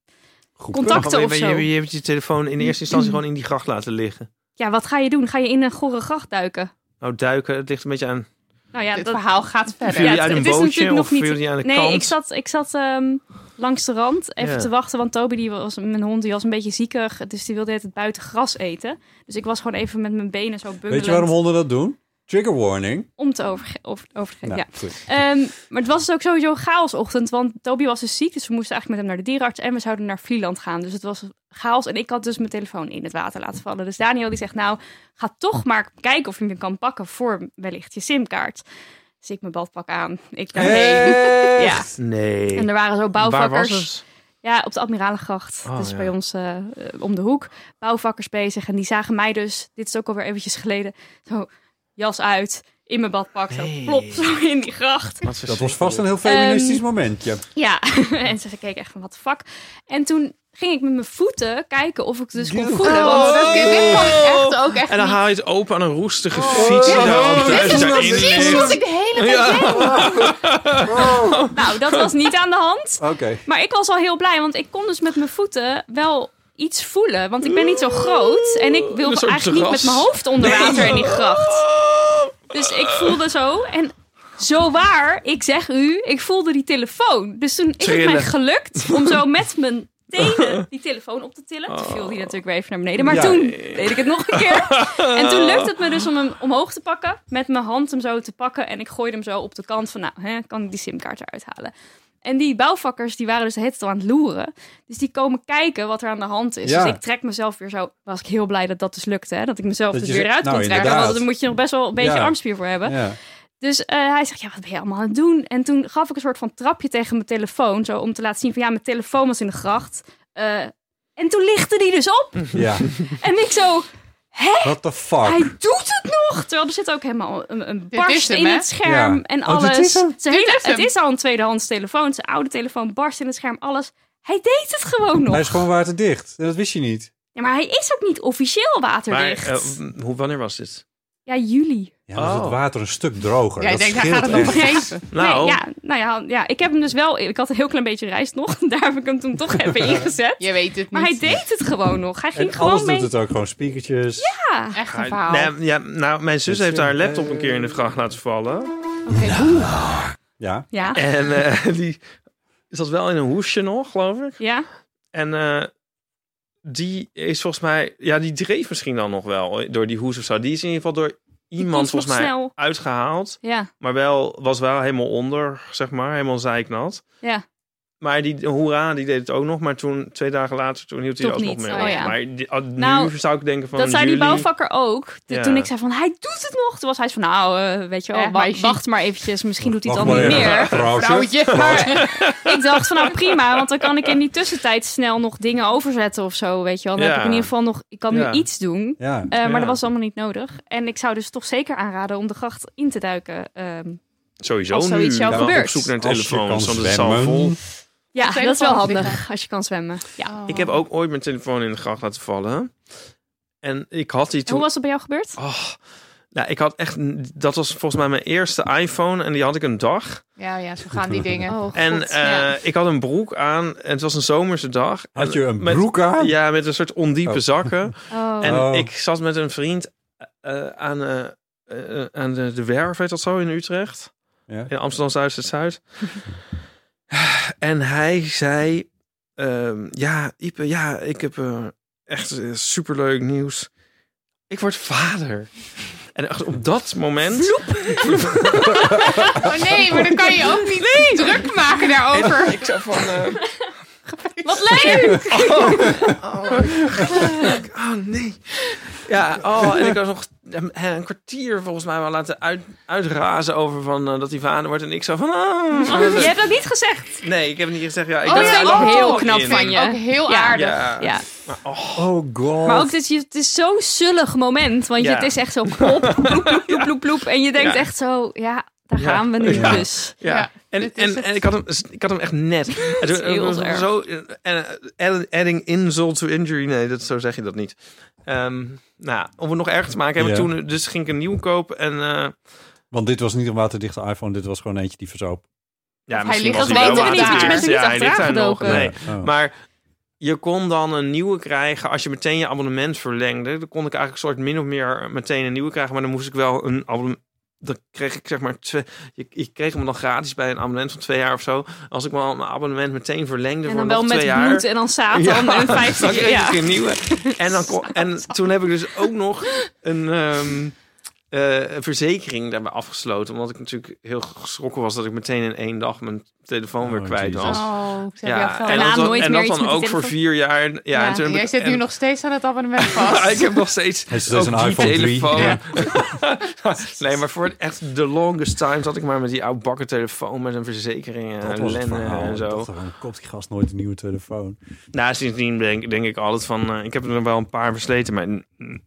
Speaker 2: Goed
Speaker 4: Contact. Contacten
Speaker 5: Maar
Speaker 4: of
Speaker 5: je,
Speaker 4: zo.
Speaker 5: Je, je hebt je telefoon in eerste instantie gewoon in die gracht laten liggen.
Speaker 4: Ja, wat ga je doen? Ga je in een gore gracht duiken?
Speaker 5: Nou, duiken, het ligt een beetje aan...
Speaker 4: Nou ja,
Speaker 3: Dit
Speaker 4: dat...
Speaker 3: verhaal gaat verder.
Speaker 5: Viel je
Speaker 4: Ja,
Speaker 5: uit
Speaker 4: het-
Speaker 5: een
Speaker 4: het is
Speaker 5: bootje
Speaker 4: natuurlijk nog
Speaker 5: of
Speaker 4: niet-
Speaker 5: viel je aan de
Speaker 4: nee,
Speaker 5: kant?
Speaker 4: ik zat, ik zat ehm, langs de rand even
Speaker 5: Ja.
Speaker 4: te wachten. Want Toby, die was, mijn hond, die was een beetje ziekig. Dus die wilde het buiten gras eten. Dus ik was gewoon even met mijn benen zo bungelend
Speaker 2: Weet je waarom honden dat doen? Trigger warning.
Speaker 4: om te overge over overgeven.
Speaker 2: Nou,
Speaker 4: ja.
Speaker 2: goed.
Speaker 4: Ehm, maar het was dus ook sowieso een chaosochtend, want Toby was dus ziek, dus we moesten eigenlijk met hem naar de dierenarts en we zouden naar Vlieland gaan. Dus het was chaos en ik had dus mijn telefoon in het water laten vallen. Dus Daniel die zegt, nou, ga toch maar kijken of je hem kan pakken voor wellicht je simkaart. Dus ik mijn badpak aan, ik daarheen. Ja,
Speaker 5: Nee.
Speaker 4: en er waren zo
Speaker 5: Waar was
Speaker 4: bouwvakkers.
Speaker 5: het?
Speaker 4: Ja, op de Admiralengracht.
Speaker 5: Oh,
Speaker 4: dat is
Speaker 5: ja.
Speaker 4: bij ons eh, eh, om de hoek. Bouwvakkers bezig. En die zagen mij dus, dit is ook alweer eventjes geleden, zo jas uit, in mijn badpak, zo
Speaker 5: Nee.
Speaker 4: plop, zo in die gracht.
Speaker 5: Wat
Speaker 2: Dat was
Speaker 5: verschrikkelijk.
Speaker 2: vast een heel feministisch
Speaker 4: Ehm,
Speaker 2: momentje.
Speaker 4: Ja, en ze keek echt van, wat fuck. En toen ging ik met mijn voeten kijken of ik dus kon
Speaker 2: Dude.
Speaker 4: voelen.
Speaker 3: Oh,
Speaker 4: Want
Speaker 3: dat- dit kan echt ook echt
Speaker 5: En dan
Speaker 3: niet.
Speaker 5: haal je het open aan een roestige
Speaker 4: Oh.
Speaker 5: fiets.
Speaker 2: Ja,
Speaker 5: die
Speaker 2: dit
Speaker 5: daar al thuis
Speaker 2: is
Speaker 5: daarin
Speaker 2: precies
Speaker 5: ligt.
Speaker 2: wat
Speaker 3: Dat ik de hele tijd
Speaker 5: Ja.
Speaker 4: nou, dat was niet aan de hand.
Speaker 2: Oké.
Speaker 4: Maar ik was al heel blij, want ik kon dus met mijn voeten wel iets voelen. Want ik ben niet zo groot en ik
Speaker 5: Een
Speaker 4: wilde
Speaker 5: soort
Speaker 4: eigenlijk niet met
Speaker 5: terras.
Speaker 4: mijn hoofd onder water in die gracht. Dus ik voelde zo en... Zo waar, ik zeg u, ik voelde die telefoon. Dus toen is het mij
Speaker 5: Trillen.
Speaker 4: gelukt om zo met mijn tenen die telefoon op te tillen. Toen viel die natuurlijk weer even naar beneden. Maar
Speaker 2: Oh. Ja.
Speaker 4: toen deed ik het nog een keer. En toen lukte het me dus om hem omhoog te pakken. Met mijn hand hem zo te pakken. En ik gooide hem zo op de kant van, nou, hè, kan ik die simkaart eruit halen? En die bouwvakkers die waren dus de hele tijd al aan het loeren. Dus die komen kijken wat er aan de hand is.
Speaker 2: Ja.
Speaker 4: Dus ik trek mezelf weer zo. Was ik heel blij dat dat dus lukte. Hè? Dat ik mezelf
Speaker 2: Dat
Speaker 4: dus
Speaker 2: je
Speaker 4: weer
Speaker 2: ze-
Speaker 4: eruit
Speaker 2: nou,
Speaker 4: kon trekken.
Speaker 2: inderdaad.
Speaker 4: Want daar moet je nog best wel een beetje
Speaker 2: Ja.
Speaker 4: armspier voor hebben.
Speaker 2: Ja.
Speaker 4: Dus eh, hij zegt, ja, wat ben je allemaal aan het doen? En toen gaf ik een soort van trapje tegen mijn telefoon. Zo om te laten zien van, ja, mijn
Speaker 2: Mm.
Speaker 4: telefoon was in de gracht. Eh, en toen lichtte die dus op.
Speaker 2: ja.
Speaker 4: En ik zo,
Speaker 2: What the
Speaker 4: Hij
Speaker 2: fuck?
Speaker 4: doet het nog! Terwijl er zit ook helemaal een, een
Speaker 3: Dit is
Speaker 4: barst
Speaker 3: hem,
Speaker 4: in
Speaker 3: hè?
Speaker 4: het scherm
Speaker 2: Ja.
Speaker 4: en
Speaker 2: Oh, dit
Speaker 4: alles.
Speaker 2: is hem?
Speaker 4: Zijn
Speaker 3: Dit
Speaker 4: hele-
Speaker 3: is hem.
Speaker 4: het is al een tweedehands telefoon. Zijn oude telefoon barst in het scherm, alles. Hij deed het gewoon nog.
Speaker 2: Hij is gewoon waterdicht. En dat wist je niet.
Speaker 4: Ja, maar hij is ook niet officieel
Speaker 5: Maar
Speaker 4: waterdicht.
Speaker 5: eh, hoe, wanneer was dit?
Speaker 4: ja, juli.
Speaker 2: Ja, dan is het
Speaker 5: Oh.
Speaker 2: water een stuk droger.
Speaker 3: Jij
Speaker 2: dat
Speaker 3: denkt, hij
Speaker 2: scheelt
Speaker 3: gaat het nog
Speaker 2: echt.
Speaker 3: begeven.
Speaker 5: Nou,
Speaker 4: Nee, ja, nou ja, ja, ik heb hem dus wel... Ik had een heel klein beetje rijst nog. Daar heb ik hem toen toch even ingezet.
Speaker 3: Je weet het niet.
Speaker 4: Maar hij deed het gewoon nog. Hij ging
Speaker 2: En alles
Speaker 4: gewoon mee.
Speaker 2: doet het ook. Gewoon speakertjes.
Speaker 4: Ja.
Speaker 3: Echt een
Speaker 5: Ja,
Speaker 3: verhaal.
Speaker 5: nee, ja, nou, mijn zus
Speaker 2: Dat
Speaker 5: heeft haar
Speaker 2: vind ik,
Speaker 5: laptop een keer in de vracht laten vallen.
Speaker 2: Ja.
Speaker 4: Ja.
Speaker 5: En eh, die zat wel in een hoesje nog, geloof ik.
Speaker 4: Ja.
Speaker 5: En eh, die is volgens mij... Ja, die dreef misschien dan nog wel door die hoes of zo. Die is in ieder geval door iemand
Speaker 4: komt nog
Speaker 5: volgens mij
Speaker 4: snel.
Speaker 5: uitgehaald.
Speaker 4: Ja.
Speaker 5: Maar wel, was wel helemaal onder, zeg maar. Helemaal zeiknat.
Speaker 4: Ja.
Speaker 5: Maar die hoera, die deed het ook nog. Maar toen, twee dagen later, toen hield hij
Speaker 4: Toch
Speaker 5: er ook
Speaker 4: niet.
Speaker 5: nog mee.
Speaker 4: Oh,
Speaker 5: op.
Speaker 4: ja.
Speaker 5: Maar die- ah, nu
Speaker 4: Nou,
Speaker 5: zou ik denken van
Speaker 4: dat zei die
Speaker 5: jullie-
Speaker 4: bouwvakker ook. De-
Speaker 5: Ja.
Speaker 4: Toen ik zei van, hij doet het nog. Toen was hij zo van, nou, eh, weet je wel,
Speaker 3: Eh,
Speaker 4: wa-
Speaker 3: meisje.
Speaker 4: wacht maar eventjes. Misschien doet hij het
Speaker 2: Wacht
Speaker 4: al niet
Speaker 2: maar even.
Speaker 4: meer.
Speaker 2: Vrouwtje.
Speaker 3: Vrouwtje. Maar,
Speaker 4: Ik dacht van, nou prima, want dan kan ik in die tussentijd snel nog dingen overzetten of zo, weet je wel. Dan heb
Speaker 5: Ja.
Speaker 4: ik in ieder geval nog, ik kan
Speaker 5: Ja.
Speaker 4: nu iets doen.
Speaker 2: Ja.
Speaker 4: Eh, maar
Speaker 5: Ja.
Speaker 4: dat was allemaal niet nodig. En ik zou dus toch zeker aanraden om de gracht in te duiken. Ehm,
Speaker 5: Sowieso
Speaker 4: Als zoiets
Speaker 5: nu
Speaker 4: jou
Speaker 5: wel
Speaker 4: gebeurt.
Speaker 5: op zoek naar
Speaker 2: Als je kan
Speaker 5: telefoons, want het is al
Speaker 2: zwemmen.
Speaker 5: vol.
Speaker 4: ja,
Speaker 3: telefoon
Speaker 4: dat is wel handig
Speaker 3: liggen.
Speaker 4: als je kan zwemmen. Ja.
Speaker 3: Oh.
Speaker 5: Ik heb ook ooit mijn telefoon in de gracht laten vallen. En ik had die
Speaker 4: En hoe
Speaker 5: toen...
Speaker 4: was dat bij jou gebeurd?
Speaker 5: Oh, nou, ik had echt... Dat was volgens mij mijn eerste iPhone en die had ik een dag.
Speaker 3: Ja, ja, zo gaan die dingen.
Speaker 4: Oh, god.
Speaker 5: En eh,
Speaker 4: ja.
Speaker 5: ik had een broek aan en het was een zomerse dag.
Speaker 2: Had je een
Speaker 5: Met-
Speaker 2: broek aan?
Speaker 5: Ja, met een soort ondiepe
Speaker 2: Oh.
Speaker 5: zakken.
Speaker 4: Oh.
Speaker 5: En
Speaker 2: Oh.
Speaker 5: ik zat met een vriend eh, aan, eh, eh, aan de, de werf, heet dat zo, in Utrecht.
Speaker 2: Ja.
Speaker 5: In Amsterdam Zuid-Zuid. en hij zei: ehm, Ja, Ipe, ja, ik heb eh, echt eh, superleuk nieuws. Ik word vader. En echt op dat moment.
Speaker 3: Oh nee, maar dan kan je ook niet druk maken daarover.
Speaker 5: Ik zo van. eh,
Speaker 4: Wat leuk!
Speaker 5: Oh nee. Ja, oh, en ik was nog eh, een kwartier volgens mij wel laten uit, uitrazen over van, eh, dat hij vader wordt. En ik zo van... ah.
Speaker 4: Je hebt dat niet gezegd.
Speaker 5: Nee, ik heb niet gezegd. Ja, ik
Speaker 3: Oh,
Speaker 5: ben
Speaker 3: dat
Speaker 5: er
Speaker 3: vind ik
Speaker 5: nog
Speaker 3: ook
Speaker 5: wel
Speaker 4: heel knap
Speaker 5: in.
Speaker 4: van je.
Speaker 3: Ook heel
Speaker 4: Ja.
Speaker 3: aardig.
Speaker 5: Ja.
Speaker 4: Ja.
Speaker 5: Maar, oh,
Speaker 2: Oh god.
Speaker 4: Maar ook, dit, je- het is zo'n zullig moment. Want je-
Speaker 5: Ja.
Speaker 4: het is echt zo plop, ploep, ploep, ploep, ploep, ploep. En je denkt
Speaker 5: Ja.
Speaker 4: echt zo, ja, daar
Speaker 5: Ja.
Speaker 4: gaan we nu
Speaker 5: Ja.
Speaker 4: dus.
Speaker 5: ja.
Speaker 3: Ja,
Speaker 5: en
Speaker 3: dit is
Speaker 5: en,
Speaker 3: het.
Speaker 5: en ik, had hem, ik had hem echt net. En toen-
Speaker 4: heel
Speaker 5: was
Speaker 4: erg.
Speaker 5: zo, en, eh, adding insult to injury. Nee, dat, zo zeg je dat niet. Ehm, nou, om het nog erger te maken hebben.
Speaker 2: Ja.
Speaker 5: Toen, dus ging ik een nieuw kopen. En, eh,
Speaker 2: Want dit was niet een waterdichte iPhone. Dit was gewoon eentje die verzoop.
Speaker 5: ja,
Speaker 3: hij
Speaker 5: misschien
Speaker 3: ligt
Speaker 5: was
Speaker 3: nog
Speaker 5: wel
Speaker 3: weten we niet, want je
Speaker 5: waterdicht.
Speaker 4: bent er
Speaker 5: Ja,
Speaker 4: niet
Speaker 5: hij ligt
Speaker 4: achteraan
Speaker 5: daar nog.
Speaker 4: gedoken.
Speaker 5: Nee.
Speaker 2: Ja. Oh.
Speaker 5: Maar je kon dan een nieuwe krijgen als je meteen je abonnement verlengde. Dan kon ik eigenlijk een soort min of meer meteen een nieuwe krijgen. Maar dan moest ik wel een abonnement... Dan kreeg ik zeg maar twee... Je, je kreeg hem dan gratis bij een abonnement van twee jaar of zo. Als ik wel mijn abonnement meteen verlengde
Speaker 4: En
Speaker 5: voor
Speaker 4: dan wel
Speaker 5: nog
Speaker 4: met
Speaker 5: twee jaar...
Speaker 4: bloed en dan Satan en
Speaker 5: dan
Speaker 4: 50
Speaker 5: kreeg
Speaker 4: ja.
Speaker 5: ik een nieuwe. En, dan kon- en toen heb ik dus ook nog een... ehm, eh, een verzekering daarbij afgesloten. Omdat ik natuurlijk heel geschrokken was dat ik meteen in één dag mijn telefoon weer
Speaker 2: Oh,
Speaker 5: kwijt
Speaker 2: jezus.
Speaker 5: was.
Speaker 3: Oh, ik zeg
Speaker 5: Ja,
Speaker 3: ja,
Speaker 5: en
Speaker 4: Daarna
Speaker 5: dat, dan-
Speaker 4: nooit
Speaker 5: en
Speaker 4: meer
Speaker 5: dat
Speaker 4: iets
Speaker 5: dan
Speaker 4: met die
Speaker 5: ook voor
Speaker 4: telefoon.
Speaker 5: vier jaar. Ja,
Speaker 4: Ja,
Speaker 5: en toen heb
Speaker 3: Jij
Speaker 5: ik-
Speaker 3: zit nu
Speaker 5: en-
Speaker 3: nog steeds aan het abonnement vast.
Speaker 5: ik heb nog steeds
Speaker 2: Hij is dus
Speaker 5: ook
Speaker 2: een
Speaker 5: die
Speaker 2: iPhone 3.
Speaker 5: telefoon.
Speaker 2: Ja.
Speaker 5: nee, maar voor echt de longest time zat ik maar met die oude bakken telefoon met een verzekering
Speaker 2: Dat
Speaker 5: en
Speaker 2: was het
Speaker 5: lennen
Speaker 2: verhaal.
Speaker 5: en
Speaker 2: Ik
Speaker 5: zo.
Speaker 2: dacht gewoon, Kopt die gast nooit een nieuwe telefoon.
Speaker 5: Nou, sindsdien denk, denk ik altijd van, eh, ik heb er wel een paar versleten, maar mm,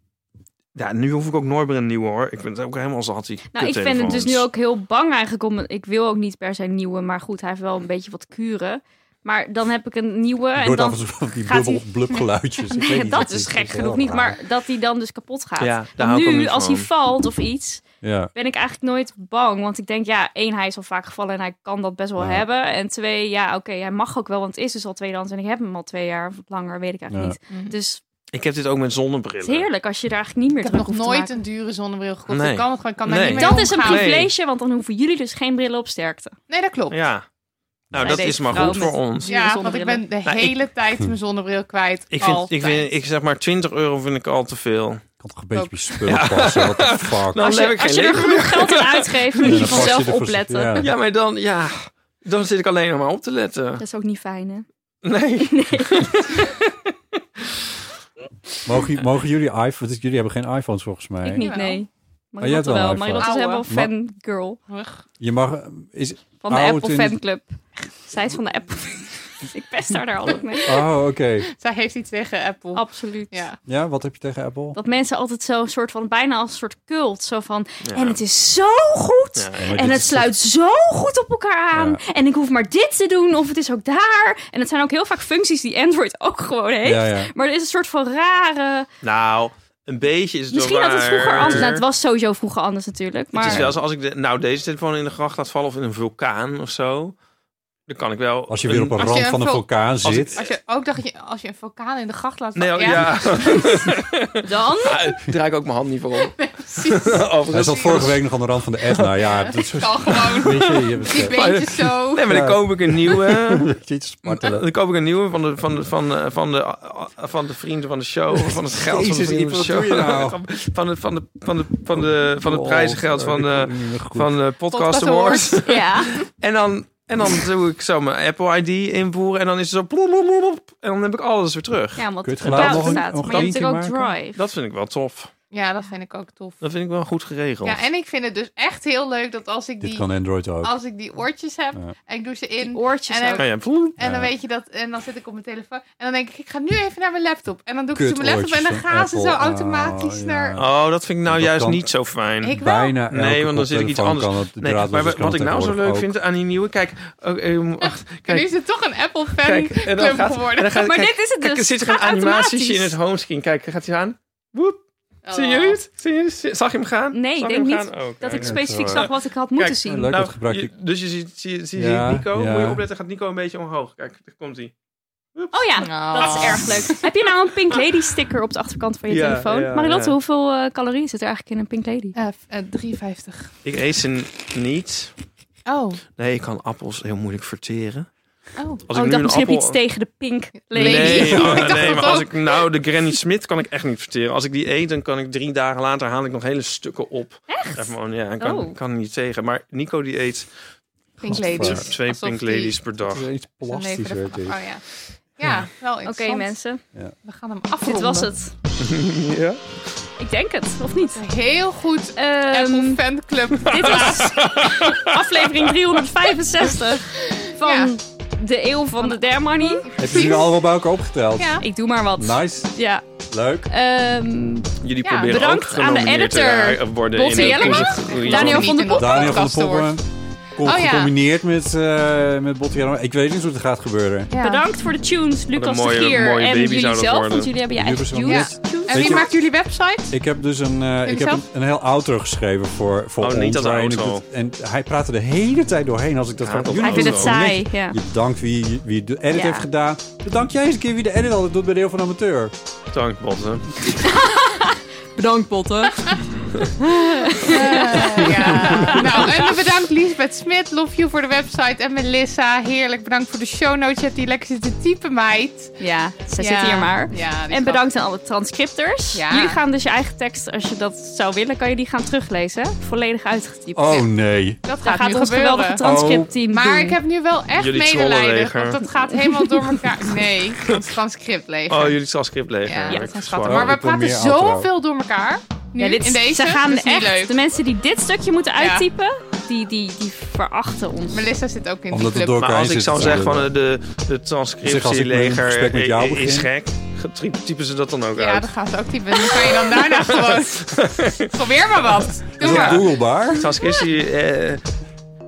Speaker 5: ja, nu hoef ik ook nooit meer een nieuwe hoor. Ik ben het ook helemaal zat die
Speaker 4: Nou, ik ben
Speaker 5: kuttelefoons.
Speaker 4: het dus nu ook heel bang eigenlijk om... Ik wil ook niet per se een nieuwe, maar goed, hij heeft wel een beetje wat kuren. Maar dan heb ik een nieuwe
Speaker 2: Ik
Speaker 4: en
Speaker 2: hoorde af
Speaker 4: dan...
Speaker 2: en toe van die
Speaker 4: gaat
Speaker 2: bubbel
Speaker 4: hij-
Speaker 2: blub geluidjes. Ik weet
Speaker 4: Ja,
Speaker 2: niet,
Speaker 4: dat is
Speaker 2: is
Speaker 4: gek
Speaker 2: heel
Speaker 4: genoeg niet,
Speaker 2: raar.
Speaker 4: maar dat hij dan dus kapot gaat.
Speaker 5: Ja, daar hou ik ook
Speaker 4: nu,
Speaker 5: niet
Speaker 4: als hij
Speaker 5: van.
Speaker 4: valt of iets,
Speaker 2: Ja.
Speaker 4: ben ik eigenlijk nooit bang. Want ik denk, ja, één, hij is al vaak gevallen en hij kan dat best wel
Speaker 2: Ja.
Speaker 4: hebben. En twee, ja, oké, hij mag ook wel, want het is dus al tweedehands. En ik heb hem al twee jaar of langer, weet ik eigenlijk niet. Dus
Speaker 5: Ik heb dit ook met
Speaker 4: het
Speaker 5: zonnebrillen.
Speaker 4: is heerlijk als je daar eigenlijk niet meer
Speaker 3: Ik heb
Speaker 4: druk
Speaker 3: nog
Speaker 4: hoeft te
Speaker 3: nooit
Speaker 4: maken.
Speaker 3: een dure zonnebril gekocht.
Speaker 5: Nee.
Speaker 3: Ik kan het gewoon, ik kan daar
Speaker 5: Nee.
Speaker 3: niet mee
Speaker 4: Dat is een
Speaker 3: omgaan.
Speaker 5: Nee.
Speaker 4: privilege, want dan hoeven jullie dus geen brillen op sterkte.
Speaker 3: Nee, dat klopt.
Speaker 5: Ja. Nou,
Speaker 4: Zij
Speaker 5: dat
Speaker 4: deze
Speaker 5: is maar
Speaker 4: vrouw
Speaker 5: goed
Speaker 4: met-
Speaker 5: voor ons.
Speaker 4: Dure
Speaker 3: Ja, want ik
Speaker 4: zonnebrillen.
Speaker 3: ben de
Speaker 5: Nou, ik-
Speaker 3: hele tijd mijn zonnebril kwijt.
Speaker 5: Ik vind, ik
Speaker 3: Altijd.
Speaker 5: vind, ik zeg maar 20 euro vind ik al te veel.
Speaker 2: Ik kan toch een beetje
Speaker 3: Ook.
Speaker 2: op je spullen passen. What the fuck.
Speaker 5: Nou,
Speaker 4: Als
Speaker 5: heb
Speaker 4: je,
Speaker 5: ik geen
Speaker 4: als je er
Speaker 5: leven
Speaker 4: genoeg geld aan uitgeeft, moet
Speaker 2: Ja,
Speaker 4: je
Speaker 2: dan past
Speaker 4: vanzelf
Speaker 2: ervoor-
Speaker 4: opletten.
Speaker 2: Ja.
Speaker 5: Ja, maar dan, ja, dan zit ik alleen nog maar op te letten.
Speaker 4: Dat is ook niet fijn, hè?
Speaker 5: Nee.
Speaker 2: Mogen, mogen jullie iPhones? want Jullie hebben geen iPhones volgens mij.
Speaker 4: Ik niet,
Speaker 3: Jawel.
Speaker 4: nee.
Speaker 2: jij hebt
Speaker 4: Marilotte
Speaker 2: wel een
Speaker 4: wel.
Speaker 2: iPhone.
Speaker 4: Marilotte is
Speaker 3: Ouwe.
Speaker 4: helemaal fangirl
Speaker 3: Ugh.
Speaker 2: Je mag. Is,
Speaker 4: van de
Speaker 2: Oud
Speaker 4: Apple
Speaker 2: in het-
Speaker 4: fanclub. Zij is van de Apple Ik pest haar daar altijd mee.
Speaker 2: Oh, oké.
Speaker 3: Zij heeft iets tegen Apple.
Speaker 4: Absoluut.
Speaker 3: Ja.
Speaker 2: Ja, wat heb je tegen Apple?
Speaker 4: Dat mensen altijd zo soort van, bijna als een soort cult. Zo van,
Speaker 5: Ja.
Speaker 4: en het is zo goed.
Speaker 5: Ja, ja.
Speaker 2: Maar
Speaker 4: En
Speaker 2: dit
Speaker 4: het
Speaker 2: is-
Speaker 4: sluit zo goed op elkaar aan. En ik hoef maar dit te doen, of het is ook daar. En het zijn ook heel vaak functies die Android ook gewoon heeft.
Speaker 2: Ja, ja.
Speaker 4: Maar er is een soort van rare.
Speaker 5: Nou, een beetje is het
Speaker 4: Misschien
Speaker 5: wel
Speaker 4: had het
Speaker 5: waar.
Speaker 4: vroeger anders. Nou, het was sowieso vroeger anders natuurlijk. Maar
Speaker 5: Het is wel zo, als ik de, nou deze telefoon in de gracht laat vallen of in een vulkaan of zo, dan kan ik wel.
Speaker 2: Als je weer op een
Speaker 3: Als je
Speaker 2: rand
Speaker 3: een
Speaker 2: van een
Speaker 3: vul-
Speaker 2: vulkaan
Speaker 5: ik-
Speaker 2: zit.
Speaker 3: Als je ook dacht, dat je, als je een vulkaan in de gracht laat
Speaker 5: Nee,
Speaker 3: vallen.
Speaker 5: oh, ja.
Speaker 4: dan.
Speaker 5: Ah, Draai ik ook mijn hand niet voor om.
Speaker 3: precies.
Speaker 2: Hij
Speaker 5: Overigens.
Speaker 2: zat vorige week nog aan de rand van de Etna. Ja, dat is
Speaker 3: Ik kan gewoon
Speaker 2: Weet je, je hebt
Speaker 3: die beentjes zo.
Speaker 5: Nee, maar dan koop ik een nieuwe.
Speaker 2: Weet je, iets spartelen.
Speaker 5: Dan koop ik een nieuwe van de, van de, van de, van de, eh, van de vrienden van de show. Van het geld van de
Speaker 2: Jezus,
Speaker 5: vrienden van de
Speaker 2: Iep, wat doe je nou?
Speaker 5: show. Van, de, van, de, van, de, van, de, van
Speaker 2: Oh,
Speaker 5: het prijzengeld van de, van eh, de Podcast
Speaker 3: Podcast
Speaker 5: Awards.
Speaker 4: Ja.
Speaker 5: En dan, en dan doe ik zo mijn Apple ID invoeren. En dan is het zo. plop, plop, plop, plop. en dan heb ik alles weer terug.
Speaker 4: ja, want
Speaker 2: Kun je het
Speaker 4: het
Speaker 2: geluid
Speaker 4: gebouw
Speaker 2: nog een-
Speaker 4: staat.
Speaker 2: nog
Speaker 4: Maar je hebt
Speaker 2: eentje
Speaker 4: natuurlijk ook
Speaker 2: maken?
Speaker 4: Drive.
Speaker 5: Dat vind ik wel tof.
Speaker 3: Ja, dat vind ik ook tof.
Speaker 5: Dat vind ik wel goed geregeld.
Speaker 3: Ja, en ik vind het dus echt heel leuk dat als ik
Speaker 2: Dit
Speaker 3: die,
Speaker 2: kan Android ook.
Speaker 3: als ik die oortjes heb
Speaker 2: Ja.
Speaker 3: en ik doe ze
Speaker 4: Die
Speaker 3: in.
Speaker 4: oortjes.
Speaker 3: En dan-
Speaker 4: ook.
Speaker 5: Kan je-
Speaker 3: En dan
Speaker 2: Ja.
Speaker 3: weet je dat, en dan zit ik op mijn telefoon. En dan denk ik, ik ga nu even naar mijn laptop. En dan doe ik
Speaker 2: Kut
Speaker 3: het op mijn laptop en dan
Speaker 2: oortjes van
Speaker 3: gaan ze zo
Speaker 2: Apple. Ah,
Speaker 3: automatisch
Speaker 2: ja.
Speaker 3: naar.
Speaker 5: Oh, dat vind ik nou
Speaker 2: Dat
Speaker 5: juist
Speaker 2: kan-
Speaker 5: niet zo fijn.
Speaker 3: Ik wel.
Speaker 2: Bijna elke
Speaker 5: Nee, want dan zit ik iets
Speaker 2: koptelefoon
Speaker 5: anders.
Speaker 2: kan dat
Speaker 5: Nee,
Speaker 2: draadloos
Speaker 5: maar
Speaker 2: is, kan
Speaker 5: wat ik
Speaker 2: dat
Speaker 5: nou zo leuk
Speaker 2: dus tegenwoordig
Speaker 5: vind aan die nieuwe, kijk, oh, eh, wacht,
Speaker 3: En nu
Speaker 5: kijk,
Speaker 3: is het toch een Apple fan
Speaker 5: kijk, en dan
Speaker 3: club
Speaker 5: gaat, en
Speaker 3: geworden.
Speaker 5: dan gaat
Speaker 4: Maar
Speaker 5: kijk,
Speaker 4: dit is het
Speaker 5: kijk,
Speaker 4: dus.
Speaker 5: er zit er
Speaker 4: Het
Speaker 5: een
Speaker 4: gaat
Speaker 5: animatietje in
Speaker 4: automatisch.
Speaker 5: het homescreen. Kijk, daar gaat hij aan. Woep.
Speaker 3: Oh.
Speaker 5: Zien jullie het? Zien jullie het? Zag je hem gaan?
Speaker 4: Nee,
Speaker 5: Zag
Speaker 4: ik
Speaker 5: je
Speaker 4: denk
Speaker 5: hem
Speaker 4: niet
Speaker 5: gaan? Oh,
Speaker 4: Dat
Speaker 5: kijk.
Speaker 4: ik specifiek
Speaker 2: zo.
Speaker 4: zag wat ik had moeten
Speaker 5: Kijk,
Speaker 4: zien.
Speaker 2: Leuk
Speaker 5: Nou,
Speaker 2: dat gebruik ik.
Speaker 5: je- dus je ziet, zie, zie,
Speaker 2: Ja,
Speaker 5: zie Nico,
Speaker 2: ja.
Speaker 5: moet je opletten, gaat Nico een beetje omhoog. Kijk, daar komt hij.
Speaker 4: Oh ja,
Speaker 3: Oh.
Speaker 4: dat is erg leuk. Heb je nou een Pink Lady sticker op de achterkant van je
Speaker 5: Ja,
Speaker 4: telefoon?
Speaker 5: ja,
Speaker 4: Marilotte,
Speaker 5: ja.
Speaker 4: hoeveel eh, calorieën zit er eigenlijk in een Pink Lady?
Speaker 3: Eh, f- eh, 3,50.
Speaker 5: Ik eet ze niet.
Speaker 3: Oh,
Speaker 5: Nee, ik kan appels heel moeilijk verteren.
Speaker 3: oh.
Speaker 5: Als
Speaker 4: oh,
Speaker 5: ik
Speaker 4: ik
Speaker 5: nu
Speaker 4: dacht misschien
Speaker 5: een
Speaker 4: heb
Speaker 5: appel...
Speaker 4: je iets tegen de Pink Lady.
Speaker 5: Nee, oh,
Speaker 3: dacht
Speaker 5: nee,
Speaker 3: dat
Speaker 5: maar als
Speaker 3: ook.
Speaker 5: ik nou de Granny Smith kan ik echt niet verteren. Als ik die eet, dan kan ik drie dagen later haal ik nog hele stukken op. Echt? Gewoon, ja, ik kan,
Speaker 4: Oh.
Speaker 5: kan er niet tegen. Maar Nico die eet
Speaker 3: Pink
Speaker 5: twee,
Speaker 3: ladies.
Speaker 5: eh, twee
Speaker 3: Alsof
Speaker 5: Pink
Speaker 3: die
Speaker 5: Ladies per dag.
Speaker 2: Het is iets
Speaker 3: zijn leven
Speaker 2: plastisch,
Speaker 3: ervan-
Speaker 2: weet ik.
Speaker 3: Oh ja. Ja, wel
Speaker 4: Oké
Speaker 3: interessant.
Speaker 4: mensen,
Speaker 3: We gaan hem afronden.
Speaker 4: dit was het.
Speaker 5: Ja?
Speaker 4: Ik denk het, of niet?
Speaker 3: Heel goed Apple
Speaker 4: Ehm,
Speaker 3: fan club.
Speaker 4: dit was aflevering 365 van
Speaker 3: Ja.
Speaker 4: de eeuw van de Dare Money.
Speaker 2: Heb je nu allemaal bij elkaar opgeteld?
Speaker 3: Ja.
Speaker 4: Ik doe maar wat.
Speaker 2: Nice,
Speaker 4: Ja.
Speaker 2: leuk.
Speaker 4: Ehm,
Speaker 5: Jullie
Speaker 3: Ja,
Speaker 5: proberen
Speaker 4: bedankt
Speaker 5: ook
Speaker 4: aan de
Speaker 5: genomineerd te
Speaker 4: editor,
Speaker 5: ra- worden
Speaker 4: Botte
Speaker 5: in de
Speaker 4: Jellema.
Speaker 5: poezen-
Speaker 4: Daniel van der Poel.
Speaker 2: Daniel van de
Speaker 3: Podcast
Speaker 2: Poppen. Kom,
Speaker 3: Oh ja.
Speaker 2: Gecombineerd met, eh met Botti Jellema. Ik weet niet hoe het gaat gebeuren.
Speaker 3: Ja.
Speaker 4: Bedankt voor de tunes, Lucas
Speaker 5: mooie-
Speaker 4: de Gier
Speaker 5: mooie
Speaker 4: en
Speaker 5: baby
Speaker 4: jullie
Speaker 5: zou
Speaker 4: zelf.
Speaker 5: dat worden.
Speaker 4: Want jullie hebben je
Speaker 2: Jullie
Speaker 4: eigen
Speaker 2: hebben zo'n
Speaker 3: net-
Speaker 4: tunes. tunes.
Speaker 3: En
Speaker 2: Weet
Speaker 3: wie
Speaker 2: je-
Speaker 3: maakt jullie website?
Speaker 2: Ik heb dus een, eh, ik heb een,
Speaker 3: zelf?
Speaker 2: een heel outro geschreven voor, voor
Speaker 5: Oh,
Speaker 2: ons.
Speaker 5: niet als
Speaker 2: waarin ik
Speaker 5: outro.
Speaker 2: het- en hij praatte de hele tijd doorheen als ik dat
Speaker 5: Ja,
Speaker 2: van
Speaker 5: dat
Speaker 4: Hij
Speaker 5: Hij
Speaker 4: vindt
Speaker 5: vindt
Speaker 4: het
Speaker 5: Zo. het
Speaker 4: saai. Ja.
Speaker 2: Je bedankt wie, wie de edit
Speaker 4: Ja.
Speaker 2: heeft gedaan. Bedank jij eens een keer wie de edit altijd doet bij Deel van Amateur.
Speaker 5: Dank, Botte.
Speaker 4: Bedankt, Potten.
Speaker 3: ja. Nou, en bedankt Lisbeth Smit. Love you voor de website. En Melissa, heerlijk. Bedankt voor de show notes. Je hebt die lekker zitten typen, meid.
Speaker 4: Ja, ze
Speaker 3: Ja.
Speaker 4: zit hier maar.
Speaker 3: Ja, die
Speaker 4: En
Speaker 3: schat.
Speaker 4: bedankt aan alle transcripters.
Speaker 3: Ja.
Speaker 4: Jullie gaan dus je eigen tekst, als je dat zou willen, kan je die gaan teruglezen. Volledig uitgetypt.
Speaker 2: Oh nee.
Speaker 3: Dat gaat,
Speaker 4: Daar gaat
Speaker 3: nu
Speaker 4: ons
Speaker 3: gebeuren.
Speaker 4: geweldige transcriptteam
Speaker 3: Maar
Speaker 4: doen.
Speaker 3: ik heb nu wel echt
Speaker 5: Jullie
Speaker 3: medelijden.
Speaker 5: trollenleger.
Speaker 3: Want dat gaat helemaal door elkaar. Nee, ons transcript leger.
Speaker 5: Oh, jullie transcript leger.
Speaker 3: ja,
Speaker 5: Ik
Speaker 3: dat zijn
Speaker 5: verzwaar.
Speaker 3: schattig. Maar we
Speaker 2: Ik wil
Speaker 3: praten
Speaker 2: meer outro.
Speaker 3: zoveel door elkaar. Nu,
Speaker 4: Ja, dit,
Speaker 3: in deze.
Speaker 4: ze gaan
Speaker 3: dat is niet
Speaker 4: echt,
Speaker 3: leuk.
Speaker 4: de mensen die dit stukje moeten
Speaker 3: Ja.
Speaker 4: uittypen, die, die, die verachten ons.
Speaker 3: Melissa zit ook in die
Speaker 2: Omdat het
Speaker 3: club.
Speaker 2: door
Speaker 5: Maar
Speaker 2: elkaar
Speaker 5: als ik
Speaker 2: zit
Speaker 5: zou
Speaker 2: te
Speaker 5: zeggen van
Speaker 2: lullen.
Speaker 5: eh, de, de
Speaker 2: Zeg, als ik met een gesprek
Speaker 5: transcriptieleger eh,
Speaker 2: met jou
Speaker 5: i- i- is
Speaker 2: begin.
Speaker 5: gek, ge- typen ze dat dan ook
Speaker 3: Ja,
Speaker 5: uit?
Speaker 3: dat gaan ze ook typen. Dan kan je dan daarna gewoon... Probeer maar wat. Doe
Speaker 2: Is dat
Speaker 3: maar.
Speaker 2: googlebaar?
Speaker 5: Transcriptie... eh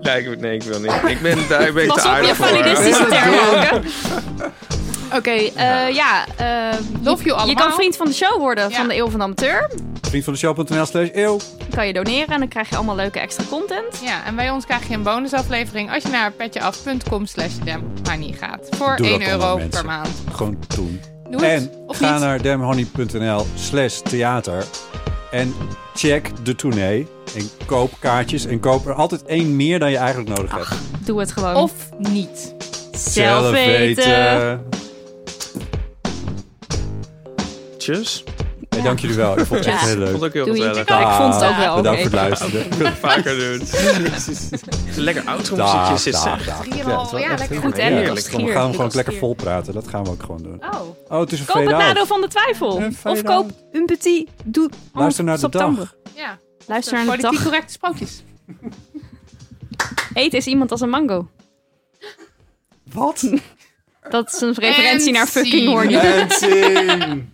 Speaker 5: nee, ik, nee, ik wil niet. Ik ben daar een beetje
Speaker 4: Pas
Speaker 5: te
Speaker 4: op,
Speaker 5: aardig
Speaker 4: je
Speaker 5: voor.
Speaker 4: validistische termen ook, hè? Oké, eh, ja. eh,
Speaker 3: Love you
Speaker 4: je
Speaker 3: allemaal.
Speaker 4: kan vriend van de show worden
Speaker 3: Ja.
Speaker 4: van de Eeuw van de Amateur.
Speaker 2: Vriend van de show.nl slash eeuw.
Speaker 4: Dan kan je doneren en dan krijg je allemaal leuke extra content.
Speaker 3: Ja, en bij ons krijg je een bonusaflevering als je naar petjeaf.com slash demhoney gaat. Voor
Speaker 2: Doe dat
Speaker 3: 1
Speaker 2: allemaal,
Speaker 3: euro
Speaker 2: mensen.
Speaker 3: per maand.
Speaker 2: Gewoon doen.
Speaker 3: Doe
Speaker 2: En
Speaker 3: het, of
Speaker 2: ga
Speaker 3: niet.
Speaker 2: naar demhoney.nl slash theater. En check de tournee. En koop kaartjes. En koop er altijd één meer dan je eigenlijk nodig hebt.
Speaker 4: Doe het gewoon.
Speaker 3: Of niet.
Speaker 4: zelf
Speaker 2: Eh,
Speaker 5: Tjus.
Speaker 2: Hey, dank jullie wel. Ik vond het
Speaker 4: Ja.
Speaker 2: echt heel
Speaker 5: Vond
Speaker 2: leuk. Ah,
Speaker 5: ook heel
Speaker 4: Doei.
Speaker 5: gezellig.
Speaker 4: Ik vond het ook wel.
Speaker 2: Bedankt voor
Speaker 4: oké.
Speaker 2: het luisteren.
Speaker 5: Vaker doen. Het is Lekker oud om
Speaker 2: Dag,
Speaker 5: zitten.
Speaker 2: dag,
Speaker 5: zeg.
Speaker 2: dag.
Speaker 3: Drieënhalf,
Speaker 2: Ja, het is wel
Speaker 3: ja,
Speaker 2: echt
Speaker 3: lekker
Speaker 2: heel
Speaker 4: goed, hè?
Speaker 2: heerlijk.
Speaker 4: Dat was
Speaker 2: We
Speaker 4: schier.
Speaker 2: gaan hem
Speaker 4: Dat
Speaker 2: gewoon
Speaker 4: was
Speaker 2: lekker
Speaker 4: schier.
Speaker 2: vol praten. Dat gaan we ook gewoon doen.
Speaker 3: Oh.
Speaker 2: Oh, het is een
Speaker 4: Koop het
Speaker 2: fade-out.
Speaker 4: nadeel van de twijfel.
Speaker 2: Een
Speaker 4: Of
Speaker 2: fade-out.
Speaker 4: koop een petit doe
Speaker 2: Luister naar de
Speaker 4: september.
Speaker 2: dag.
Speaker 3: Ja,
Speaker 4: Luister naar de
Speaker 3: politiek
Speaker 4: dag.
Speaker 3: correcte sprookjes.
Speaker 4: Eten is iemand als een mango.
Speaker 2: Wat?
Speaker 4: Dat is een referentie naar fucking
Speaker 3: zien.
Speaker 4: horny.
Speaker 2: En zien.